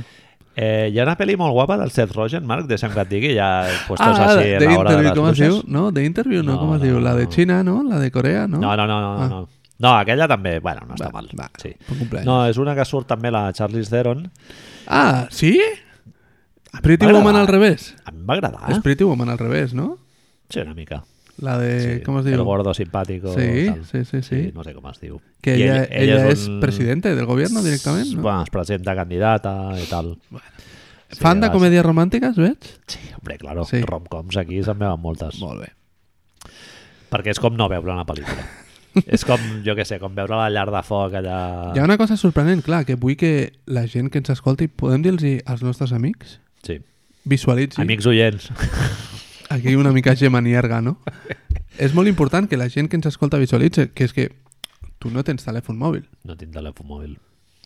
Speaker 1: Eh, hi ha una pel·li molt guapa del Seth Rogen, Marc, deixa'm que et digui, ja puestos
Speaker 2: Ah,
Speaker 1: així a
Speaker 2: de
Speaker 1: la hora de
Speaker 2: interview,
Speaker 1: les
Speaker 2: com es
Speaker 1: bruixes.
Speaker 2: diu? No, de interview no,
Speaker 1: No,
Speaker 2: com es
Speaker 1: no,
Speaker 2: diu? La de
Speaker 1: no.
Speaker 2: Xina, no? La de Corea, no?
Speaker 1: No, no, no, no,
Speaker 2: Ah.
Speaker 1: no. No, aquella també, bueno, no està
Speaker 2: Va,
Speaker 1: mal.
Speaker 2: va,
Speaker 1: sí.
Speaker 2: bon cumpleaños.
Speaker 1: No, és una que surt també la Charlize Theron.
Speaker 2: Ah, sí?
Speaker 1: Ah,
Speaker 2: Pretty
Speaker 1: M'agrada.
Speaker 2: Woman al revés.
Speaker 1: A mi em va agradar.
Speaker 2: És Pretty Woman al revés, no?
Speaker 1: Sí, una mica.
Speaker 2: La de, Eh, com es diu?
Speaker 1: El gordo simpàtico.
Speaker 2: Sí,
Speaker 1: tal.
Speaker 2: sí, sí, sí.
Speaker 1: No sé com es diu.
Speaker 2: Que
Speaker 1: I
Speaker 2: ella, ella, ella és,
Speaker 1: un-
Speaker 2: presidente del gobierno directament, no?
Speaker 1: Bueno, es presenta candidata i tal. sí,
Speaker 2: Fan de
Speaker 1: va,
Speaker 2: comèdies romàntiques, veig?
Speaker 1: Sí, hombre, claro.
Speaker 2: Sí.
Speaker 1: Romcoms aquí se'n veuen moltes.
Speaker 2: Molt bé.
Speaker 1: perquè és com no veure una pel·lícula. és com, jo que sé, com veure la llar de foc allà...
Speaker 2: Hi ha una cosa sorprenent, clar, que vull que la gent que ens escolti, podem dir-los als nostres amics?
Speaker 1: Sí.
Speaker 2: Visualitzi.
Speaker 1: sí. Amics oients.
Speaker 2: Aquí una mica gemanierga, no? és molt important que la gent que ens escolta visualitzi, que és que tu no tens telèfon mòbil.
Speaker 1: No tinc telèfon mòbil.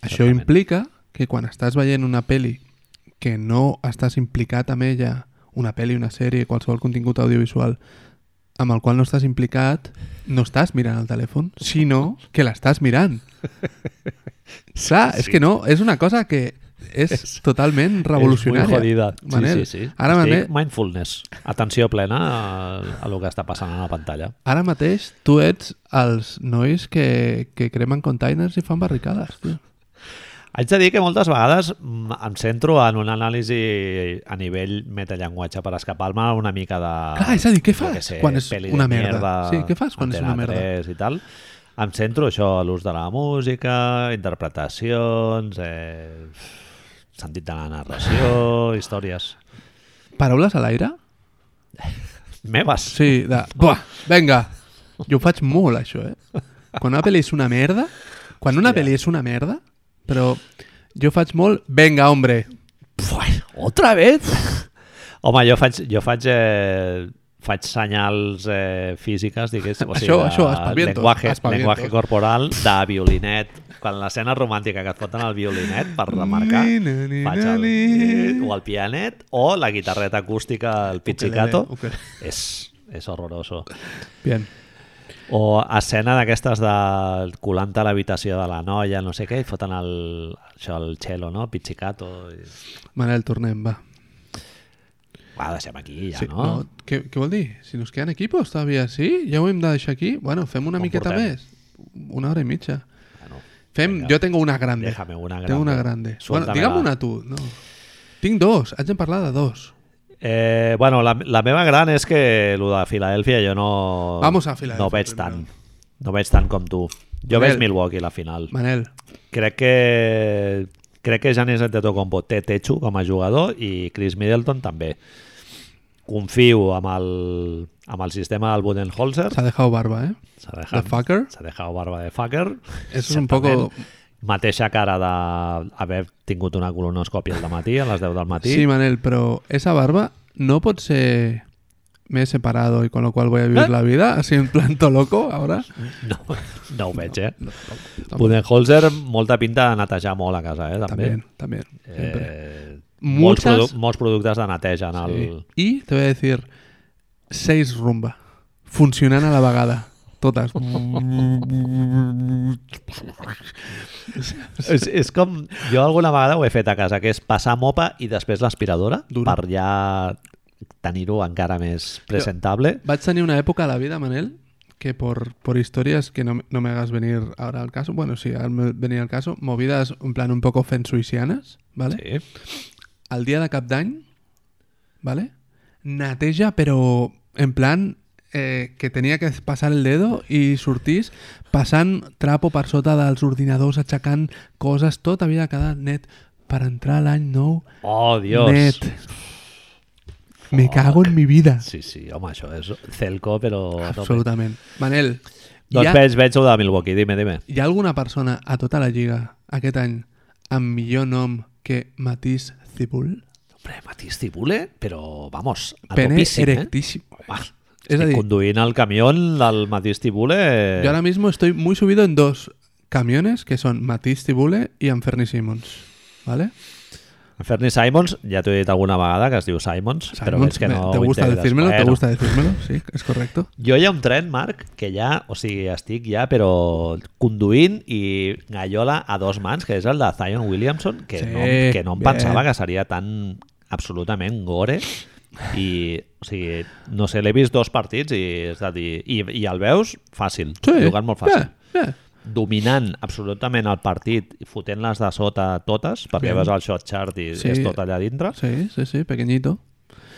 Speaker 2: Això
Speaker 1: Certament.
Speaker 2: implica que quan estàs veient una peli que no estàs implicat amb ella, una peli, una sèrie, qualsevol contingut audiovisual amb el qual no estàs implicat, no estàs mirant el telèfon, sinó que l'estàs mirant. Clar, és
Speaker 1: Sí.
Speaker 2: que no, és una cosa que és totalment
Speaker 1: És
Speaker 2: revolucionària.
Speaker 1: muy jodida.
Speaker 2: eh, Manel,
Speaker 1: sí, sí, sí.
Speaker 2: Ara,
Speaker 1: Estic
Speaker 2: Manel,
Speaker 1: mindfulness. Atenció plena a, a lo que està passant a la pantalla.
Speaker 2: ara mateix tu ets els nois que, que cremen containers i fan barricades, tio.
Speaker 1: Haig de dir que moltes vegades mm, em centro en un anàlisi a nivell metallenguatge per escapar-me una mica de...
Speaker 2: Clar, és a dir, què
Speaker 1: jo
Speaker 2: fas
Speaker 1: que
Speaker 2: quan és
Speaker 1: peli
Speaker 2: una
Speaker 1: de
Speaker 2: merda? Sí, què fas quan és
Speaker 1: Antena
Speaker 2: una merda?
Speaker 1: 3 I tal. Em centro això a l'ús de la música, interpretacions, eh, sentit de la narració, històries
Speaker 2: Paraules a l'aire?
Speaker 1: meves.
Speaker 2: Sí, de... Buah, venga. Jo ho faig molt, això, eh? Quan una pel·li és una merda... Quan una pel·li és una merda, però jo faig molt... Venga, hombre.
Speaker 1: Bueno, ¿Otra vez? Home, jo faig, jo faig, eh, faig senyals eh, físiques, diguéssim, o sigui,
Speaker 2: Això-
Speaker 1: de
Speaker 2: això, espavientos,
Speaker 1: lenguaje,
Speaker 2: espavientos.
Speaker 1: lenguaje corporal de violinet. Quan l'escena romàntica que et foten el violinet per remarcar,
Speaker 2: Ni, ni, ni,
Speaker 1: faig el,
Speaker 2: ni, ni.
Speaker 1: o el pianet o la guitarreta acústica, el pizzicato.
Speaker 2: Ukelele,
Speaker 1: És, és horroroso.
Speaker 2: Bien.
Speaker 1: O escena d'aquestes de colant a l'habitació de la noia, no sé què, i foten el, això, el cello, no? Pizzicato. I...
Speaker 2: Manel, tornem, va.
Speaker 1: Va, deixem aquí ja,
Speaker 2: Sí,
Speaker 1: no?
Speaker 2: no, què, què vol dir? Si nos queden equipos, todavía sí? Ja ho hem de deixar aquí? Bueno, fem una
Speaker 1: Com
Speaker 2: miqueta
Speaker 1: portem?
Speaker 2: més. Una hora i mitja.
Speaker 1: Bueno,
Speaker 2: Fem...
Speaker 1: Vinga.
Speaker 2: Jo tengo una grande.
Speaker 1: Déjame una grande.
Speaker 2: Tengo una grande. Bueno,
Speaker 1: Suéltame
Speaker 2: digue'm
Speaker 1: la-
Speaker 2: una tu. No. Tinc dos. Haig de parlar de dos.
Speaker 1: Eh, bueno, la, la meva gran és que el de Filadèlfia jo no...
Speaker 2: Vamos a Filadèlfia
Speaker 1: No veig
Speaker 2: primer.
Speaker 1: tant. No veig tant com tu. Jo
Speaker 2: Manel.
Speaker 1: veig Milwaukee la final.
Speaker 2: Manel,
Speaker 1: Crec que crec que Janis Antetokounmpo té techo com a jugador i Chris Middleton també. Confio amb el, amb el sistema del Budenholzer.
Speaker 2: s'ha dejado barba, eh?
Speaker 1: S'ha
Speaker 2: The
Speaker 1: deixat,
Speaker 2: fucker.
Speaker 1: s'ha deixat barba de fucker.
Speaker 2: Eso es un poco...
Speaker 1: Mateixa cara d'haver tingut una colonoscòpia al matí, a les 10 del matí.
Speaker 2: Sí, Manel, pero esa barba no por ser... Me he separado y con lo cual voy a vivir
Speaker 1: ¿Eh?
Speaker 2: la vida así en plan todo loco ahora.
Speaker 1: No, no ho veig, eh?
Speaker 2: Tampoc.
Speaker 1: Budenholzer, molta pinta de netejar molt a casa, eh? També.
Speaker 2: También, también. siempre.
Speaker 1: Eh, molts,
Speaker 2: Muchas-
Speaker 1: produ molts productes de neteja en el...
Speaker 2: Sí. Y te voy a decir, seis rumba. Funcionan a la vagada. Todas.
Speaker 1: És, és com... Jo alguna vegada ho he fet a casa, que és passar mopa i després l'aspiradora
Speaker 2: Duro.
Speaker 1: per ja tenir-ho encara més presentable.
Speaker 2: Vaig tenir una època a la vida, Manel, que por, por historias que no, me- no me hagas venir ahora al caso, bueno, sí, al me- venir al caso, movidas en plan un poco fensuicianas, ¿vale?
Speaker 1: Sí.
Speaker 2: Al día de Cap d'Any, ¿vale? Nateja, pero en plan eh, que tenía que pasar el dedo y sortís passant trapo per sota dels ordinadors, aixecant coses, tot havia de quedar net per entrar l'any nou,
Speaker 1: Oh, Dios!
Speaker 2: net. Me cago en mi vida.
Speaker 1: Sí, sí, home, això és celco, però... a tope.
Speaker 2: Absolutament. Manel,
Speaker 1: Doncs
Speaker 2: hi ha-
Speaker 1: veig, veig el de Milwaukee, dime, dime.
Speaker 2: Hi ha alguna persona a tota la lliga aquest any amb millor nom que Matís Cibul?
Speaker 1: Hombre, Matís Cibule, però, vamos, a
Speaker 2: Pene
Speaker 1: topíssim, eh?
Speaker 2: erectíssim.
Speaker 1: Va,
Speaker 2: És a
Speaker 1: estic
Speaker 2: dir-
Speaker 1: conduint el camió del Matís Tibule.
Speaker 2: Yo ahora mismo estoy muy subido en dos camiones que son Matís Cibule y Anferni Simmons. ¿Vale?
Speaker 1: Fernie Simons, ja t'ho he dit alguna vegada, que es diu Simons, però veig
Speaker 2: Simons,
Speaker 1: que no
Speaker 2: ¿Te
Speaker 1: ho
Speaker 2: gusta
Speaker 1: integres.
Speaker 2: decírmelo? ¿Te
Speaker 1: Bueno,
Speaker 2: gusta decírmelo? Sí, es correcto.
Speaker 1: Jo hi ha un tren, Marc, que ja, o sigui, estic ja, però conduint i gallola a dos mans, que és el de Zion Williamson, que,
Speaker 2: Sí,
Speaker 1: no, que no em
Speaker 2: bien.
Speaker 1: pensava que seria tan absolutament gore i, o sigui, no sé, l'he vist dos partits i, és a dir, i, i el veus fàcil,
Speaker 2: Sí.
Speaker 1: jugant molt fàcil.
Speaker 2: Bien, bien.
Speaker 1: dominant absolutament el partit i fotent-les de sota totes, perquè
Speaker 2: Bien.
Speaker 1: veus el shot chart i
Speaker 2: Sí.
Speaker 1: sí. és tot allà dintre.
Speaker 2: Sí, sí, sí, pequeñito.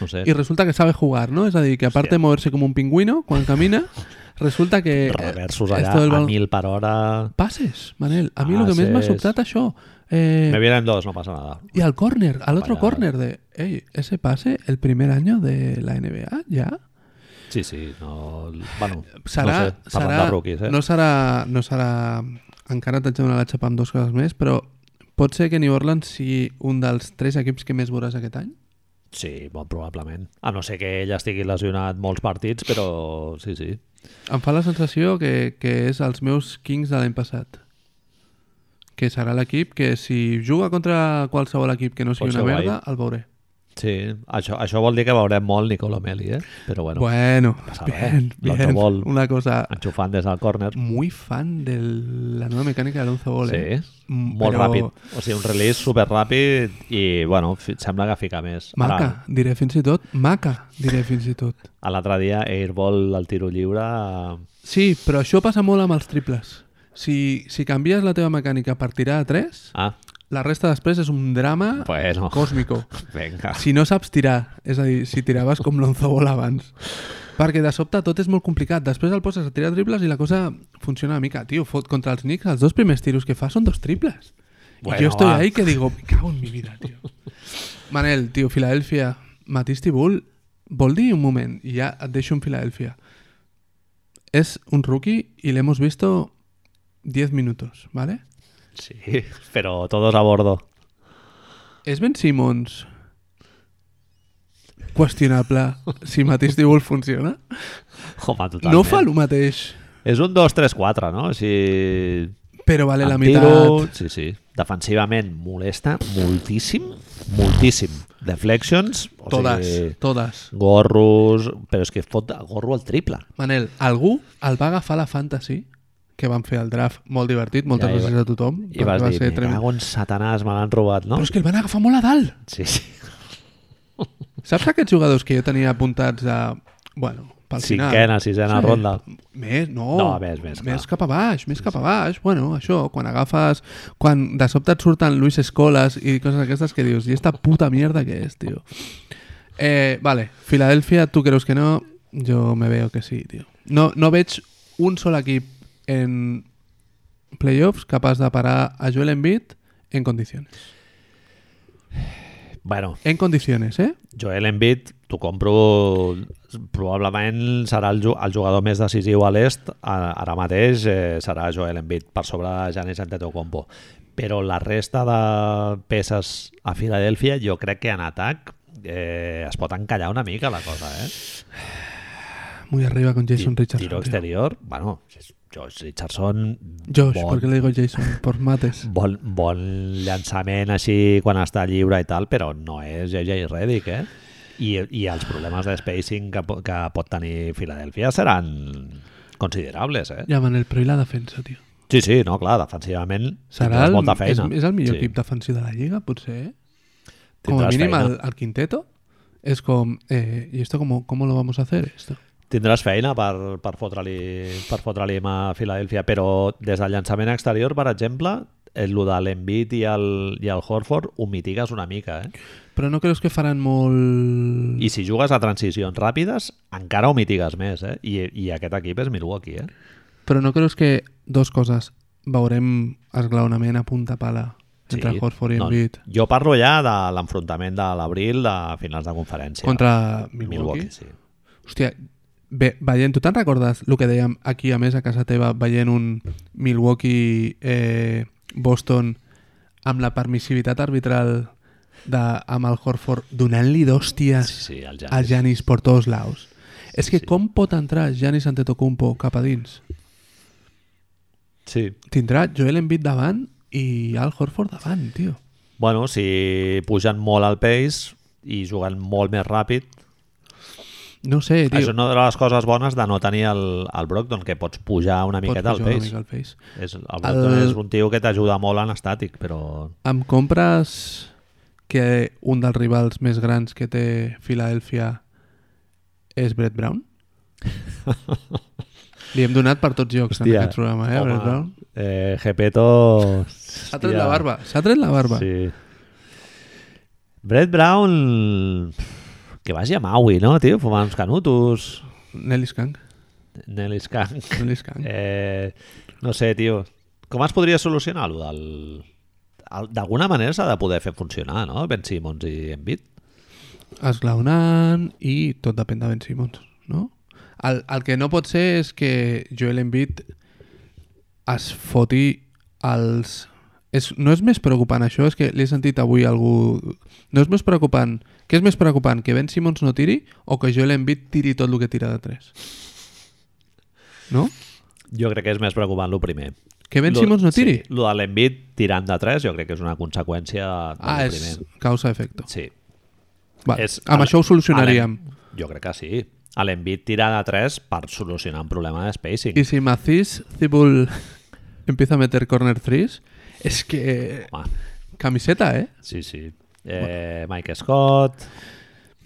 Speaker 1: No sé.
Speaker 2: Y resulta que sabe jugar, ¿no? Es decir, que aparte de moverse como un pingüino cuando camina, resulta que... eh,
Speaker 1: Reversos
Speaker 2: esto del
Speaker 1: allà a
Speaker 2: balón-
Speaker 1: mil per hora.
Speaker 2: Pases, Manel. A mí lo que més m'ha
Speaker 1: Passes.
Speaker 2: sobtat això. Eh,
Speaker 1: Me vienen dos, no pasa nada.
Speaker 2: Y al corner, al otro
Speaker 1: Vaya.
Speaker 2: corner de, "Ey, ese pase el primer año de la NBA, ya.
Speaker 1: Sí, sí, no... Bueno,
Speaker 2: Eh, Serà,
Speaker 1: no sé, parlant
Speaker 2: serà,
Speaker 1: de rookies, eh?
Speaker 2: no serà, no serà... Encara t'haig de donar la xapa amb dues coses més, però pot ser que New Orleans sigui un dels tres equips que més veuràs aquest any?
Speaker 1: Sí, molt probablement. A no ser que ell estigui lesionat molts partits, però sí, sí.
Speaker 2: Em fa la sensació que, que és els meus Kings de l'any passat. Que serà l'equip que si juga contra qualsevol equip que no sigui
Speaker 1: Pot ser
Speaker 2: una
Speaker 1: guai.
Speaker 2: merda, el veuré.
Speaker 1: Sí, això, això vol dir que veurem molt Nicola Meli, eh? Però bueno, bueno.
Speaker 2: Bueno,
Speaker 1: passa
Speaker 2: bien,
Speaker 1: res. Lonzo
Speaker 2: bien.
Speaker 1: Ball.
Speaker 2: Una cosa...
Speaker 1: enxufant des del córner.
Speaker 2: Muy fan de la nueva mecànica de Lonzo Ball, eh?
Speaker 1: Sí,
Speaker 2: Mm,
Speaker 1: molt
Speaker 2: però-
Speaker 1: ràpid. O sigui, un release super ràpid i, bueno, fi- sembla que fica més. Ara,
Speaker 2: Maca, diré fins i tot. Maca, diré fins i tot.
Speaker 1: a L'altre dia, Airball, al tiro lliure... eh,
Speaker 2: Sí, però això passa molt amb els triples. Si, si canvies la teva mecànica per tirar a 3,
Speaker 1: Ah,
Speaker 2: la resta després és un drama
Speaker 1: bueno.
Speaker 2: còsmico.
Speaker 1: Vinga.
Speaker 2: Si no saps tirar, és a dir, si tiraves com l'Onzo Ball abans. Perquè de sobte tot és molt complicat. Després el poses a tirar triples i la cosa funciona una mica. Tio, fot contra els Knicks, els dos primers tiros que fa són dos triples.
Speaker 1: Bueno,
Speaker 2: y yo estoy
Speaker 1: va.
Speaker 2: ahí que digo, me cago en mi vida, tío. Manel, tío, Filadelfia, Matís Tibull, vol dir un moment, y ya et deixo en Filadelfia. Es un rookie y le hemos visto 10 minutos, ¿vale?
Speaker 1: Sí, però todos a bordo.
Speaker 2: Es Ben Simmons qüestionable si Matís Tibull funciona?
Speaker 1: Home, totalment.
Speaker 2: No fa el mateix,
Speaker 1: És un 2-3-4, no? O sigui...
Speaker 2: però vale la
Speaker 1: en
Speaker 2: mitad.
Speaker 1: tiro, Sí, sí. Defensivament molesta moltíssim, moltíssim. Deflections, o
Speaker 2: Todas,
Speaker 1: sigui,
Speaker 2: todas.
Speaker 1: gorros... Però és que fot gorro al triple.
Speaker 2: Manel, algú el va agafar a la Fantasy que van fer el draft molt divertit, moltes
Speaker 1: Ja, i va-
Speaker 2: gràcies a tothom
Speaker 1: I
Speaker 2: perquè
Speaker 1: vas
Speaker 2: va
Speaker 1: dir,
Speaker 2: ser
Speaker 1: me
Speaker 2: tremendo.
Speaker 1: cago en satanàs, me l'han robat, no?
Speaker 2: Però és que el van agafar molt a dalt.
Speaker 1: Sí, sí.
Speaker 2: Saps aquests jugadors que jo tenia apuntats a... Bueno, pel
Speaker 1: Cinquena, sisena
Speaker 2: Sí.
Speaker 1: ronda.
Speaker 2: Més, no.
Speaker 1: No, més, més, clar.
Speaker 2: Més cap a baix, més cap a baix. Bueno, això, quan agafes... Quan de sobte et surten Luis Escolas i coses aquestes que dius, i esta puta mierda que és, tio. Eh, vale, Filadelfia, tu creus que no? Jo me veo que sí, tio. No, no veig un sol equip en playoffs capaç de parar a Joel Embiid en condiciones.
Speaker 1: Bueno,
Speaker 2: En condiciones, eh?
Speaker 1: Joel Embiid, t'ho compro probablement serà el, ju- el jugador més decisiu a l'est a- ara mateix eh, serà Joel Embiid per sobre de Giannis Antetokounmpo però la resta de peces a Filadèlfia jo crec que en atac eh, es pot encallar una mica la cosa eh?
Speaker 2: Muy arriba con Jason
Speaker 1: Ti-
Speaker 2: Richardson.
Speaker 1: tiro este
Speaker 2: tio.
Speaker 1: exterior, bueno Josh Richardson
Speaker 2: Josh,
Speaker 1: bon,
Speaker 2: ¿por qué le digo Jason? Por mates.
Speaker 1: bon, bon llançament així quan està lliure i tal, però no és JJ Redick, eh? I, I els problemes de spacing que, po- que pot tenir Filadèlfia seran considerables, eh?
Speaker 2: Ja, Manel, però i la defensa, tio?
Speaker 1: Sí, sí, no, clar, defensivament
Speaker 2: Serà el,
Speaker 1: tindràs molta
Speaker 2: és,
Speaker 1: feina.
Speaker 2: és el millor
Speaker 1: sí.
Speaker 2: equip defensiu de la Lliga, potser, eh? Com a
Speaker 1: Tindràs
Speaker 2: mínim,
Speaker 1: feina.
Speaker 2: el, el quinteto és com... Eh, ¿Y esto cómo, cómo lo vamos a hacer? Esto?
Speaker 1: Tindràs feina per, per fotre-li per fotre mà a Filadèlfia, però des del llançament exterior, per exemple, el de l'Envit i, el, i el Horford ho mitigues una mica, eh?
Speaker 2: Però no creus que faran molt...
Speaker 1: I si jugues a transicions ràpides, encara ho mitigues més, eh? I, i aquest equip és Milwaukee, eh?
Speaker 2: Però no creus que dos coses veurem esglaonament a punta pala entre Horford i Embiid
Speaker 1: No, jo parlo ja de l'enfrontament de l'abril de finals de conferència.
Speaker 2: contra Milwaukee?
Speaker 1: Milwaukee. sí.
Speaker 2: Hòstia, bé, veient, tu te'n recordes el que dèiem aquí, a més, a casa teva, veient un Milwaukee eh, Boston amb la permissivitat arbitral de, amb el Horford donant-li d'hòsties
Speaker 1: Sí, sí, el
Speaker 2: a
Speaker 1: Giannis.
Speaker 2: Janis per tots laus. És que
Speaker 1: sí.
Speaker 2: com pot entrar Janis Antetokounmpo cap a dins?
Speaker 1: Sí.
Speaker 2: Tindrà Joel Embiid davant i Al Horford davant, tio.
Speaker 1: Bueno, si pugen molt al pace i juguen molt més ràpid,
Speaker 2: No ho sé,
Speaker 1: Diu.
Speaker 2: tio.
Speaker 1: això és una de les coses bones de no tenir el, el Brogdon, que pots pujar una
Speaker 2: Pots
Speaker 1: miqueta al
Speaker 2: pujar una
Speaker 1: pace.
Speaker 2: mica al pace.
Speaker 1: És, el Brogdon
Speaker 2: El-
Speaker 1: és un tio que t'ajuda molt en estàtic, però
Speaker 2: Em compres que un dels rivals més grans que té Filadèlfia és Brett Brown? Li hem donat per tots llocs en
Speaker 1: Hòstia,
Speaker 2: aquest programa, eh, Brett Brown?
Speaker 1: eh, Gepetto...
Speaker 2: S'ha tret la barba, s'ha tret la barba. Sí.
Speaker 1: Sí. Brett Brown... Que vagi a Maui, no, tio? Fumant uns canutos.
Speaker 2: Nelly Skank,
Speaker 1: Nelly Skank.
Speaker 2: Nelly Skank.
Speaker 1: Eh, no sé, tio. Com es podria solucionar allò del... el- D'alguna manera s'ha de poder fer funcionar, no? Ben Simmons i Embiid.
Speaker 2: Esglaonant i tot depèn de Ben Simmons, no? El, el que no pot ser és que Joel Embiid es foti als... És, no és més preocupant això? És que l'he sentit avui a algú... No és més preocupant... Què és més preocupant? Que Ben Simmons no tiri o que Joel Embiid tiri tot el que tira de 3? No?
Speaker 1: Jo crec que és més preocupant el primer.
Speaker 2: Que Ben
Speaker 1: Lo-
Speaker 2: Simmons no tiri?
Speaker 1: Sí, el de l'Envit tirant de 3 jo crec que és una conseqüència del
Speaker 2: ah, és
Speaker 1: primer.
Speaker 2: causa-efecte.
Speaker 1: Sí.
Speaker 2: Va,
Speaker 1: És-
Speaker 2: amb
Speaker 1: a-
Speaker 2: això ho solucionaríem.
Speaker 1: a l'Em- Jo crec que sí. L'Envit tira de 3 per solucionar un problema de spacing.
Speaker 2: Y si Macis Cibul empieza a meter corner threes, es que
Speaker 1: Home,
Speaker 2: camiseta, ¿eh?
Speaker 1: sí, sí. Eh, Mike Scott...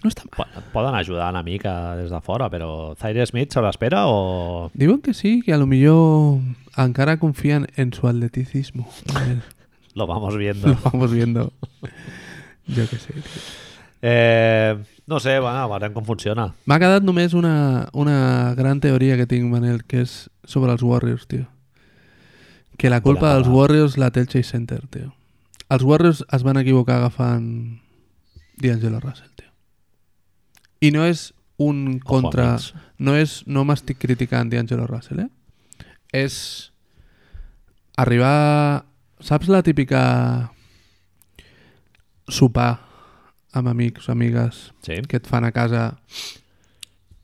Speaker 2: No está mal.
Speaker 1: po- Poden ajudar una mica des de fora, però Zaire Smith se l'espera o...
Speaker 2: Digo que sí, que a lo mejor Ankara confían en su atleticismo. A ver,
Speaker 1: Lo vamos viendo.
Speaker 2: Lo vamos viendo. Yo qué sé. tio.
Speaker 1: Eh, no sé, bueno, veurem com funciona.
Speaker 2: M'ha quedat només una, una gran teoria que tinc, Manel, que és sobre els Warriors, tio. Que la culpa
Speaker 1: Volem
Speaker 2: dels
Speaker 1: parlar.
Speaker 2: Warriors la té el Chase Center, tio. Els Warriors es van equivocar agafant D'Angelo Russell, tio. I no és un
Speaker 1: Ojo
Speaker 2: contra...
Speaker 1: amics.
Speaker 2: No, és, no m'estic criticant D'Angelo Russell, eh? És arribar... Saps la típica sopar amb amics o amigues
Speaker 1: Sí.
Speaker 2: que et fan a casa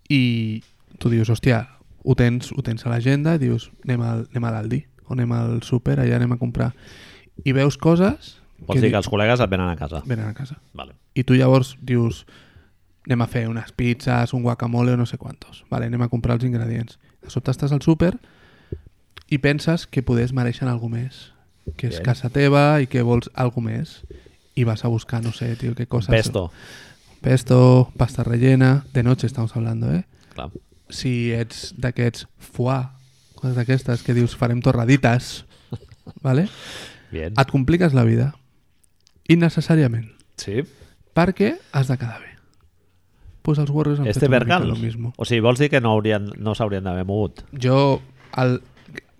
Speaker 2: i tu dius, hòstia, ho tens, ho tens a l'agenda i dius, anem, al, anem a l'Aldi o anem al súper, allà anem a comprar i veus coses
Speaker 1: Vols dir
Speaker 2: di-
Speaker 1: que els col·legues et venen a casa.
Speaker 2: venen a casa
Speaker 1: Vale.
Speaker 2: i tu llavors dius anem a fer unes pizzas, un guacamole o no sé quantos, vale, anem a comprar els ingredients de sobte estàs al súper i penses que poder es mereixen algú més que és
Speaker 1: Bien.
Speaker 2: casa teva i que vols algú més i vas a buscar, no sé, tio, què coses
Speaker 1: Pesto.
Speaker 2: pesto, pasta rellena, de noche estamos hablando, eh?
Speaker 1: Clar.
Speaker 2: Si ets d'aquests foie, coses d'aquestes que dius farem torradites, vale?
Speaker 1: Bien.
Speaker 2: et compliques la vida innecessàriament
Speaker 1: Sí.
Speaker 2: perquè has de quedar bé. Pues els Warriors han
Speaker 1: Este
Speaker 2: fet una mica
Speaker 1: Bergams.
Speaker 2: lo mismo.
Speaker 1: O sigui, vols dir que no haurien, no s'haurien d'haver mogut?
Speaker 2: Jo, el,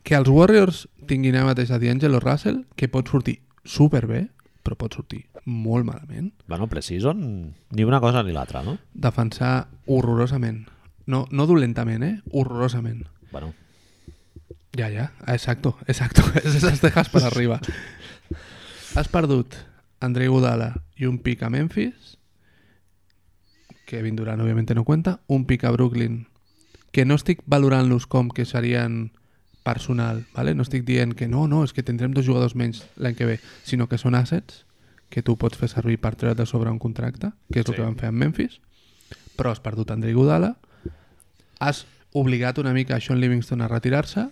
Speaker 2: que els Warriors tinguin ara mateix a D'Angelo Russell, que pot sortir superbé, però pot sortir molt malament,
Speaker 1: Bueno, pre-season, ni una cosa ni l'altra, no?
Speaker 2: defensar horrorosament. No, no dolentament, eh? Horrorosament.
Speaker 1: Bueno,
Speaker 2: Ja, ja, exacto, exacto. És les tejas per arriba. Has perdut Andrei Godala i un pic a Memphis, Kevin Durant, òbviament, no cuenta, un pic a Brooklyn, que no estic valorant-los com que serien personal, ¿vale? no estic dient que no, no, és que tindrem dos jugadors menys l'any que ve, sinó que són assets que tu pots fer servir per treure de sobre un contracte, que és el
Speaker 1: Sí.
Speaker 2: que van fer amb Memphis, però has perdut Andrei Godala, has obligat una mica a Sean Livingston a retirar-se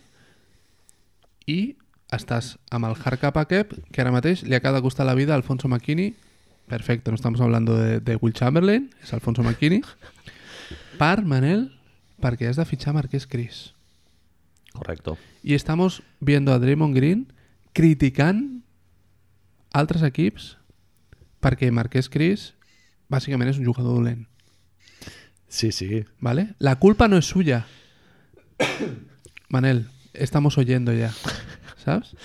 Speaker 2: i estàs amb el hard cap a cap, que ara mateix li acaba de costar la vida a Alfonso McKinney, perfecte, no estamos hablando de, de Will Chamberlain, és Alfonso McKinney, per Manel, perquè has de fitxar Marquès Cris.
Speaker 1: correcto.
Speaker 2: Y estamos viendo a Draymond Green criticant altres equips perquè Marquès Cris bàsicament és un jugador dolent.
Speaker 1: Sí, sí.
Speaker 2: ¿Vale? La culpa no es suya. Manel, estamos oyendo ya. ¿Sabes?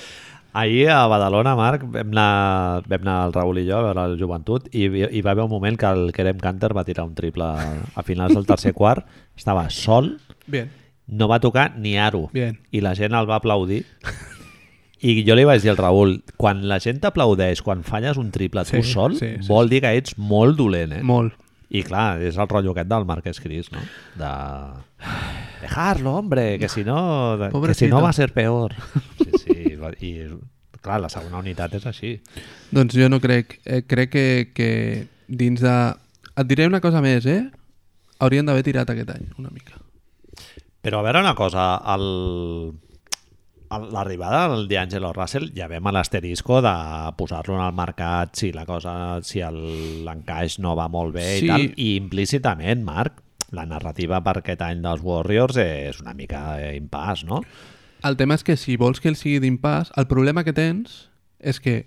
Speaker 1: Ahir a Badalona, Marc, vam anar, vam anar el Raül i jo a veure el joventut i hi hi va haver un moment que el Kerem Canter va tirar un triple a finals del tercer quart, estava sol,
Speaker 2: Bien,
Speaker 1: no va tocar ni aro.
Speaker 2: bien.
Speaker 1: i la gent el va aplaudir i jo li vaig dir al Raül quan la gent t'aplaudeix, quan falles un triple sí,
Speaker 2: Sí,
Speaker 1: tu sol, sí,
Speaker 2: sí, sí,
Speaker 1: vol dir que ets molt dolent eh?
Speaker 2: Mol.
Speaker 1: i clar, és el rotllo aquest del Marquès Cris no? de... dejarlo, hombre que si no, de... que si
Speaker 2: Pobrecito.
Speaker 1: no va a ser peor sí, sí, va- i clar, la segona unitat és així
Speaker 2: Doncs jo no crec. Eh, crec que, que dins de... Et diré una cosa més, eh? Haurien d'haver tirat aquest any, una mica.
Speaker 1: Però a veure una cosa, el... el- l'arribada del D'Angelo Russell ja vam a l'asterisco de posar-lo en el mercat si la cosa, si el- l'encaix no va molt bé
Speaker 2: Sí.
Speaker 1: i tal, i implícitament, Marc, la narrativa per aquest any dels Warriors és una mica eh, impàs, no?
Speaker 2: El tema és que si vols que el sigui d'impàs, el problema que tens és que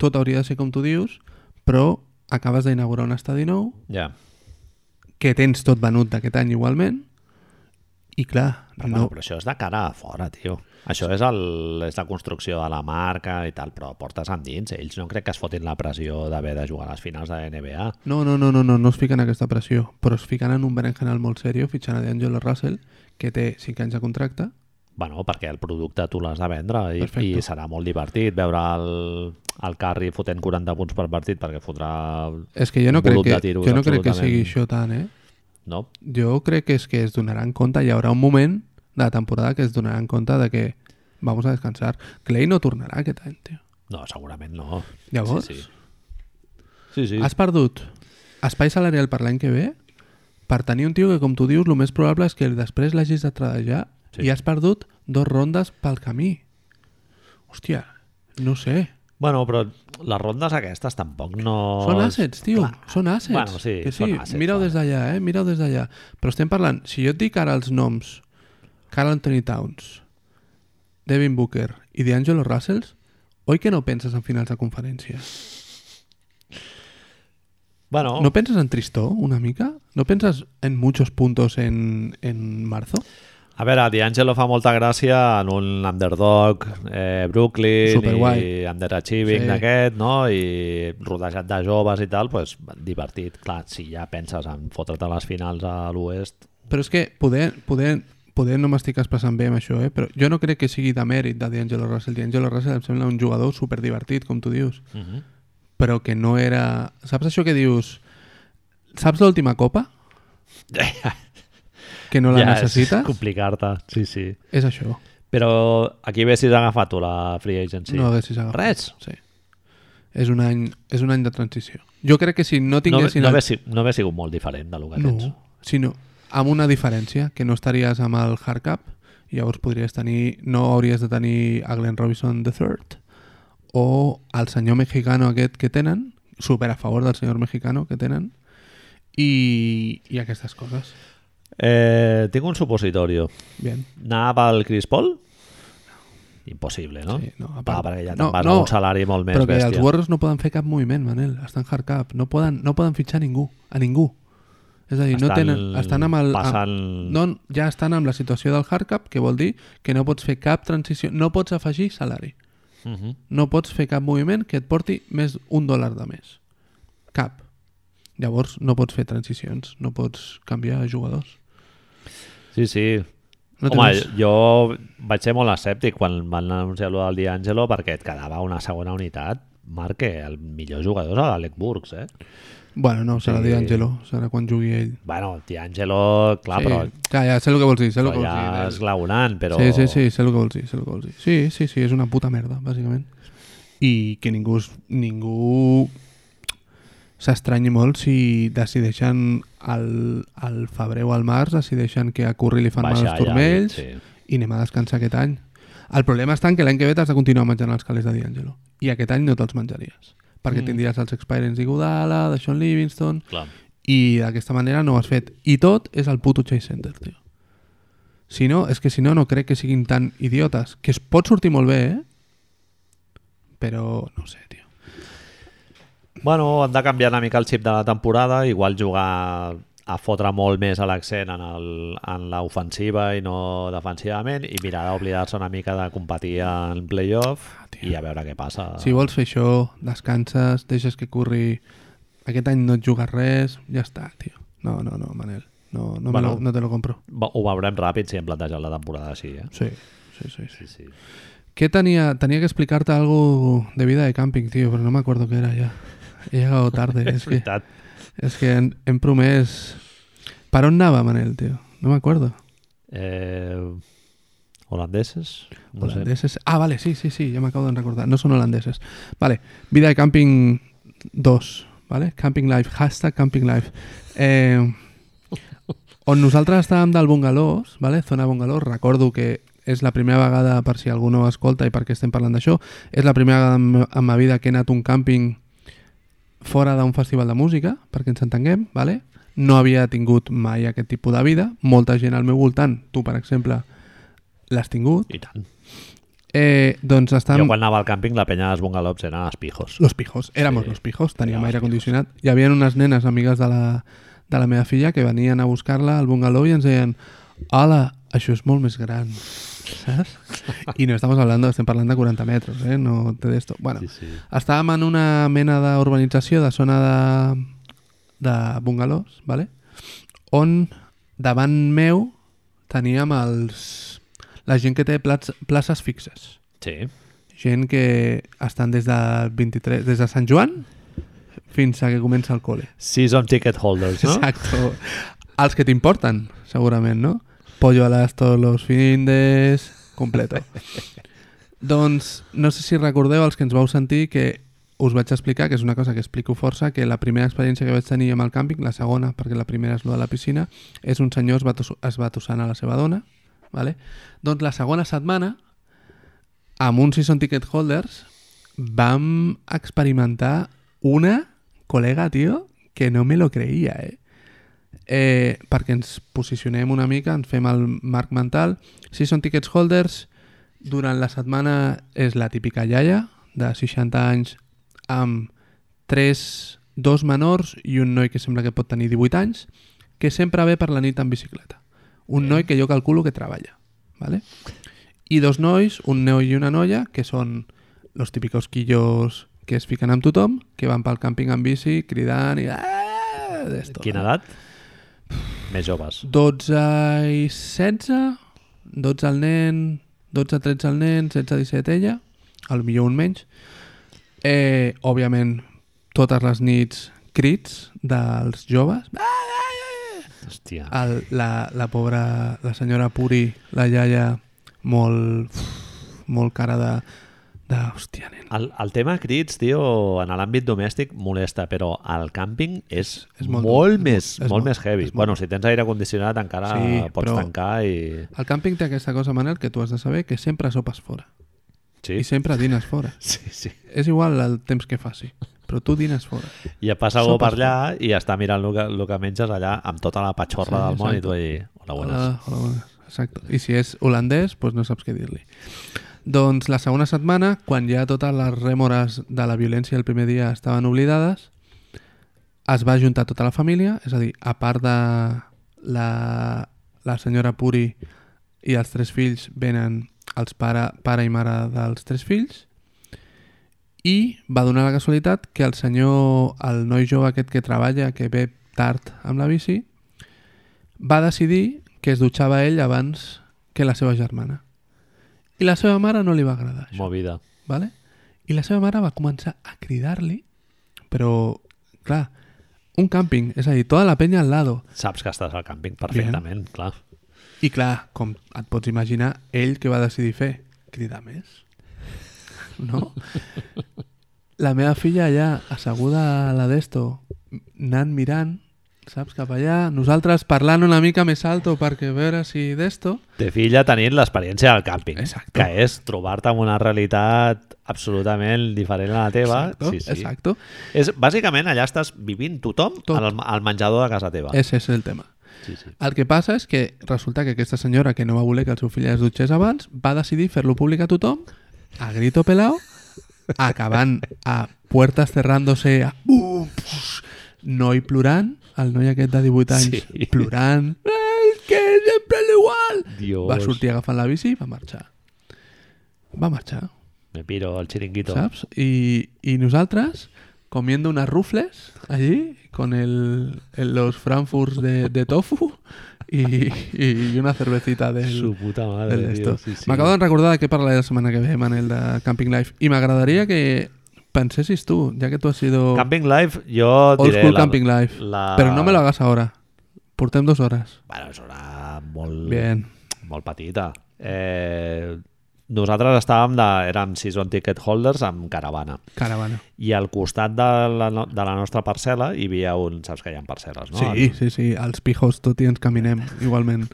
Speaker 2: tot hauria de ser com tu dius, però acabes d'inaugurar un estadi nou,
Speaker 1: Ja,
Speaker 2: que tens tot venut d'aquest any igualment, I clar,
Speaker 1: Però,
Speaker 2: no,
Speaker 1: bueno, però això és de cara a fora, tio. Això és, el, és la construcció de la marca i tal, però portes endins. Ells no crec que es fotin la pressió d'haver de jugar a les finals de la NBA.
Speaker 2: No, no, no, no, no, no es fiquen aquesta pressió, però es fiquen en un berenjenal molt seriós fitxant a D'Angelo Russell, que té 5 anys de contracte.
Speaker 1: Bueno, perquè el producte tu l'has de vendre i,
Speaker 2: Perfecte.
Speaker 1: i serà molt divertit veure el, el Carri fotent 40 punts per partit perquè fotrà...
Speaker 2: És que jo no
Speaker 1: Un volum
Speaker 2: crec que,
Speaker 1: de tiros,
Speaker 2: jo no crec que sigui
Speaker 1: absolutament.
Speaker 2: això tant, eh?
Speaker 1: No?
Speaker 2: Jo crec que és que es donaran compte, hi haurà un moment de la temporada que es donaran compte de que vamos a descansar. Clay no tornarà aquest any, tio.
Speaker 1: No, segurament no.
Speaker 2: Llavors?
Speaker 1: Sí, sí. Sí, sí.
Speaker 2: Has perdut espai salarial per l'any que ve per tenir un tio que, com tu dius, el més probable és que després l'hagis de treballar
Speaker 1: Sí.
Speaker 2: sí. i has perdut dos rondes pel camí. Hòstia, no sé.
Speaker 1: Bueno, però les rondes aquestes tampoc no...
Speaker 2: Són assets, tio,
Speaker 1: Doncs, Clar.
Speaker 2: són assets.
Speaker 1: Bueno, sí,
Speaker 2: que sí.
Speaker 1: són assets,
Speaker 2: Mira-ho
Speaker 1: vale.
Speaker 2: des d'allà, eh? Mira-ho des d'allà. Però estem parlant, si jo et dic ara els noms, Carl Anthony Towns, Devin Booker i D'Angelo Russells, oi que no penses en finals de conferència?
Speaker 1: Bueno,
Speaker 2: ¿No piensas en Tristó una mica? ¿No piensas en muchos puntos en, en marzo?
Speaker 1: A veure, D'Angelo fa molta gràcia en un underdog, eh, Brooklyn
Speaker 2: Superguai.
Speaker 1: i underachieving
Speaker 2: Sí.
Speaker 1: sí. d'aquest, no? I rodejat de joves i tal, pues, divertit. Clar, si ja penses en fotre't a les finals a l'oest...
Speaker 2: Però és que poder, poder, poder no m'estic expressant bé amb això, eh? però jo no crec que sigui de mèrit de D'Angelo Russell. D'Angelo Russell em sembla un jugador superdivertit, com tu dius,
Speaker 1: Uh -huh.
Speaker 2: però que no era... Saps això que dius... Saps l'última copa? Que no la
Speaker 1: ja
Speaker 2: necessites?
Speaker 1: és complicar-te, sí, sí.
Speaker 2: És això.
Speaker 1: Però aquí ve si has agafat tu la free agency.
Speaker 2: No haguessis agafat.
Speaker 1: Res.
Speaker 2: Sí. És un, any, és un any de transició. Jo crec que si no
Speaker 1: No, ve-
Speaker 2: tinguessin...
Speaker 1: no,
Speaker 2: el-
Speaker 1: ve, si- no ve sigut molt diferent del que tens.
Speaker 2: No, sinó amb una diferència, que no estaries amb el hardcap, i llavors podries tenir, no hauries de tenir a Glenn Robinson III, o el senyor mexicano aquest que tenen, super a favor del senyor mexicano que tenen, i, i aquestes coses.
Speaker 1: Eh, tinc un supositorio.
Speaker 2: Bien.
Speaker 1: Anar pel Chris Paul? Impossible, no?
Speaker 2: Sí, Eh, no, a
Speaker 1: Ah. Va,
Speaker 2: part-
Speaker 1: perquè ja
Speaker 2: no,
Speaker 1: te'n vas
Speaker 2: no,
Speaker 1: a un salari molt més
Speaker 2: Però que els
Speaker 1: bèstia.
Speaker 2: Warriors no poden fer cap moviment, Manel. Estan hardcap. No poden, no poden fitxar ningú. A ningú. És a dir, no
Speaker 1: Estan
Speaker 2: tenen, estan amb el...
Speaker 1: passant-
Speaker 2: Amb, no, ja estan amb la situació del hardcap, que vol dir que no pots fer cap transició, no pots afegir salari.
Speaker 1: Mhm.
Speaker 2: No pots fer cap moviment que et porti més un dòlar de més. Cap. Llavors no pots fer transicions, no pots canviar jugadors.
Speaker 1: Sí, sí.
Speaker 2: No
Speaker 1: Home,
Speaker 2: tens-
Speaker 1: jo vaig ser molt escèptic quan van anunciar lo del D'Angelo perquè et quedava una segona unitat. Marc, que el millor jugador és l'Alec Burks, eh?
Speaker 2: Bueno, no, serà
Speaker 1: Sí.
Speaker 2: sí. D'Angelo, serà quan jugui ell.
Speaker 1: Bueno, D'Angelo, clar,
Speaker 2: sí.
Speaker 1: però,
Speaker 2: Ja, ja, sé el que vols dir, sé el
Speaker 1: però
Speaker 2: que vols
Speaker 1: ja
Speaker 2: dir.
Speaker 1: és glaonant, però...
Speaker 2: Sí, sí, sí, sé el que vols dir, sé el que vols dir. Sí, sí, sí, és una puta merda, bàsicament. I que ningú, es- ningú s'estranyi molt si decideixen al, al febrer o al març decideixen que a Curry li fan mal
Speaker 1: Baixar
Speaker 2: els
Speaker 1: ja,
Speaker 2: turmells
Speaker 1: sí.
Speaker 2: i anem a descansar aquest any. El problema està en que l'any que ve t'has de continuar menjant els calés de D'Angelo i aquest any no te'ls menjaries perquè mm. tindries els expirants d'Iguodala, de Sean Livingston
Speaker 1: Clar.
Speaker 2: i d'aquesta manera no ho has fet. I tot és el puto Chase Center, tio. Si no, és que si no, no crec que siguin tan idiotes. Que es pot sortir molt bé, eh? Però no ho sé, tio.
Speaker 1: Bueno, han de canviar una mica el xip de la temporada, igual jugar a fotre molt més a l'accent en el- en l'ofensiva i no defensivament i mirar d'oblidar-se una mica de competir en playoff
Speaker 2: Ah, tio.
Speaker 1: i a veure què passa.
Speaker 2: Si vols fer això, descanses, deixes que curri... Aquest any no et jugues res, ja està, tio. No, no, no, Manel. No, no, bueno.
Speaker 1: Bueno.
Speaker 2: lo, no te lo compro.
Speaker 1: Va- Ho veurem ràpid si hem plantejat la temporada així, eh?
Speaker 2: Sí, sí, sí.
Speaker 1: Sí,
Speaker 2: sí.
Speaker 1: sí.
Speaker 2: Què tenia? Tenia que explicarte algo de vida de camping, tío, pero no me acuerdo qué era ya. He llegado tarde. es que...
Speaker 1: Veritat.
Speaker 2: Es que en, en promès... Per on anava, Manel, tio? No me acuerdo.
Speaker 1: Eh, holandeses? No sé.
Speaker 2: Holandeses... Ah, vale, sí, sí, sí, ya me acabo de recordar. No son holandeses. Vale, vida de camping 2, vale? Camping Life, hashtag Camping Life. Eh, on nosaltres estàvem del Bungalós, vale? zona Bungalós, recordo que és la primera vegada, per si algú no escolta i perquè estem parlant d'això, és la primera vegada en, en ma vida que he anat a un càmping fora d'un festival de música, perquè ens entenguem, vale? no havia tingut mai aquest tipus de vida, molta gent al meu voltant, tu per exemple, l'has tingut,
Speaker 1: I tant.
Speaker 2: Eh, doncs
Speaker 1: Jo
Speaker 2: estàvem...
Speaker 1: quan anava al càmping la penya dels bungalows eren els pijos.
Speaker 2: Los pijos, éramos
Speaker 1: Sí.
Speaker 2: los pijos, teníem
Speaker 1: Éramos
Speaker 2: aire
Speaker 1: pijos.
Speaker 2: acondicionat. Hi havia unes nenes amigues de la, de la meva filla que venien a buscar-la al bungalow i ens deien hola, això és molt més gran, saps? I no estamos hablando, estem parlant de 40 metros, eh? No té d'esto. Bueno,
Speaker 1: Sí, sí.
Speaker 2: Estàvem en una mena d'urbanització de zona de, de bungalows, ¿vale? on davant meu teníem els, la gent que té plats, places fixes.
Speaker 1: Sí.
Speaker 2: Gent que estan des de, 23, des de Sant Joan fins a que comença el col·le.
Speaker 1: Season ticket holders, no?
Speaker 2: Exacto. Els que t'importen, segurament, no? Pollo al as todos los findes... Completo. doncs, no sé si recordeu els que ens vau sentir que us vaig explicar, que és una cosa que explico força, que la primera experiència que vaig tenir amb el càmping, la segona, perquè la primera és la de la piscina, és un senyor es va, tos- es va tossant a la seva dona, vale? doncs la segona setmana, amb un season ticket holders, vam experimentar una col·lega, tio, que no me lo creia, eh? eh, perquè ens posicionem una mica, ens fem el marc mental. Si són tickets holders, durant la setmana és la típica iaia de 60 anys amb tres, dos menors i un noi que sembla que pot tenir 18 anys, que sempre ve per la nit en bicicleta. Un noi que jo calculo que treballa. ¿vale? I dos nois, un noi i una noia, que són los típicos quillos que es fiquen amb tothom, que van pel càmping en bici cridant i... Ah, d'esto,
Speaker 1: Quina
Speaker 2: no?
Speaker 1: edat? Més joves.
Speaker 2: 12 i 16, 12 al nen, 12, 13 al nen, 16, 17 ella, al millor un menys. Eh, òbviament, totes les nits crits dels joves.
Speaker 1: Hòstia.
Speaker 2: El, la, la pobra, la senyora Puri, la iaia, molt, molt cara de, de hòstia, nen.
Speaker 1: El, el tema crits, tio, en l'àmbit domèstic molesta, però al càmping és,
Speaker 2: És
Speaker 1: és molt,
Speaker 2: molt
Speaker 1: molt
Speaker 2: dur,
Speaker 1: més,
Speaker 2: és molt- és
Speaker 1: molt,
Speaker 2: molt-
Speaker 1: més heavy.
Speaker 2: és molt
Speaker 1: Bueno, si tens aire condicionat encara sí,
Speaker 2: Sí,
Speaker 1: pots
Speaker 2: però-
Speaker 1: tancar i...
Speaker 2: El càmping té aquesta cosa, Manel, que tu has de saber, que sempre sopes fora.
Speaker 1: Sí,
Speaker 2: I sempre dines fora.
Speaker 1: sí, sí.
Speaker 2: És igual el temps que faci, però tu dines fora.
Speaker 1: I et passa algú
Speaker 2: Sopes
Speaker 1: per allà i està mirant el que, el que menges allà amb tota la patxorra
Speaker 2: Sí,
Speaker 1: sí, del món i tu allà, hola,
Speaker 2: exacte. Ah.
Speaker 1: bones.
Speaker 2: Hola, hola, bones. Exacte. I si és holandès, doncs no saps què dir-li. Doncs la segona setmana, quan ja totes les rèmores de la violència del primer dia estaven oblidades, es va juntar tota la família, és a dir, a part de la, la senyora Puri i els tres fills, venen els pare, pare i mare dels tres fills, i va donar la casualitat que el senyor, el noi jove aquest que treballa, que ve tard amb la bici, va decidir que es dutxava ell abans que la seva germana. I la seva mare no li va agradar això,
Speaker 1: Movida.
Speaker 2: vale? I la seva mare va començar a cridar-li, però, clar, un càmping, és a dir, tota la penya al lado.
Speaker 1: Saps que estàs al càmping perfectament, Bien. clar.
Speaker 2: I clar, com et pots imaginar, ell que va decidir fer? Cridar més? No? La meva filla allà, asseguda a la d'esto, anant mirant, saps, cap allà, nosaltres parlant una mica més alto perquè a veure si d'esto...
Speaker 1: Té filla tenint l'experiència del càmping,
Speaker 2: Exacte.
Speaker 1: que és trobar-te amb una realitat absolutament diferent a la teva.
Speaker 2: Exacto,
Speaker 1: sí, sí.
Speaker 2: exacto.
Speaker 1: És, bàsicament, allà estàs vivint tothom
Speaker 2: Tot.
Speaker 1: al, al menjador de casa teva.
Speaker 2: Ese és el tema.
Speaker 1: Sí, sí.
Speaker 2: El que passa és que resulta que aquesta senyora que no va voler que el seu fill es dutxés abans va decidir fer-lo públic a tothom, a grito pelao, acabant a puertas cerrándose, a bum, pus, noi plorant, el noi aquest de 18 anys
Speaker 1: Sí.
Speaker 2: plorant, "Eh, és que és sempre l'igual!
Speaker 1: Dios,
Speaker 2: Va sortir agafant la bici i va marxar. Va marxar.
Speaker 1: me piro el chiringuito.
Speaker 2: ¿Saps? Y, y nosotras comiendo unas rufles allí con el, el- los frankfurts de, de tofu y, y una cervecita del,
Speaker 1: Su puta madre, tio.
Speaker 2: del esto.
Speaker 1: Sí, sí.
Speaker 2: M'acabo de recordar de què parlaré la setmana que ve, Manel, de Camping Life. I m'agradaria que pensessis tu, ja que tu has sido
Speaker 1: Camping Life, jo et
Speaker 2: old
Speaker 1: diré...
Speaker 2: school
Speaker 1: la-
Speaker 2: Camping Life.
Speaker 1: la-
Speaker 2: Però no me lo hagas ahora. Portem dos hores.
Speaker 1: Bueno, és una molt,
Speaker 2: Bien.
Speaker 1: molt petita. Eh, nosaltres estàvem de, érem season ticket holders amb caravana.
Speaker 2: Caravana.
Speaker 1: I al costat de la, no, de la nostra parcel·la hi havia un... Saps que hi ha parcel·les, no?
Speaker 2: sí, sí, sí. Els pijos tot i ens caminem, igualment.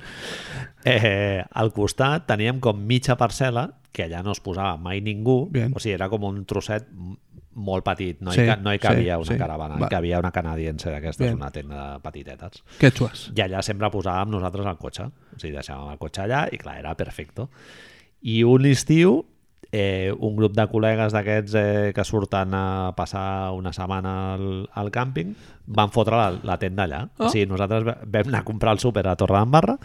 Speaker 1: Eh, al costat teníem com mitja parcel·la que allà no es posava mai ningú,
Speaker 2: Bien.
Speaker 1: o sigui, era com un trosset m- molt petit, no hi,
Speaker 2: Sí,
Speaker 1: sí, ca no hi
Speaker 2: sí,
Speaker 1: cabia una
Speaker 2: sí.
Speaker 1: caravana,
Speaker 2: Va.
Speaker 1: hi cabia una canadiense d'aquestes,
Speaker 2: Bien.
Speaker 1: una tenda de petitetes.
Speaker 2: Quechuas.
Speaker 1: I allà sempre posàvem nosaltres el cotxe, o sigui, deixàvem el cotxe allà i clar, era perfecto. I un estiu, eh, un grup de col·legues d'aquests eh, que surten a passar una setmana al, al càmping, van fotre la, la tenda allà.
Speaker 2: Ah.
Speaker 1: O sigui, nosaltres va- vam anar a comprar el súper a Torredembarra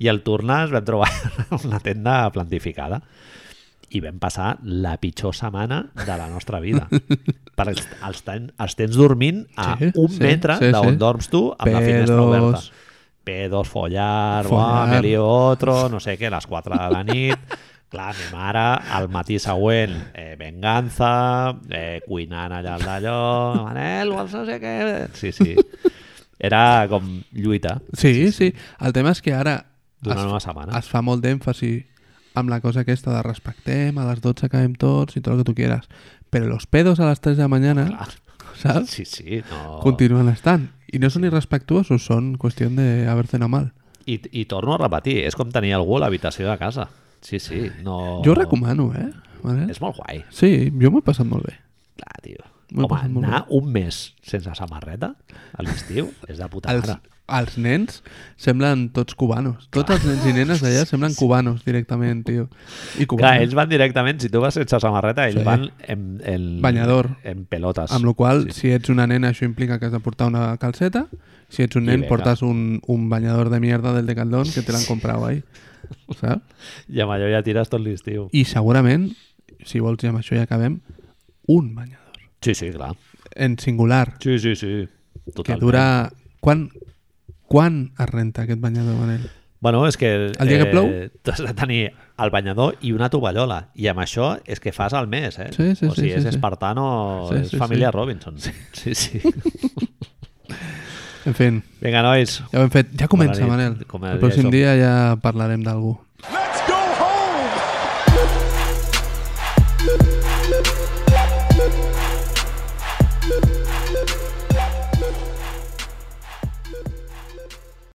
Speaker 1: I al tornar ens vam trobar una tenda plantificada i vam passar la pitjor setmana de la nostra vida. per els, els, ten, els tens dormint a sí,
Speaker 2: Sí,
Speaker 1: un
Speaker 2: sí,
Speaker 1: metre
Speaker 2: sí,
Speaker 1: d'on
Speaker 2: sí.
Speaker 1: dorms tu amb la finestra
Speaker 2: Pedos.
Speaker 1: oberta. Pedos, follar, follar.
Speaker 2: Follar.
Speaker 1: Melio otro, no sé què, a les 4 de la nit. Clar, mi mare, al matí següent, eh, venganza, eh, cuinant allà al d'allò, Manel, vols no sé què... Sí, sí. Era com lluita
Speaker 2: Sí, sí. El tema és que ara es,
Speaker 1: durant una setmana.
Speaker 2: es fa molt d'èmfasi amb la cosa aquesta de respectem, a les 12 acabem tots i tot el que tu quieras. Però los pedos a les 3 de la mañana,
Speaker 1: Clar.
Speaker 2: saps?
Speaker 1: Sí, Oh. sí, no...
Speaker 2: Continuen estant. I no són irrespectuosos, són qüestió d'haver cenat mal.
Speaker 1: I, I torno a repetir, és com tenir algú a l'habitació de casa. Sí, sí, no...
Speaker 2: Jo ho recomano, eh? Manel?
Speaker 1: És molt guai.
Speaker 2: Sí, jo m'ho he passat molt bé.
Speaker 1: Clar, tio.
Speaker 2: M'ho he
Speaker 1: Home,
Speaker 2: passat molt
Speaker 1: anar un mes sense samarreta a l'estiu és de puta
Speaker 2: Els,
Speaker 1: mare.
Speaker 2: els nens semblen tots cubanos. Tots els nens i nenes d'allà semblen cubanos directament, tio. I
Speaker 1: Clar,
Speaker 2: cubanos.
Speaker 1: ells van directament, si tu vas sense samarreta, ells
Speaker 2: Sí.
Speaker 1: sí. van en, en,
Speaker 2: Banyador.
Speaker 1: en pelotes.
Speaker 2: Amb la qual cosa, si ets una nena, això implica que has de portar una calceta. Si ets un nen,
Speaker 1: beca.
Speaker 2: portes un, un banyador de mierda del Decathlon que te l'han comprat ahí. Saps?
Speaker 1: I amb allò ja tires tot l'estiu.
Speaker 2: I segurament, si vols, i amb això ja acabem, un banyador.
Speaker 1: Sí, sí, clar.
Speaker 2: En singular.
Speaker 1: Sí, sí, sí.
Speaker 2: Que
Speaker 1: Totalment.
Speaker 2: dura... Quan, quan es renta aquest banyador, Manel?
Speaker 1: Bueno, és que... eh,
Speaker 2: El dia que plou?
Speaker 1: T'has de tenir el banyador i una tovallola. I amb això és que fas al mes, eh?
Speaker 2: Sí, sí,
Speaker 1: o sigui,
Speaker 2: sí,
Speaker 1: és
Speaker 2: sí, sí.
Speaker 1: espartano,
Speaker 2: Sí,
Speaker 1: és
Speaker 2: sí,
Speaker 1: família
Speaker 2: sí.
Speaker 1: Robinson. Sí, sí.
Speaker 2: En fi,
Speaker 1: Vinga, nois.
Speaker 2: ja ho hem fet. Ja comença,
Speaker 1: Bona nit.
Speaker 2: Manel.
Speaker 1: Com a
Speaker 2: El
Speaker 1: dia
Speaker 2: pròxim
Speaker 1: som.
Speaker 2: dia ja parlarem d'algú.